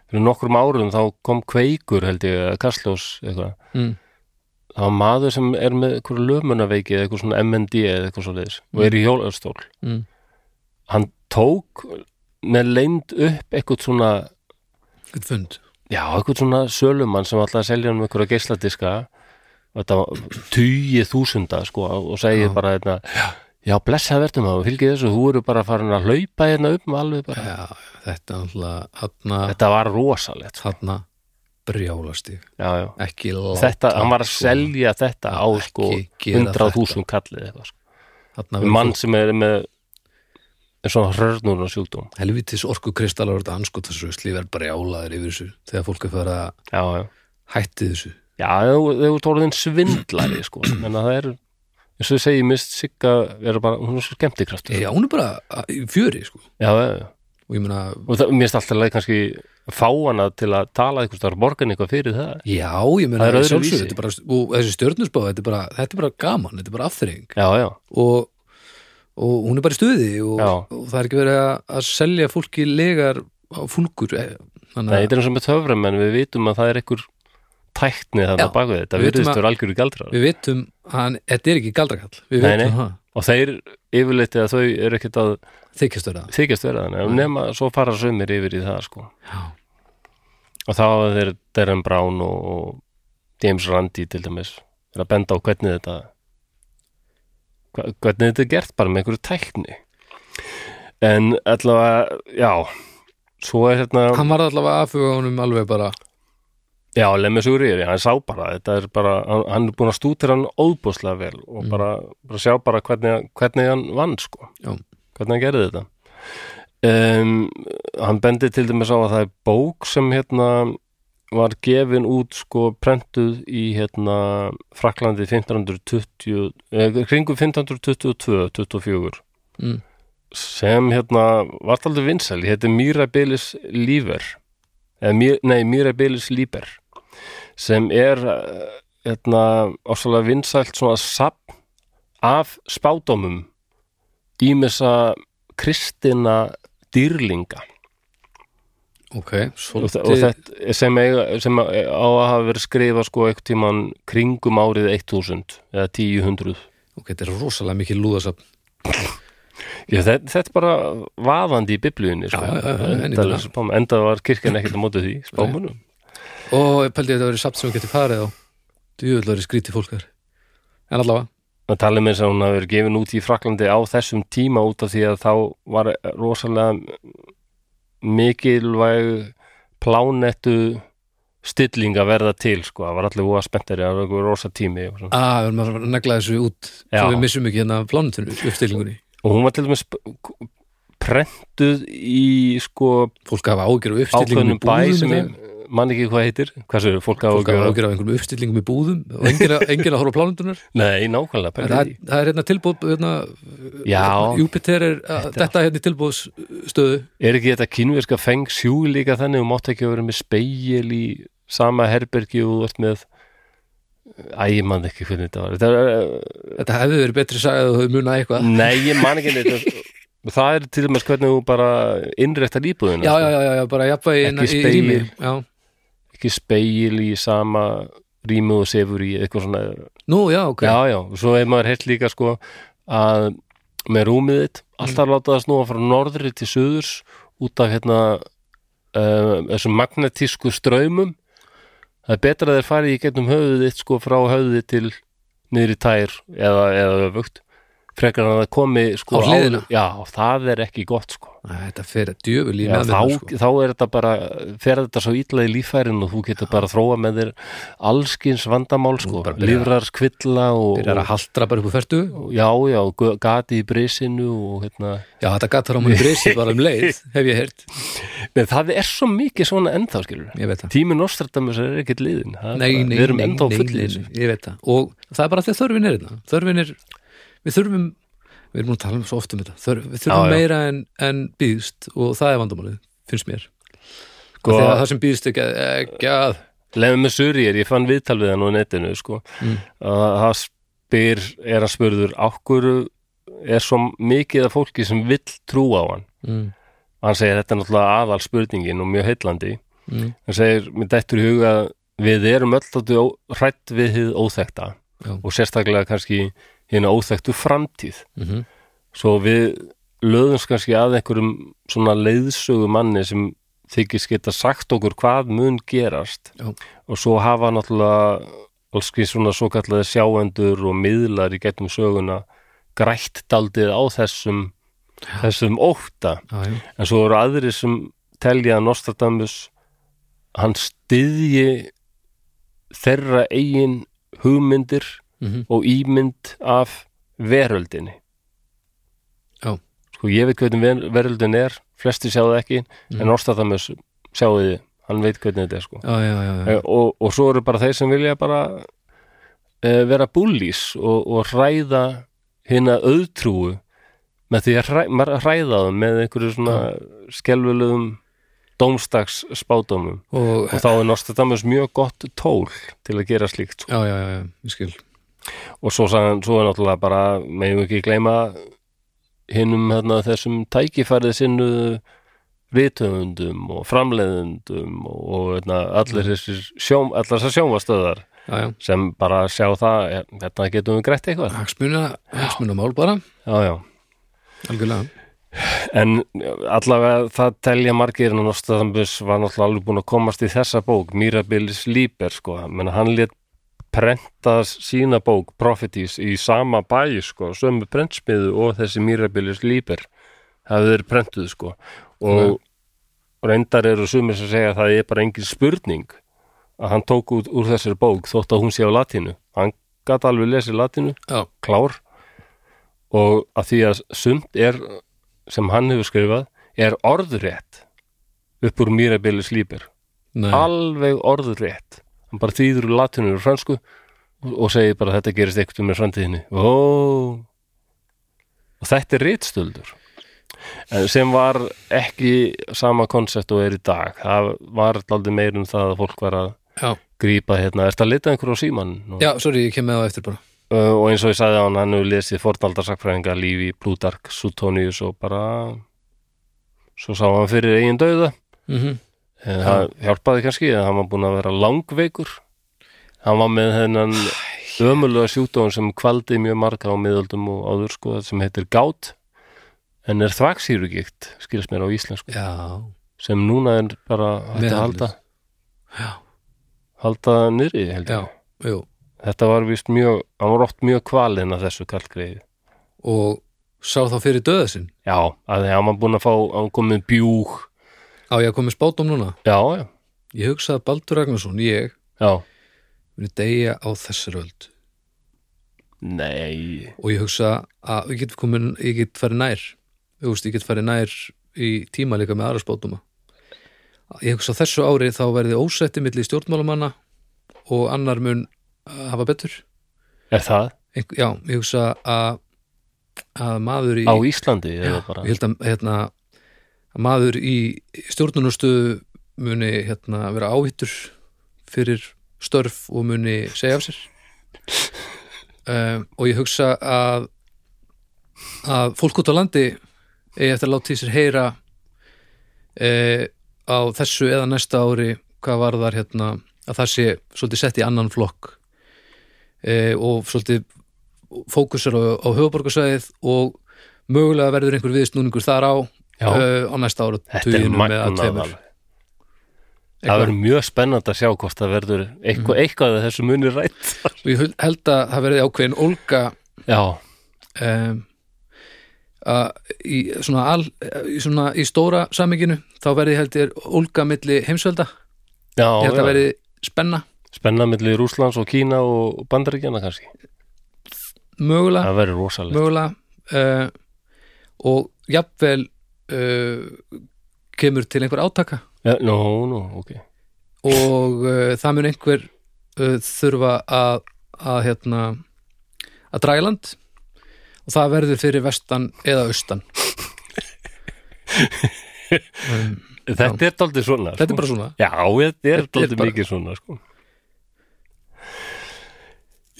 A: fyrir nokkrum árum þá kom kveikur held ég, eða Kastljós eitthvað
B: mm.
A: það var maður sem er með eitthvað lömunaveiki eða eitthvað svona MND eða eitthvað svo og er í hjólastól
B: Mm.
A: hann tók með leynd upp eitthvað svona
B: Good fund
A: Já, eitthvað svona sölumann sem alltaf að selja um einhverja geisladiska þetta var tugi þúsunda sko, og segir
B: Já.
A: bara hérna, já, blessa verðum að fylgið þessu, þú eru bara farin að hlaupa hérna upp með alveg bara,
B: Já, þetta er alltaf hann
A: þetta var rosalegt sko.
B: þarna brjálasti
A: já, já.
B: ekki sko. láta
A: þetta, hann var að selja þetta á
B: Ekki
A: sko
B: gera
A: 100.000 kallið eitthvað, sko.
B: þarna
A: mann sem er með er svona hrörnur og sjúkdóm
B: helvitis orku kristallar og þetta anskotarsrösli verð brjálaðir yfir þessu þegar fólk er fyrir að
A: já, já,
B: hætti þessu
A: já, þau þau eru tóluðin svindlari sko, en það er eins og ég segi, mist Sigga er bara, hún er svo skemmtikraftur
B: Já, hún er bara að- í fjöri sko.
A: já, já, já
B: og ég meina,
A: og það, mér finnst alltaf leið kannski að fá hana til að tala eitthvað starf borgan eitthvað fyrir það
B: já, ég meina
A: Það er öðru
B: sjálfsögðu,
A: vísi.
B: þetta er bara, og þessi stjörnusbá þetta er bara, þetta er bara gaman, þetta er bara afþreying
A: já, já,
B: og, og hún er bara í stuði og,
A: Já.
B: og það er ekki verið að, að selja fólki legar á fúlgur eh,
A: það
B: þannig
A: er eins og með töfram en við vitum að það er eitthvað tækni
B: Já.
A: þannig að baka þetta,
B: Við
A: við
B: vitum
A: vitum
B: að-
A: að algjöru galdrar
B: við vitum að hann, þetta er ekki galdrakall við
A: Nei,
B: vitum
A: nei.
B: það,
A: og þeir yfirleitt eða þau eru ekkert að
B: þykjast vera það
A: þykjast vera þannig, en nema svo fara sömur yfir í það sko
B: Já.
A: og þá hafa þeir Darren Brown og, og James Randi til dæmis er að benda á hvernig þetta hva- hvernig þetta er gert bara með einhverju tækni en allavega, já svo er hérna,
B: hann var allavega aðfuga honum alveg bara
A: já, lemmi svo rýri hann sá bara, þetta er bara hann, hann er búin að stútir hann óbúslega vel
B: Mm.
A: og bara, bara sjá bara hvernig, hvernig hann vann sko,
B: Já.
A: hvernig hann gerði þetta um, hann bendir til dæmis á að það er bók sem hérna var gefin út sko prentuð í hérna Fraklandi 1520 eh, kringum 1522 24
B: mm.
A: sem hérna vart aldrei vinsæl, hétti Mirabilis Líver eða, Mir- nei, Mirabilis Líber sem er eh, hérna ofsalega vinsælt svona sapn af spádómum ímessa kristina dýrlinga
B: ok,
A: og,
B: svolítið
A: þe- og þetta sem, eiga, sem á að hafa verið skrifað sko eitthvað tíman kringum árið 1000 eða 1000
B: ok, þetta er rosalega mikið lúðasafn
A: Já, þetta, þetta er bara vaðandi í biblíunni sko.
B: Já, já, já, já,
A: Endalega spám- enda var kirkjan ekkert á móti því spámunum
B: og ég pældi að þetta verið safn sem hún getur farið á djúvöldari skrítið fólkar en allavega,
A: að tala með þess að hún hafi verið gefin út í Fraklandi á þessum tíma út af því að þá var rosalega mikilvæg plánettu stilling að verða til sko, það var allir úa spenntari það var eitthvað rosa tími og, svona.
B: að við erum að negla þessu út
A: Já.
B: svo við missum ekki hérna plánutunni uppstillingunni,
A: og hún var til dæmis p- prentuð í sko
B: fólk hafa ágjör af
A: ákveðnum
B: uppstillingunni í
A: bæ
B: búðum
A: sem
B: í
A: ég man ekki hvað heitir, hversu fólk á
B: dag. fólk hafa
A: okkur
B: ágjör af einhverjum uppstillingum í búðum og enginn að- enginn að horfa plánutunar
A: nei, nákvæmlega
B: en
A: pælið
B: það,
A: í.
B: er- það er hérna tilbúð hérna,
A: Já.
B: Júpiter er að, þetta hérna í tilbúðsstöðu
A: Er ekki þetta kínverska feng sjú líka þannig og mátt ekki að vera með speil í sama herbergi og þú ert með Æ, ég man ekki hvernig þetta var þetta er, eh,
B: þetta hefði verið betri sagði að þau munað eitthvað
A: Nei, ég man ekki þetta Það er til dæmis hvernig þú bara innrættar íbúðina
B: já,
A: sko.
B: já, já, já, já, bara jafnvægi inn-
A: Ekki
B: í- í rými.
A: spegil.
B: Já.
A: Ekki speil í sama rýmu og sefur í eitthvað svona
B: nú, já, ok
A: Já, já, svo er maður heilt líka sko að með rúmið þitt alltaf láta það snúa frá norðri til suðurs út af hérna uh, þessum magnetísku straumum það er betra að þeir farið í gegnum höfuðið þitt sko frá höfuðið til niður í tær eða, eða öfugt frekar en að það komi
B: Á
A: sko
B: hliðina?
A: Já, það er ekki gott sko
B: Æ, þetta fer að djöful í
A: Já,
B: nefnum
A: þá,
B: sko.
A: þá er þetta bara fer þetta svo illa í líffærin og þú getur bara að þróa með þér allskins vandamál sko,
B: bara byrjar-
A: lífrars kvilla og,
B: byrjar að haldra bara upp úr fyrstu
A: já, já, gu- gati í brisinu og hérna
B: já, þetta gatt þar á mjög breysi bara um leið hef ég heyrt,
A: Nei, það er svo mikið svona ennþá skilur
B: ég veit það
A: Tími Nostradamus er ekkert liðin Það er
B: nei,
A: bara-
B: nei,
A: Við erum
B: nei,
A: ennþá
B: nei,
A: fullið
B: nei,
A: þessu
B: nei, ég veit það og það er bara því að þörfin er þetta þörfin er, við þurfum við erum nú að tala um svo oft um þetta Þörf, við þurfum
A: Já, já.
B: meira en, en býðst og það er vandamálið, finnst mér
A: Sko-
B: sko, þegar það sem býðst ekki, ekki að
A: Lefum með Surir, ég fann viðtal við hann á netinu sko.
B: Mm.
A: að það spyr er hann spurður, okkur er svo mikið af fólki sem vill trúa á hann
B: mm,
A: hann segir þetta er náttúrulega aðal spurningin og mjög heillandi
B: mm,
A: hann segir, mér dættur í huga að við erum öll þáttu hrætt við hið óþekta
B: Já.
A: og sérstaklega kannski hérna óþektu framtíð
B: mm
A: svo við löðumst kannski að einhverjum svona leiðsögu manni sem þykist geta sagt okkur hvað mun gerast
B: Já.
A: og svo hafa náttúrulega allski svona svo kallaði sjáendur og miðlar í getum söguna grætt daldið á þessum þessum ótta
B: já, já,
A: en svo eru aðrir sem telja að Nostradamus hann styðji þeirra eigin hugmyndir
B: Mhm.
A: og ímynd af veröldinni
B: Já.
A: sko ég veit hvernig ver- veröldin er flesti sjá það ekki
B: Mhm.
A: en Nostradamus sjáu þið, hann veit hvernig þetta er sko
B: já, já, já, já.
A: Eh, og, og svo eru bara þeir sem vilja bara e, vera búlís og, og hræða hérna auðtrúu með því að hræ, maður hræða það með einhverju svona skelfulegum dómstags spádómum
B: og
A: og þá er Nostradamus mjög gott tól til að gera slíkt sko.
B: já, já, já, já, ég skil
A: og svo, sagðan, svo er náttúrulega bara meðum ekki gleyma hinnum hérna, þessum tækifærið sinnu rithöfundum og framleiðundum og, og hérna, allir þessir sjóm, allar þessar sjómastöðar
B: já, já,
A: sem bara sjá það er, þetta getum við grætt eitthvað
B: hagsmuna, hagsmuna mál bara
A: já, já.
B: algjörlega,
A: en allavega það telja margir en Nostradamus var náttúrulega alveg búin að komast í þessa bók Mirabilis Liber sko menn hann lét prenta sína bók Prophecies í sama bæi sko sömu prentsmiðu og þessi Mirabilis Liber hefur verið prentuð sko og reyndar eru sumir sem segja að það er bara engin spurning að hann tók út úr þessari bók þótt að hún sé á latínu hann gat alveg lesið latínu
B: já,
A: klár og að því að sumt er sem hann hefur skrifað er orðrétt upp úr Mirabili Slíber
B: nei,
A: alveg orðrétt hann bara þýður úr latinu og fransku og og segir bara þetta gerist eitthvað með framtíðinni Ó. og þetta er rítstöldur En sem var ekki sama konsept og er í dag það var aldrei meir um það að fólk var að
B: já,
A: grípa hérna, ertu að lita einhverju á símann? Og,
B: já, sorry, ég kem með það eftir bara
A: uh, og eins og ég sagði á hann, hann hefur lesið fornaldarsakfræðinga lífi, Plutark, Suetonius og bara svo sá hann fyrir eigin dauða
B: mm
A: En það hjálpaði kannski að hann var búin að vera langveikur hann var með hennan ömulega sjúkdóðan sem kvaldi mjög marga á miðöldum og áður sko sem heitir gát en er þvaksýrugíkt skils mér á íslensku
B: já,
A: sem núna er bara hægt að halda,
B: Meðhöndluð. já,
A: halda nýri held
B: já,
A: ég
B: jú
A: þetta var vist mjög, hann var oft mjög kvalinn af þessu kallgreiði
B: og sá þá fyrir döða sinn
A: já, að því hann var búin að fá hann kom með bjúg
B: á ég að koma með spátum núna
A: já, já,
B: ég hugsa að Baldur Ragnarsson, ég
A: já
B: muni deyja á þessar öld
A: nei,
B: og ég hugsa að ég get, komin, ég get farið nær ég, veist, ég get farið nær í tíma líka með aðra spátuma ég hugsa að þessu ári þá verði ósetti milli stjórnmálamanna og annar mun uh, hafa betur
A: er það
B: Einhver, já, ég hugsa að að maður í
A: á Íslandi já, bara,
B: ég held að hérna, að maður í stjórnunarstöðu muni hérna, vera áhittur fyrir störf og muni segja af sér um, og ég hugsa að að fólk út á landi eigi eftir að láta í sér heyra e, á þessu eða næsta ári hvað var þar hérna að það sé svolítið sett í annan flokk e, og svolítið fókusar á, á höfuborgarsæðið og mögulega verður einhver viðsnúningur þar á
A: Já.
B: uh, á næsta ára
A: þetta er magnað alveg. Það verður mjög spennand að sjá hvort það verður eitthvað, eitthvað að þessu munir rætt.
B: og ég hul- held að það verði ákveðin ólga
A: Já,
B: um, að í, svona al, í, svona, í stóra saminginu þá verði held ég ólga milli heimsvelda
A: já,
B: ég held
A: já.
B: að verði spenna
A: Spennað milli Rússlands og Kína og Bandaríkjana kannski.
B: mögulega,
A: Það verður rosalegt.
B: mögulega uh, og jafnvel uh, kemur til einhver átaka
A: Já, Nú, nú, ok.
B: og uh, það mun einhver uh, þurfa að að hérna að draga í land og það verður fyrir vestan eða austan um,
A: Þetta er daldið svona.
B: þetta er
A: sko.
B: bara svona
A: Já, þetta er
B: Þetta er
A: daldið
B: bara-
A: mikið svona, sko.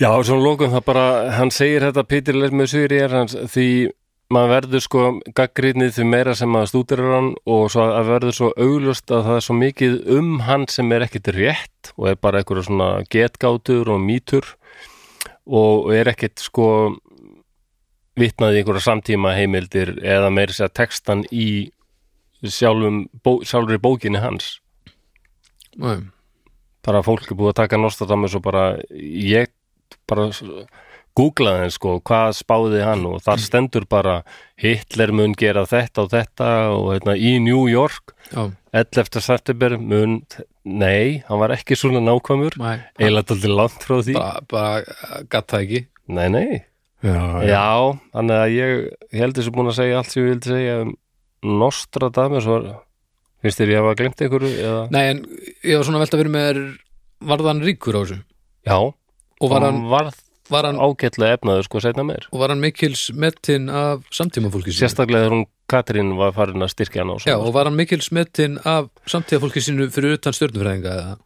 A: Já, og svona lókum það bara, hann segir þetta Peter Lermið Sýri er hans því maður verður sko gaggrinnið því meira sem maður stúdirar hann og svo að verður svo auglust að það er svo mikið um hann sem er ekkit rétt og er bara einhverja svona getgátur og mýtur og og er ekkit sko vitnað í einhverja samtíma heimildir eða meiri sér textan í sjálfum, bó, sjálfri bókinni hans
B: Nei.
A: bara fólk er búið að taka Nostradamus og bara ég bara s- googlaði hann sko hvað spáði hann og þar stendur bara Hitler mun gera þetta og þetta og hérna í New York
B: já,
A: 11. september mun nei, hann var ekki svona nákvæmur
B: mæ,
A: eiginlega daldið langt frá því
B: bara, bara gatt það ekki
A: nei, nei,
B: já,
A: já, þannig að ég, ég held þessu búin að segja allt sem ég vildi segja um Nostradamus var, finnst þér ég hafa glemt einhverju eða,
B: Nei, en ég var svona að velta að vera með þér varð hann ríkur á þessu
A: já,
B: og var hann,
A: var
B: var hann,
A: ágætlega efnaður sko setna meir
B: og var hann mikils metinn af samtímafólki sínu
A: Sérstaklega þegar hún Katrín var farin að styrkja hann og
B: Já,
A: svona.
B: og var hann mikils metinn af samtíðafólki sínu fyrir utan stjörnufræðinga eða?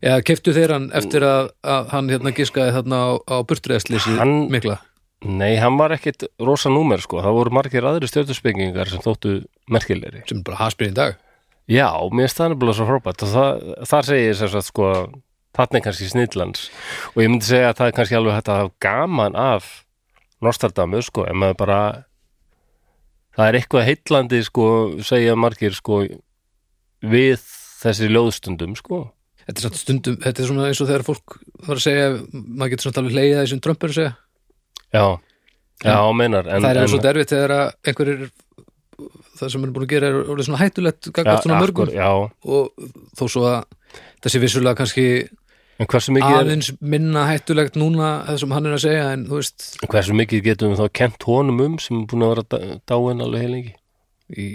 B: Já, keftu þeir hann eftir að, að hann hérna giskaði þarna á, á burtreðsleysið
A: Hann-
B: mikla
A: Nei, hann var ekkit rosa númer sko. Það voru margir aðri stjórnusbyggingar sem þóttu merkilegri.
B: sem er bara haspinn í dag
A: Já, mér finnst það nefnilega svo frábært og það, þar segi ég sem sagt sko þarna er kannski snillans og ég myndi segja að það er kannski alveg hægt að hafa gaman af Nostradamus sko en maður bara það er eitthvað heitlandi sko segja margir sko við þessi ljóðstundum sko
B: Þetta er samt stundum, þetta er svona eins og þegar fólk var að segja, maður getur samt alveg leiða þessum Trump er að segja
A: Já, Já, meinar en,
B: það er
A: en,
B: alveg svo derfið þegar að einhverjir það sem er búin að gera er orðið svona hættulegt gagvart svona mörgum
A: akkur- Já,
B: og þó svo að þessi vissulega kannski
A: en hversu mikið, er,
B: aðeins minna hættulegt núna það sem hann er að segja en þú veist
A: hversu mikið getum við þá kent honum um sem er búin að vera dá- dáin alveg heilengi
B: í,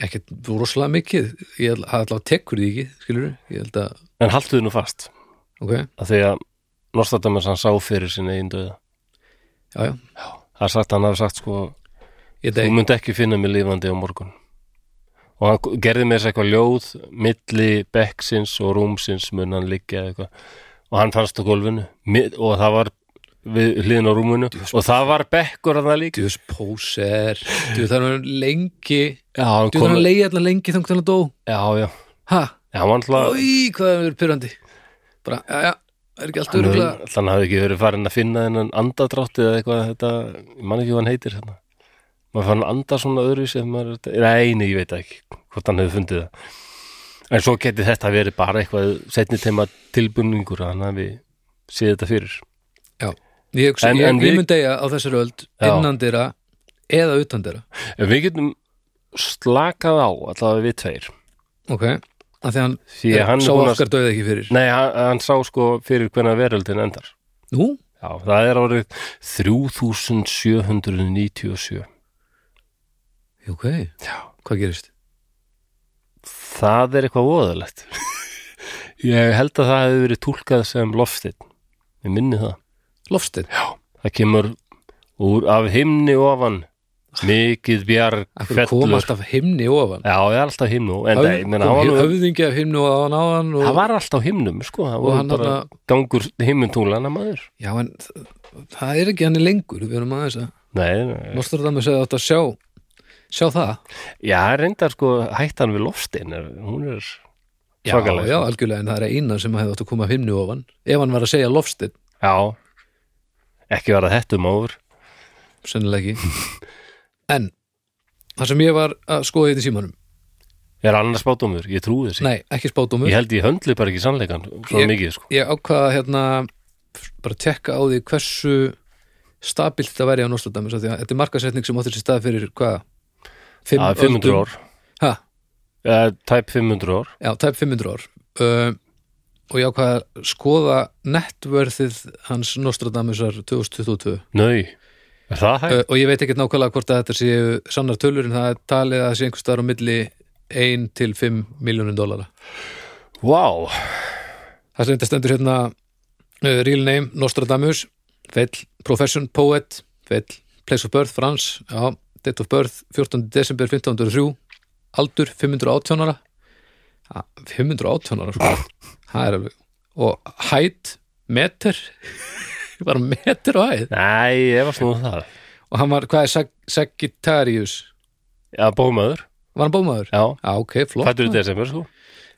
B: ekkert rosalega mikið ég held- hafði allavega tekur því ekki skilur ég held að
A: En haltu þið nú fast
B: ok,
A: að því að Norstadamus hann sá fyrir sinni einn döða
B: já já,
A: Það er sagt, hann hafi sagt sko Þú
B: ég deg
A: myndi ekki finna mig lífandi á morgun og hann gerði með þess eitthvað ljóð milli bekksins og rúmsins mun hann liggja eða eitthvað og hann fannst á gólfinu mið- og það var við hliðin á rúminu og það var bekkur að það líka
B: djúðs póser djúð það er lengi
A: Já, hann
B: djúð það
A: kom,
B: er leiði allan lengi þangt hann að dó
A: já, já,
B: ha,
A: já, hann var alltaf
B: oi, hvað er pyrrandi bara, já já, er ekki allt
A: hann
B: öruglega
A: hefði- hann hafði ekki verið farin að finna þennan andadrátti eða eitthvað þetta, ég man ekki hvað hann heitir hérna maður fann að anda svona öðruvísi ef maður er- nei, nei, ég veit það ekki hvort hann hefði fundið það en svo geti þetta verið bara eitthvað setni teima tilbunningur hann hafi séð þetta fyrir
B: Já, ég, hugsa,
A: En-
B: ég,
A: en við-
B: ég myndi eiga á þessari öld
A: Já.
B: innan dyra eða utan dyra
A: en við getum slakað á allavega við tveir
B: ok, af því hann,
A: því að hann, er
B: sá
A: búinn að,
B: okkar döið ekki fyrir
A: nei, hann, hann sá sko fyrir hvernig veröldin endar
B: Nú,
A: já, það er árið 3797
B: ok, hvað gerist?
A: það er eitthvað voðalegt ég held að það hefur verið túlkað sem loftið ég minni það
B: Lofstinn,
A: það kemur úr af himni ofan mikið bjarg
B: akkur kom
A: fellur
B: alltaf himni ofan
A: já, það er alltaf himnu en það,
B: Höf-
A: ég
B: kom
A: meina, það, var, nú-
B: höfðingi af himni ofan á hann og,
A: það var alltaf himnum sko, það
B: og
A: var
B: hann
A: bara
B: bara...
A: gangur himnutúlana maður
B: já, en þ- það er ekki hann lengur við erum aðeins að,
A: nei, nei.
B: Nostradamus hefði átt að sjá sjá það,
A: já, reyndar sko hættan við loftin er, hún er
B: já,
A: svakaleg
B: já,
A: sko.
B: algjörlega en það er eina sem hefði átt að koma af himni ofan ef hann var að segja lofstinn,
A: já, ekki var að þetta um áður
B: sennilega ekki en, það sem ég var að skoða þetta í símanum
A: er annars bátumur, ég trúi þessi
B: Nei, ekki spátumur
A: ég
B: ég,
A: held ég höndli bara ekki sannleikan svo
B: Ég-
A: mikið sko
B: ég ákvaða hérna bara tekka á því hversu stabilt þetta væri á Nostradamus af því að þetta er markasetning sem átti sér stað fyrir hvað? Fimm
A: að 500
B: öldum.
A: ár,
B: ha,
A: uh, tæp 500 ár
B: Já, tæp 500 ár uh, og ég ákvaða að skoða netverðið hans Nostradamusar 2022 uh,
A: nöy, er það hægt?
B: og ég veit ekkert nákvæmlega hvort að þetta séu sannar tölur en það er talið að það sé einhvers staðar á milli 1 til 5 miljónum dólara
A: Vá,
B: Það sem þetta stendur hérna uh, Real name, Nostradamus Fell, profession, poet Fell, place of birth, France Já, date of birth, 14. desember 1503 Aldur, 518 ára Ha, 518 ára sko. Það er alveg Og height, meter Bara meter á hæð
A: nei, ég var snúð það
B: Og hann var, hvað er Sag Sagittarius?
A: Já, bómaður,
B: Var hann bómaður?
A: já
B: Já, ok, flott
A: Fættur í desember, sko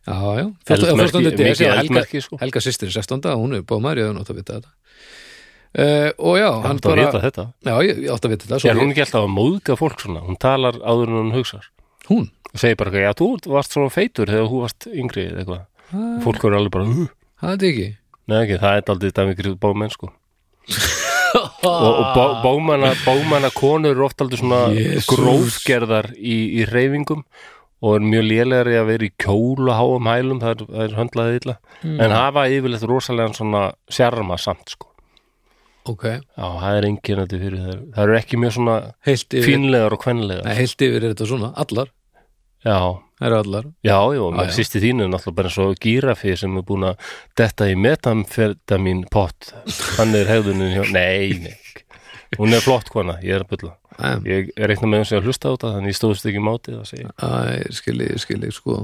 B: Já, já, 14.
A: Eldmerki-
B: 14.
A: Mikið
B: desember Helga,
A: eldmerki, sko
B: Helga systir er 16. Hún er bómaður, ég hef nátt að vita þetta Uh, og já,
A: Hann
B: hann
A: átti að
B: bara
A: vita þetta
B: Já, ég, ég átti að vita þetta svo
A: Er hún
B: ég,
A: ekki alltaf að móðga fólk svona? Hún talar áður en hún hugsar
B: hún?
A: og segir bara eitthvað, já, þú varst svona feitur þegar þú varst yngri eða eitthvað
B: Ah,
A: Fólk verður alveg bara, uh,
B: Það er ekki
A: nei ekki, það er aldrei dæmi gríð bómenn, sko Og, og bó, bómanna, bómanna konur eru oft aldrei svona
B: Jesús.
A: grófgerðar í, í reyfingum og er mjög lélegari að vera í kjól og háum hælum, það er, það er höndlaðið illa en hafa yfirleitt rosalega svona sjarma samt, sko
B: Ok,
A: Já, það er einkennandi fyrir þær. Það eru ekki mjög svona
B: heilt yfir
A: fínlegar og kvenlegar.
B: Nei, heilt yfir er þetta svona, allar
A: Já,
B: Það eru allar
A: já, já,
B: Já, já.
A: sýsti þínu er náttúrulega bara svo gírafi sem er búin að detta í metamfetamin pott. Þannig er hegðunin hjá, nei, nei. Hún er flott kona, ég er að bylla.
B: Æ,
A: Ég er eitthvað með hún sem að hlusta á þetta, þannig ég stóðst ekki mátið að segja.
B: æ, skilji, skilji, sko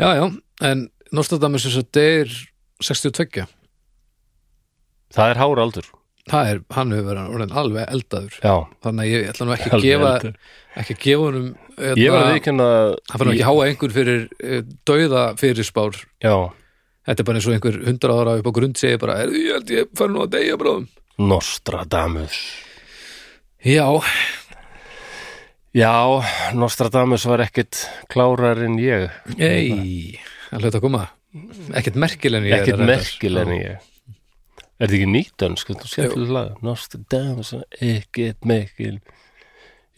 B: Já, já, en Nostradamus þess að deyr 62
A: Það er hára aldur.
B: Það er, hann hefur verið orðin alveg eldaður
A: Já,
B: Þannig að ég ætla nú ekki að
A: Alveg
B: gefa
A: eldaður.
B: ekki að gefa honum hérna,
A: ég var að viðkynna
B: Hann fyrir ekki að háa einhver fyrir eh, dauða fyrirspár
A: Já,
B: Þetta er bara eins og einhver hundra ára upp á grund segir bara, "Heyrðu, ég held ég fær nú að deyja bráðum
A: Nostradamus.
B: Já,
A: Já, Nostradamus var ekkit klárar en ég.
B: Ei, hann hlut að sko. koma Ekkert merkilegni
A: ekkert merkilegni ég Er þetta ekki nýtdönsk? Þetta er skemmtileg lag Nostradamus, ekkert mikil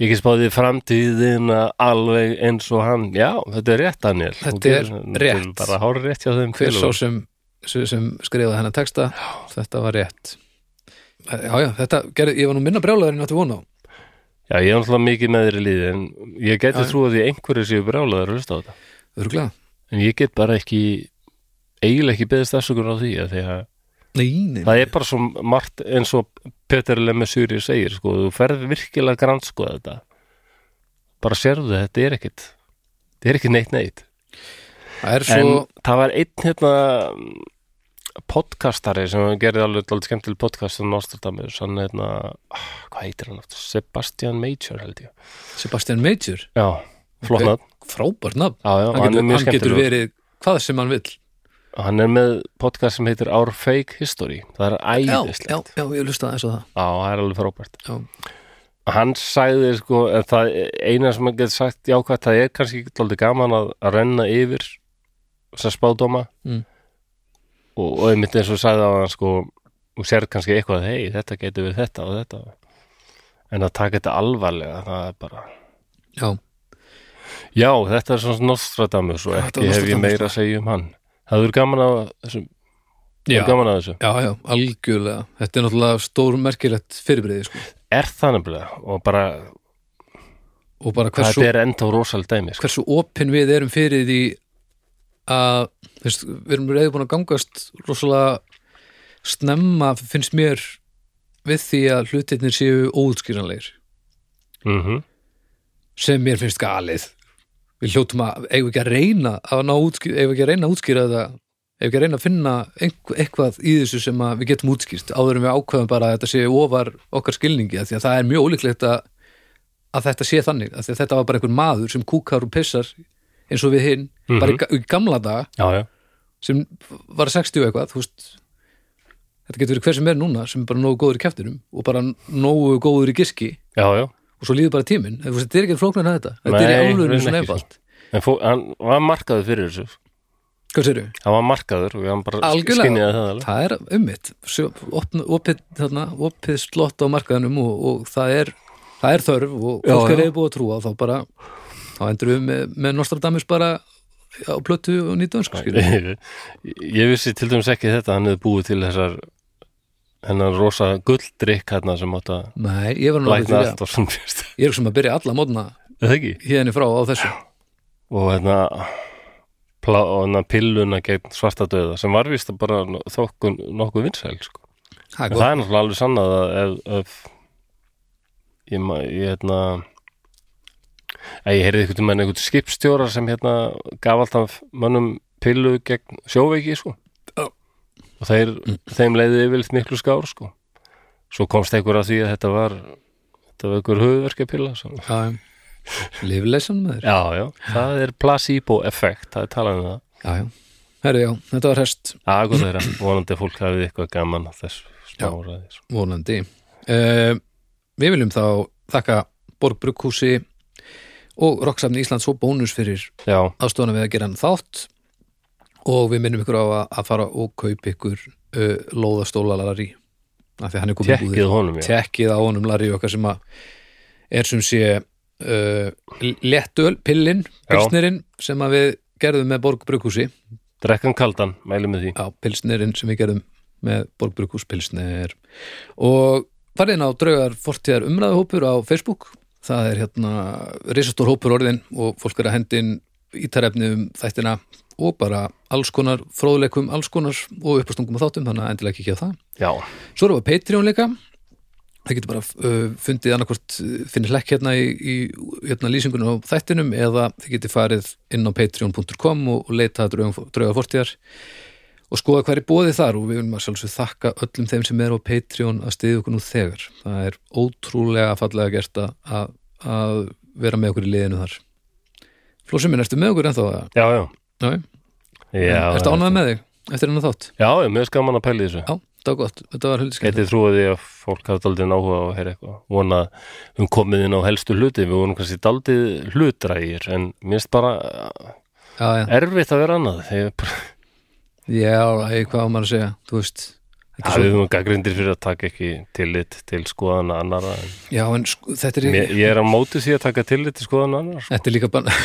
A: Ekki spáði framtíðina alveg eins og hann Já, þetta er rétt, Daniel Þú
B: Þetta er
A: gerir-
B: rétt.
A: Bara hár rétt hjá þeim
B: hver
A: félögum.
B: svo sem, sem sem skrifaði hennar texta þetta var rétt já já, þetta gerði, ég var nú minna brjálaður en ég átti vona á
A: Já, ég er náttúrulega mikið með þeirri líði en ég geti
B: Já.
A: trúið því einhverju séu brjálaður að hlusta á þetta
B: Örglega.
A: en ég get bara ekki eiginlega ekki beðist afsökur á því að því að
B: Nei, nei,
A: það er bara svo margt eins og Peter Lemessuri segir sko, þú ferð virkilega grann sko þetta bara sérðu það, þetta er ekkit þetta er ekki neitt neitt
B: það er svo
A: en það var einn hérna podcastari sem gerði alveg alveg skemmtileg podcast um Nostradamus hann hérna, ah, hvað heitir hann aftur Sebastian Major held ég
B: Sebastian Major
A: já, flott nafn
B: frábært nafn,
A: Já, já,
B: hann getur,
A: er mjög
B: hann getur
A: skemmtilegur.
B: verið hvað sem hann vill
A: og hann er með podcast sem heitir Our Fake History það er
B: já,
A: æðislegt
B: já, já, ég lustaði eins og það
A: Já, það er alveg frábært
B: Já.
A: hann sagði sko en það eina sem hann getur sagt jákvæmt það er kannski alltaf gaman að, að renna yfir þessar spádóma
B: Mm.
A: og, og einmitt eins og sagði að hann sko og sér kannski eitthvað hei, þetta getur við þetta og þetta en að taka þetta alvarlega það er bara
B: já,
A: Já, þetta er svona Nostradamus og
B: Já, þetta var
A: ekki hef ég
B: Nostradamus.
A: meira að segja um hann Það er gaman að þessu, það
B: Já.
A: er gaman að þessu
B: já, já, algjörlega þetta er náttúrulega stór merkilegt fyrirbreyði sko.
A: er það nefnilega og bara
B: og bara
A: þetta
B: hversu,
A: er enda rosal dæmi sko.
B: hversu opin við erum fyrir því að þú veist, við erum reyði búin að gangast rosalega snemma finnst mér við því að hlutirnir séu óútskýranlegir
A: mm
B: sem mér finnst galið við hljótum að, eigum ekki að reyna að ná útskýra, eigum ekki að reyna að útskýra þetta eigum ekki að reyna að finna einhver, eitthvað í þessu sem að við getum útskýrt áður en við ákveðum bara að þetta sé ofar okkar skilningi, af því að það er mjög ólíklegt að, að þetta sé þannig, af því að þetta var bara einhver maður sem kúkar og pissar eins og við hinn, bara í, ga- í gamla dag
A: Já, já,
B: sem var 60 og eitthvað, þú veist þetta getur verið hver sem er núna sem er bara nógu góður í kjæftinum og bara nógu góður í giski
A: já, já
B: og svo líður bara tíminn Þú veist, þetta er ekki flóknar að þetta þetta er í
A: Nei,
B: álurinu
A: raunin
B: svona
A: ekki, sko.
B: einfalt
A: En fó, hann var markaður fyrir þessu
B: hvað séru?
A: Hann var markaður og hann bara
B: Algjörlega.
A: skinniði það alveg
B: það er ummitt Sjö- opn- opið, þarna, opið slott á markaðanum og, og það, er, það er þörf
A: Já,
B: og fólk er
A: já.
B: reyði búið að trúa þá bara þá endur við með, með Nostradamus bara á plötu og sko, nýtdönsk skilur við.
A: Ég vissi til dæmis ekki þetta hann hefði búið til þessar hennan rosa gulddrykk hérna sem átt að
B: nei, ég var nú
A: lækna
B: alveg til í að
A: allt og svona fyrst
B: ég er sem að byrja alla mótna
A: Það ekki?
B: hérna frá á þessu
A: Og hérna plá, og hérna pilluna gegn svarta döða sem var víst að bara þokkun nokkuð vinsæl sko
B: það er
A: En það
B: gott,
A: er náttúrulega alveg sannað að ef, ef ég, ma- ég hérna að ég heyrði einhvern veginn einhvern skipstjóra sem hérna gaf alltaf mönnum pillu gegn sjóveiki sko
B: Já.
A: og þeir, þeim leiði yfirleitt miklu skár sko svo komst einhver að því að þetta var þetta var einhver höfuverkjapilla svo.
B: það er lifleysan með þér
A: já, já, það er placebo effekt það er talað um það
B: já, já, herri já, þetta var hest
A: að gott þeirra, vonandi að fólk hafið eitthvað gaman af þessu smáraði sko.
B: vonandi uh, við viljum þá þakka Borg Brugghúsi og Rokksafni Íslands og bónus fyrir
A: já,
B: aðstofna við að gera hann þátt og við minnum ykkur á að, að fara og kaupa ykkur uh, lóðastóla Larry af því að hann er komið
A: tekkið honum já,
B: tekkið á honum Larry okkar sem að er sem sé uh, lettöl, pillin,
A: Já.
B: pilsnerinn sem að við gerðum með Borg Brugghúsi
A: drekkan kaldan, mælum við því
B: á pilsnerinn sem við gerðum með Borgbrukus pilsner og farið inn á draugar fortíðar umræðahópur á Facebook það er hérna risastór hópur orðin og fólk er að hendin ítarefni um þættina og bara alls konar fróðleikum, alls konar og uppastungum og þáttum, þannig að endilega ekki á það
A: já,
B: Svo erum við á Patreon líka Það getur bara uh, fundið annarkvort finnir hlekk hérna í, í hérna lýsingunum á þættinum eða þið getur farið inn á patreon.com og, og leita að draugum- drauga fortíðar og skoða hvað er bóðið þar og við viljum að sjálfsög þakka öllum þeim sem eru á Patreon að stiðja okkur nú þegar. Það er ótrúlega fallega gert að- að, að vera með okkur í liðinu þar. Flósum minn, ertu með okkur ennþá? eða?
A: já, já
B: Nei,
A: Já,
B: ertu ánægð með þig? Eftir hennar þátt?
A: Já, ég er mjög skaman að pæla í þessu
B: Já, það var gott. Þetta var huldiskeið.
A: Getið trúið því að fólk hafði daldið náhuga og heyra eitthvað vona um komið inn á helstu hluti við vorum kannski daldið hlutrægir en minnst bara
B: Já, já.
A: erfitt að vera annað þegar bara,
B: eh, Já, hey, hvað á maður að segja, þú veist þetta
A: Það við erum gaggrindir fyrir að taka ekki tillit til skoðana annara en
B: Já, en sko, þetta er
A: mér, ég er á móti því að taka tillit til skoðana annara sko.
B: Þetta er líka bara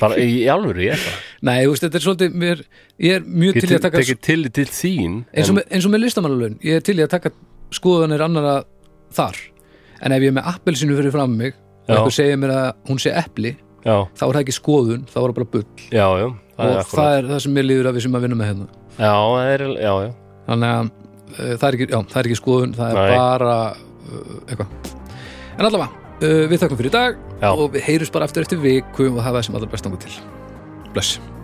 A: bara í alvöru, ég er það
B: Nei, þú veist, þetta er svolítið mér, Ég er mjög
A: ég
B: til í að taka
A: tekið tillit til þín
B: eins og, með, eins og með listamannalaun Ég er til í að taka skoðanir annara þar En ef ég er með appelsinu fyrir fram mig og
A: Já.
B: einhver segir mér að hún sé epli
A: já,
B: þá er það ekki skoðun, þá er það bara bull
A: já, já, það er
B: og
A: akkurat
B: það er það sem mér líður að við sem að vinna með hérna
A: já, það er, já, já,
B: þannig að uh, það, er ekki, já, það er ekki skoðun það er
A: Nei.
B: bara uh, eitthvað en allavega, uh, við þakkum fyrir í dag
A: Já.
B: og við heyrjum bara eftir eftir viku og hafa það sem allra best ángu til bless